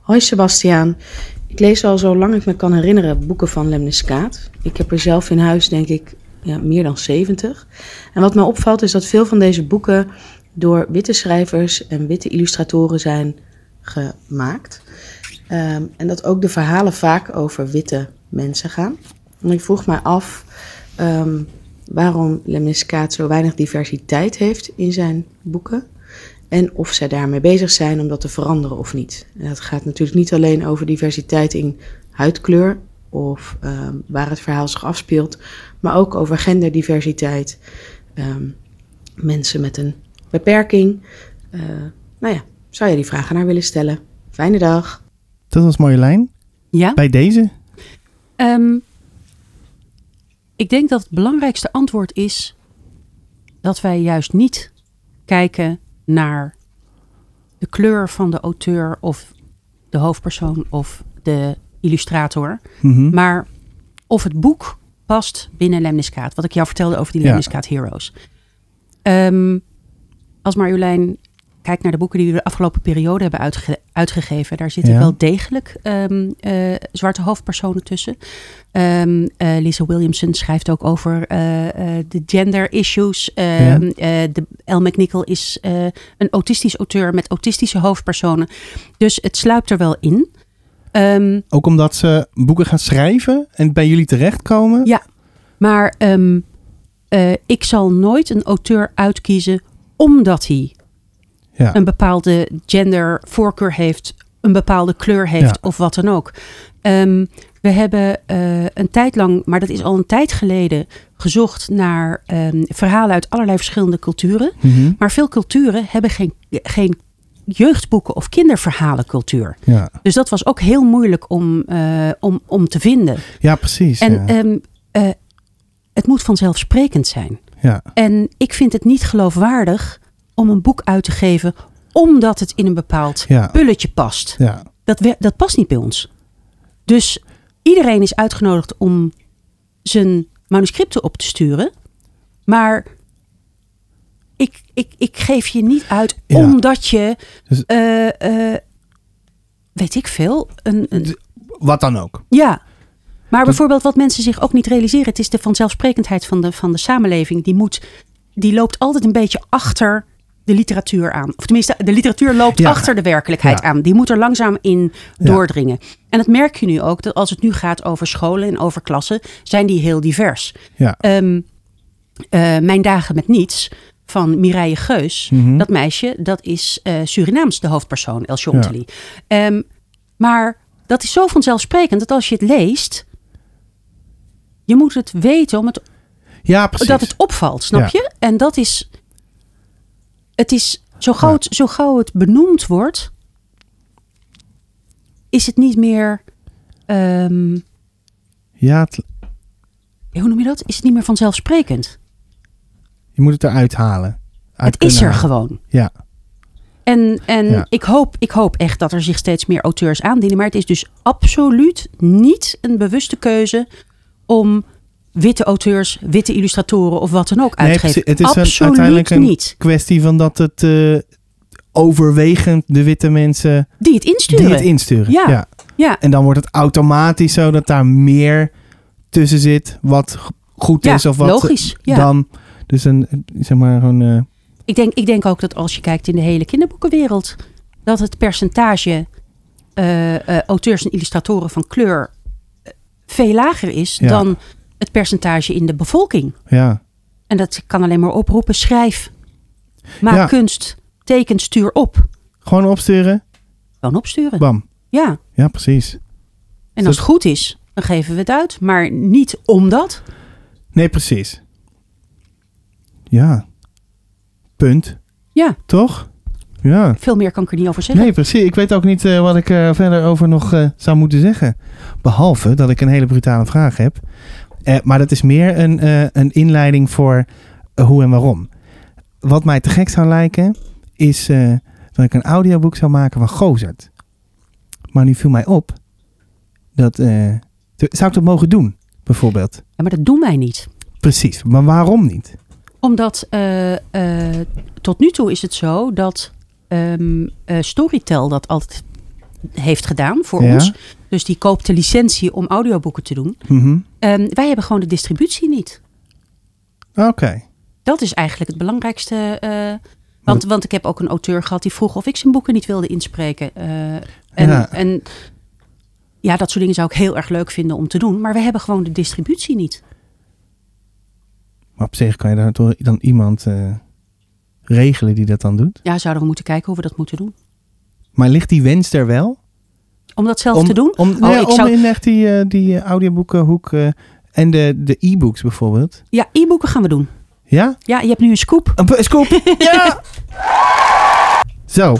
Hoi Sebastiaan. Ik lees al zo lang ik me kan herinneren boeken van Lemniskaat. Ik heb er zelf in huis denk ik ja, meer dan 70. En wat mij opvalt is dat veel van deze boeken door witte schrijvers en witte illustratoren zijn gemaakt. Ehm, en dat ook de verhalen vaak over witte mensen gaan. En ik vroeg mij af ehm, waarom Lemniskaat zo weinig diversiteit heeft in zijn boeken. En of zij daarmee bezig zijn om dat te veranderen of niet. En dat gaat natuurlijk niet alleen over diversiteit in huidkleur of ehm, waar het verhaal zich afspeelt, maar ook over genderdiversiteit, ehm, mensen met een beperking. Eh, nou ja, zou je die vragen naar willen stellen? Fijne dag.
Dat was Marjolein.
Ja?
Bij deze.
Ehm, ik denk dat het belangrijkste antwoord is dat wij juist niet kijken naar de kleur van de auteur of de hoofdpersoon of de illustrator,
Mhm.
maar of het boek past binnen Lemniskaat. Wat ik jou vertelde over die
Ja.
Lemniskaat Heroes. Ehm, als Marjolein kijkt naar de boeken die we de afgelopen periode hebben uitge- uitgegeven, daar zitten
Ja.
wel degelijk ehm, eh, zwarte hoofdpersonen tussen. Ehm, eh, Lisa Williamson schrijft ook over eh, eh, de gender issues. Ehm, eh, de, L. McNichol is eh, een autistisch auteur met autistische hoofdpersonen. Dus het sluipt er wel in. Ehm,
Ook omdat ze boeken gaan schrijven en bij jullie terechtkomen.
Ja. Maar ehm, eh, ik zal nooit een auteur uitkiezen omdat hij
Ja.
een bepaalde gendervoorkeur heeft, een bepaalde kleur heeft
Ja.
of wat dan ook. Ehm, we hebben eh, een tijd lang, maar dat is al een tijd geleden, gezocht naar ehm, verhalen uit allerlei verschillende culturen.
Mhm.
Maar veel culturen hebben geen, geen jeugdboeken of kinderverhalencultuur.
ja.
Dus dat was ook heel moeilijk om, eh, om, om te vinden.
ja, precies.
En
ja.
ehm, eh, het moet vanzelfsprekend zijn.
ja.
En ik vind het niet geloofwaardig om een boek uit te geven omdat het in een bepaald
Ja.
pulletje past.
Ja.
Dat, wer- dat past niet bij ons. Dus iedereen is uitgenodigd om zijn manuscripten op te sturen. Maar ik, ik, ik geef je niet uit
Ja.
omdat je,
Dus-
eh, eh, weet ik veel, een, een
Wat dan ook.
ja. Maar bijvoorbeeld wat mensen zich ook niet realiseren, het is de vanzelfsprekendheid van de, van de samenleving. Die, moet, die loopt altijd een beetje achter de literatuur aan. Of tenminste, de literatuur loopt
Ja.
achter de werkelijkheid
Ja.
aan. Die moet er langzaam in
Ja.
doordringen. En dat merk je nu ook, dat als het nu gaat over scholen en over klassen, zijn die heel divers.
Ja.
Ehm, eh, Mijn dagen met niets van Mireille Geus.
Mhm.
Dat meisje, dat is eh, Surinaams de hoofdpersoon, El Chontely. Ehm, maar dat is zo vanzelfsprekend dat als je het leest... je moet het weten om het,
Ja, precies.
dat het opvalt, snap
Ja.
je? En dat is... Het is zo gauw, het, zo gauw het benoemd wordt... is het niet meer... ehm,
Ja, het-
hoe noem je dat? Is het niet meer vanzelfsprekend?
je moet het eruit halen. Uit
het is
kunnen
er
halen.
gewoon.
Ja.
En, en
Ja.
ik, hoop, ik hoop echt dat er zich steeds meer auteurs aandienen. Maar het is dus absoluut niet een bewuste keuze om witte auteurs, witte illustratoren of wat dan ook uit te
precies.
geven.
het is
absoluut
een, uiteindelijk een
niet.
kwestie van dat het eh, overwegend de witte mensen
Die het insturen.
die het insturen.
Ja. ja,
En dan wordt het automatisch zo dat daar meer tussen zit wat g- goed
ja
is of wat eh,
logisch. Ja.
dan. Dus een, zeg maar, gewoon. eh,
Ik, denk, ik denk ook dat als je kijkt in de hele kinderboekenwereld, dat het percentage eh, eh, auteurs en illustratoren van kleur eh, veel lager is
Ja.
dan het percentage in de bevolking.
Ja.
En dat kan alleen maar oproepen. Schrijf, maak
Ja.
kunst, teken, stuur op.
Gewoon opsturen.
Gewoon opsturen.
Bam.
Ja,
Ja, precies.
en als het goed is, dan geven we het uit. Maar niet omdat.
Nee, precies. Ja. Punt.
Ja,
Toch? Ja.
veel meer kan ik er niet over zeggen.
Nee, precies. Ik weet ook niet eh, wat ik er verder over nog eh, zou moeten zeggen. Behalve dat ik een hele brutale vraag heb. Eh, maar dat is meer een, eh, een inleiding voor eh, hoe en waarom. Wat mij te gek zou lijken, is eh, dat ik een audioboek zou maken van Gozert. Maar nu viel mij op dat. eh, te- zou ik dat mogen doen, bijvoorbeeld?
Ja, maar dat doen wij niet.
Precies. Maar waarom niet?
Omdat eh, eh, tot nu toe is het zo dat ehm, eh, Storytel dat altijd heeft gedaan voor
Ja.
ons. Dus die koopt de licentie om audioboeken te doen.
Mhm.
Ehm, wij hebben gewoon de distributie niet.
Oké.
Dat is eigenlijk het belangrijkste. eh, want, want ik heb ook een auteur gehad die vroeg of ik zijn boeken niet wilde inspreken. Eh, en,
Ja.
en ja, dat soort dingen zou ik heel erg leuk vinden om te doen. Maar we hebben gewoon de distributie niet.
Maar op zich kan je daar toch dan iemand eh, regelen die dat dan doet?
Ja, zouden we moeten kijken hoe we dat moeten doen.
Maar ligt die wens er wel?
Om dat zelf te doen? Oh,
Om, nee,
ik
om
zou-
in echt die, eh, die eh, audioboekenhoek eh, en de, de e-books bijvoorbeeld.
Ja, e-boeken gaan we doen.
Ja?
Ja, je hebt nu een scoop.
Een p- scoop! ja! Zo.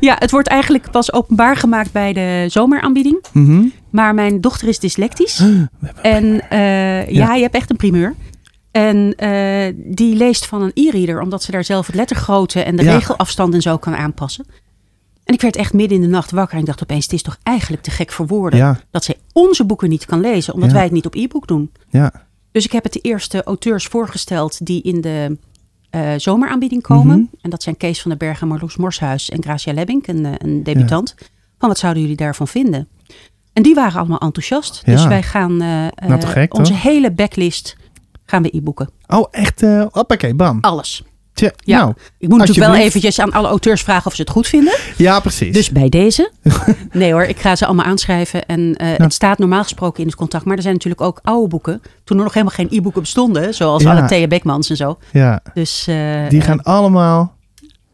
Ja, het wordt eigenlijk pas openbaar gemaakt bij de zomeraanbieding.
Mhm.
Maar mijn dochter is dyslectisch. En eh, ja. je hebt echt een primeur. En eh, die leest van een e-reader, omdat ze daar zelf het lettergrootte en de
Ja.
regelafstand en zo kan aanpassen. En ik werd echt midden in de nacht wakker en ik dacht opeens, het is toch eigenlijk te gek voor woorden
Ja.
dat zij onze boeken niet kan lezen, omdat
Ja.
wij het niet op e-book doen.
Ja.
Dus ik heb het de eerste auteurs voorgesteld die in de eh, zomeraanbieding komen.
Mhm.
En dat zijn Kees van den Berg en Marloes Morshuis en Gracia Lebbink, een, eh, een debutant. Van wat zouden jullie daarvan vinden? En die waren allemaal enthousiast. Dus
Ja.
wij gaan eh,
Nou, te
eh,
gek,
onze
toch?
hele backlist gaan we e-boeken.
Oh, echt? eh hoppakee, bam.
Alles.
Tja,
Oh, Ja.
Nou,
Ik moet natuurlijk wel
alsjeblieft.
eventjes aan alle auteurs vragen of ze het goed vinden.
ja, precies.
Dus bij deze. Nee hoor, ik ga ze allemaal aanschrijven. En eh, het staat normaal gesproken in het contract. Maar er zijn natuurlijk ook oude boeken. Toen er nog helemaal geen e-boeken bestonden. Zoals
Ja.
alle Thea Beckmans en zo.
ja,
Dus eh,
die gaan allemaal...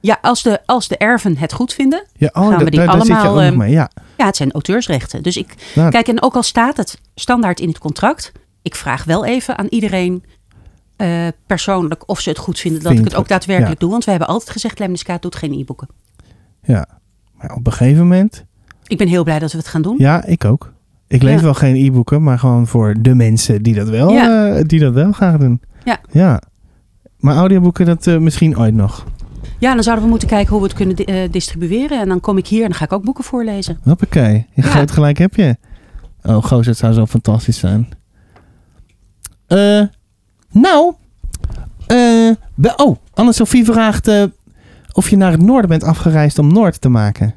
ja, als de, als de erven het goed vinden.
Ja, oh,
gaan we
dat,
die
daar- daar zit je
allemaal,
ook nog
ehm,
mee. Ja.
Ja, het zijn auteursrechten. Dus ik.
Nou,
Kijk, en ook al staat het standaard in het contract. Ik vraag wel even aan iedereen eh, persoonlijk of ze het goed vinden dat
Vind je
ik
het
het ook
goed?
daadwerkelijk
Ja.
doe. Want we hebben altijd gezegd, Lemniskaat doet geen e-boeken.
ja. Maar op een gegeven moment...
Ik ben heel blij dat we het gaan doen.
Ja, ik ook. Ik lees
Ja.
wel geen e-boeken, maar gewoon voor de mensen die dat wel,
Ja.
eh, die dat wel graag doen.
Ja.
ja. Maar audioboeken, dat eh, misschien ooit nog.
Ja, dan zouden we moeten kijken hoe we het kunnen di- eh, distribueren. En dan kom ik hier en dan ga ik ook boeken voorlezen.
Hoppakee. Je
Ja.
groot gelijk heb je. Oh, goos, het zou zo fantastisch zijn. Eh, nou. eh, we- oh, Anne-Sophie vraagt eh, of je naar het noorden bent afgereisd om Noord te maken.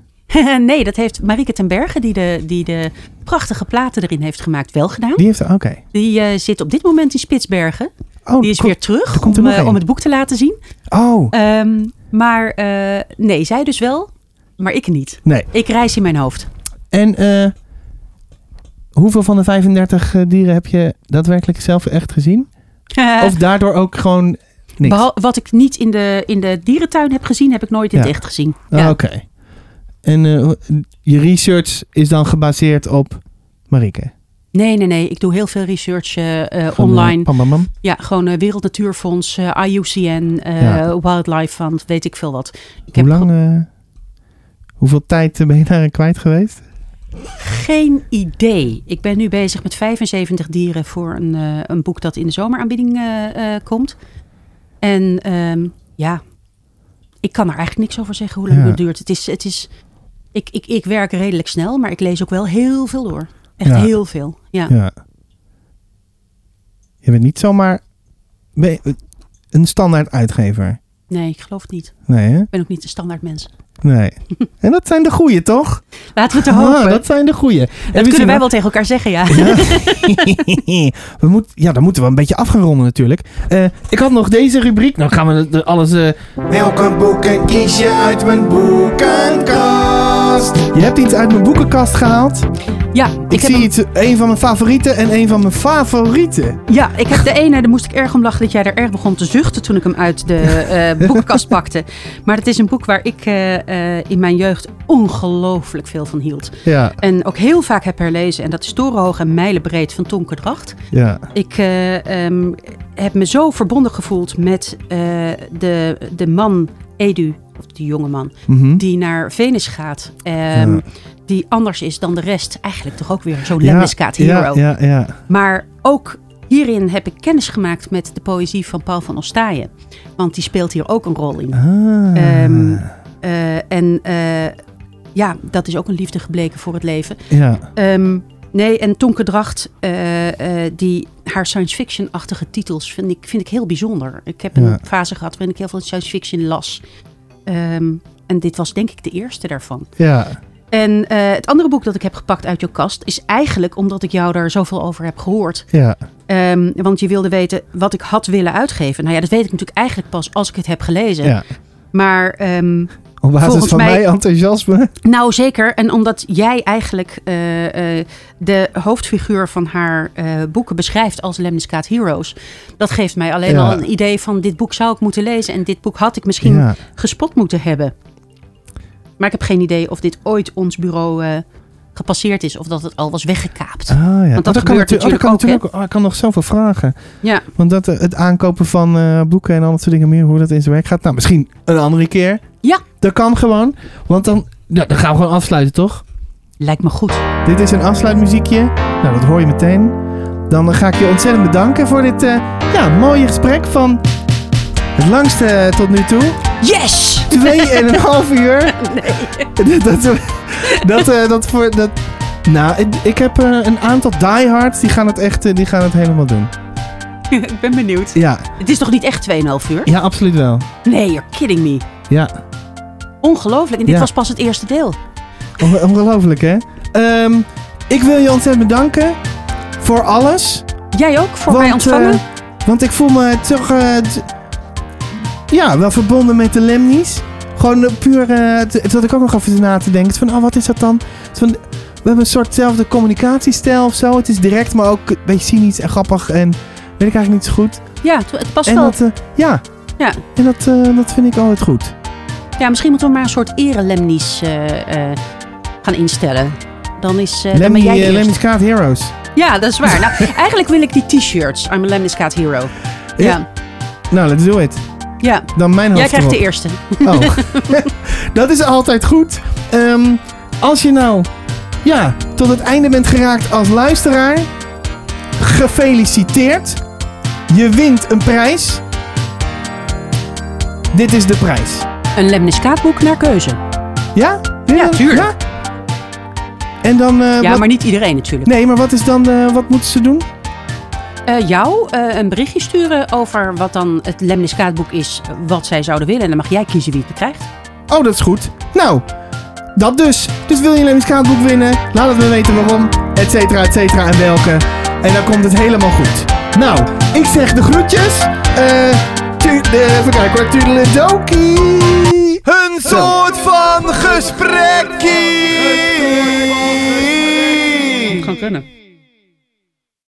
nee, dat heeft Marieke ten Berge, die de, die de prachtige platen erin heeft gemaakt, wel gedaan.
Die heeft er, oké.
Die eh, zit op dit moment in Spitsbergen.
Oh,
Die is
kom-
weer terug
er komt er
om,
nog
eh,
een.
om het boek te laten zien.
Oh,
Ehm, maar eh, nee, zij dus wel, maar ik niet.
nee.
Ik reis in mijn hoofd.
En eh, hoeveel van de 35 eh, dieren heb je daadwerkelijk zelf echt gezien?
Eh,
Of daardoor ook gewoon niks?
Behal- wat ik niet in de, in de dierentuin heb gezien, heb ik nooit in het
Ja.
echt gezien.
Ah,
Ja.
Oké. En eh, je research is dan gebaseerd op Marike?
Nee, nee, nee. Ik doe heel veel research eh, eh,
Van, eh,
online.
Pam, pam, pam.
Ja, gewoon eh, Wereld Natuurfonds, eh, IUCN, eh,
Ja.
Wildlife Fund, weet ik veel wat. Ik
Hoe
heb
lang? eh, hoeveel tijd eh, ben je daarin kwijt geweest?
geen idee. Ik ben nu bezig met 75 dieren voor een, eh, een boek dat in de zomeraanbieding eh, eh, komt. En ehm, ja, ik kan er eigenlijk niks over zeggen hoe lang
Ja.
het duurt. Het is, het is, ik, ik, ik werk redelijk snel, maar ik lees ook wel heel veel door. Echt
Ja.
heel veel. Ja.
Ja. Je bent niet zomaar ben je eh, een standaard uitgever.
Nee, ik geloof het niet.
Nee, hè?
Ik ben ook niet een standaard mens.
Nee. en dat zijn de goeie, toch?
Laten we het
Ah,
hopen. dat
dat zijn de goeie. Dat
kunnen wij wel tegen elkaar zeggen, ja.
Ja. we moet, ja, dan moeten we een beetje afgeronden natuurlijk. Eh, ik had nog deze rubriek. Nou gaan we de- de- alles... eh,
Welke boeken kies je uit mijn boekenkast?
Je hebt iets uit mijn boekenkast gehaald.
Ja,
Ik,
heb
zie
hem-
iets, een van mijn favorieten en een van mijn favorieten.
Ja, ik heb de ene, daar moest ik erg om lachen dat jij er erg begon te zuchten toen ik hem uit de eh, boekenkast pakte. Maar het is een boek waar ik eh, eh, in mijn jeugd ongelooflijk veel van hield.
Ja,
En ook heel vaak heb herlezen. En dat is Torenhoog en Mijlenbreed van Tonke Dracht.
ja.
Ik eh, ehm, heb me zo verbonden gevoeld met eh, de, de man Edu, of die jonge man,
Mhm.
die naar Venus gaat. ehm,
Ja.
Die anders is dan de rest. Eigenlijk toch ook weer zo'n
Ja,
Lemniscaat hero.
Ja, ja, ja.
Maar ook hierin heb ik kennis gemaakt met de poëzie van Paul van Ostaaien. Want die speelt hier ook een rol in.
Ah,
Ehm, Eh, en eh, ja, dat is ook een liefde gebleken voor het leven.
ja.
Ehm, nee, en Tonke Dracht, eh, eh, die, haar science fiction-achtige titels vind ik, vind ik heel bijzonder. Ik heb een
Ja.
fase gehad waarin ik heel veel science fiction las. Ehm, en dit was denk ik de eerste daarvan.
Ja.
En eh, het andere boek dat ik heb gepakt uit jouw kast is eigenlijk omdat ik jou daar zoveel over heb gehoord.
Ja.
Ehm, want je wilde weten wat ik had willen uitgeven. Nou ja, dat weet ik natuurlijk eigenlijk pas als ik het heb gelezen.
Ja.
Maar ehm,
Op basis
Volgens
van
mij-
mijn enthousiasme.
nou zeker, en omdat jij eigenlijk eh, eh, de hoofdfiguur van haar eh, boeken beschrijft als Lemniscaat Heroes. Dat geeft mij alleen
Ja.
al een idee van dit boek zou ik moeten lezen. En dit boek had ik misschien
Ja.
gespot moeten hebben. Maar ik heb geen idee of dit ooit ons bureau eh, gepasseerd is. Of dat het al was weggekaapt.
Ah, ja.
dat
Oh, kan
gebeurt
natu- oh, dat kan
natuurlijk ook, hè?
natuurlijk ook. Oh, ik kan nog zoveel vragen.
Ja,
Want dat, eh, het aankopen van eh, boeken en al dat soort dingen meer, hoe dat in zijn werk gaat. Nou, misschien een andere keer.
Ja.
Dat kan gewoon. Want dan, nou, dan gaan we gewoon afsluiten, toch?
lijkt me goed.
Dit is een afsluitmuziekje. Nou, dat hoor je meteen. Dan eh, ga ik je ontzettend bedanken voor dit eh, ja, mooie gesprek van het langste eh, tot nu toe.
Yes!
Twee en een half uur. Nee. Dat, dat, dat, eh, dat voor... Dat, nou, ik, ik heb eh, een aantal diehards. Die gaan het echt eh, die gaan het helemaal doen.
ik ben benieuwd.
Ja,
Het is toch niet echt 2,5 uur?
ja absoluut wel.
Nee, you're kidding me.
Ja.
Ongelooflijk. En dit
Ja.
was pas het eerste deel.
Onge- Ongelooflijk, hè? Ehm, ik wil je ontzettend bedanken voor alles.
Jij ook voor
Want,
mij ontvangen?
eh, want ik voel me toch... eh, t- ja, wel verbonden met de Lemnies. Gewoon eh, puur... eh, t- dat ik ook nog even na te denken. Van, oh, wat is dat dan? Het is Van, we hebben een soortzelfde communicatiestijl of zo. Het is direct, maar ook een beetje cynisch en grappig. En weet ik eigenlijk niet zo goed.
ja, het- het past
en
wel.
dat... eh, ja.
Ja.
En dat, eh, dat vind ik altijd goed.
Ja, misschien moeten we maar een soort erelemnies eh, eh, gaan instellen. Dan is eh dan ben
Lemmy,
jij de
eh,
eerste.
Lemmy's Kaart Heroes.
Ja, dat is waar. Nou, eigenlijk wil ik die t-shirts. I'm a Lemniscaat Hero. Ja,
Nou, let's do it.
ja.
Dan mijn hoofd
Jij krijgt
erop.
de eerste.
Oh. dat is altijd goed. Ehm, als je nou ja, tot het einde bent geraakt als luisteraar, gefeliciteerd. Je wint een prijs. Dit is de prijs.
Een Lemniscaat boek naar keuze.
Ja? Wil je
Ja,
dat?
tuurlijk.
Ja? En dan. eh,
Ja,
wat-
maar niet iedereen natuurlijk.
Nee, maar wat is dan. eh, wat moeten ze doen?
Eh, jou eh, een berichtje sturen over wat dan het Lemniscaatboek is, eh, wat zij zouden willen. En dan mag jij kiezen wie het krijgt.
Oh, dat is goed. Nou, dat dus. Dus wil je een Lemmiskaatboek winnen? Laat het me weten waarom, et cetera, et cetera en welke. En dan komt het helemaal goed. Nou, ik zeg de groetjes. Eh, tu- eh, even kijken hoor. Toedeledokie. Een soort van gesprekkie.
Kan kunnen.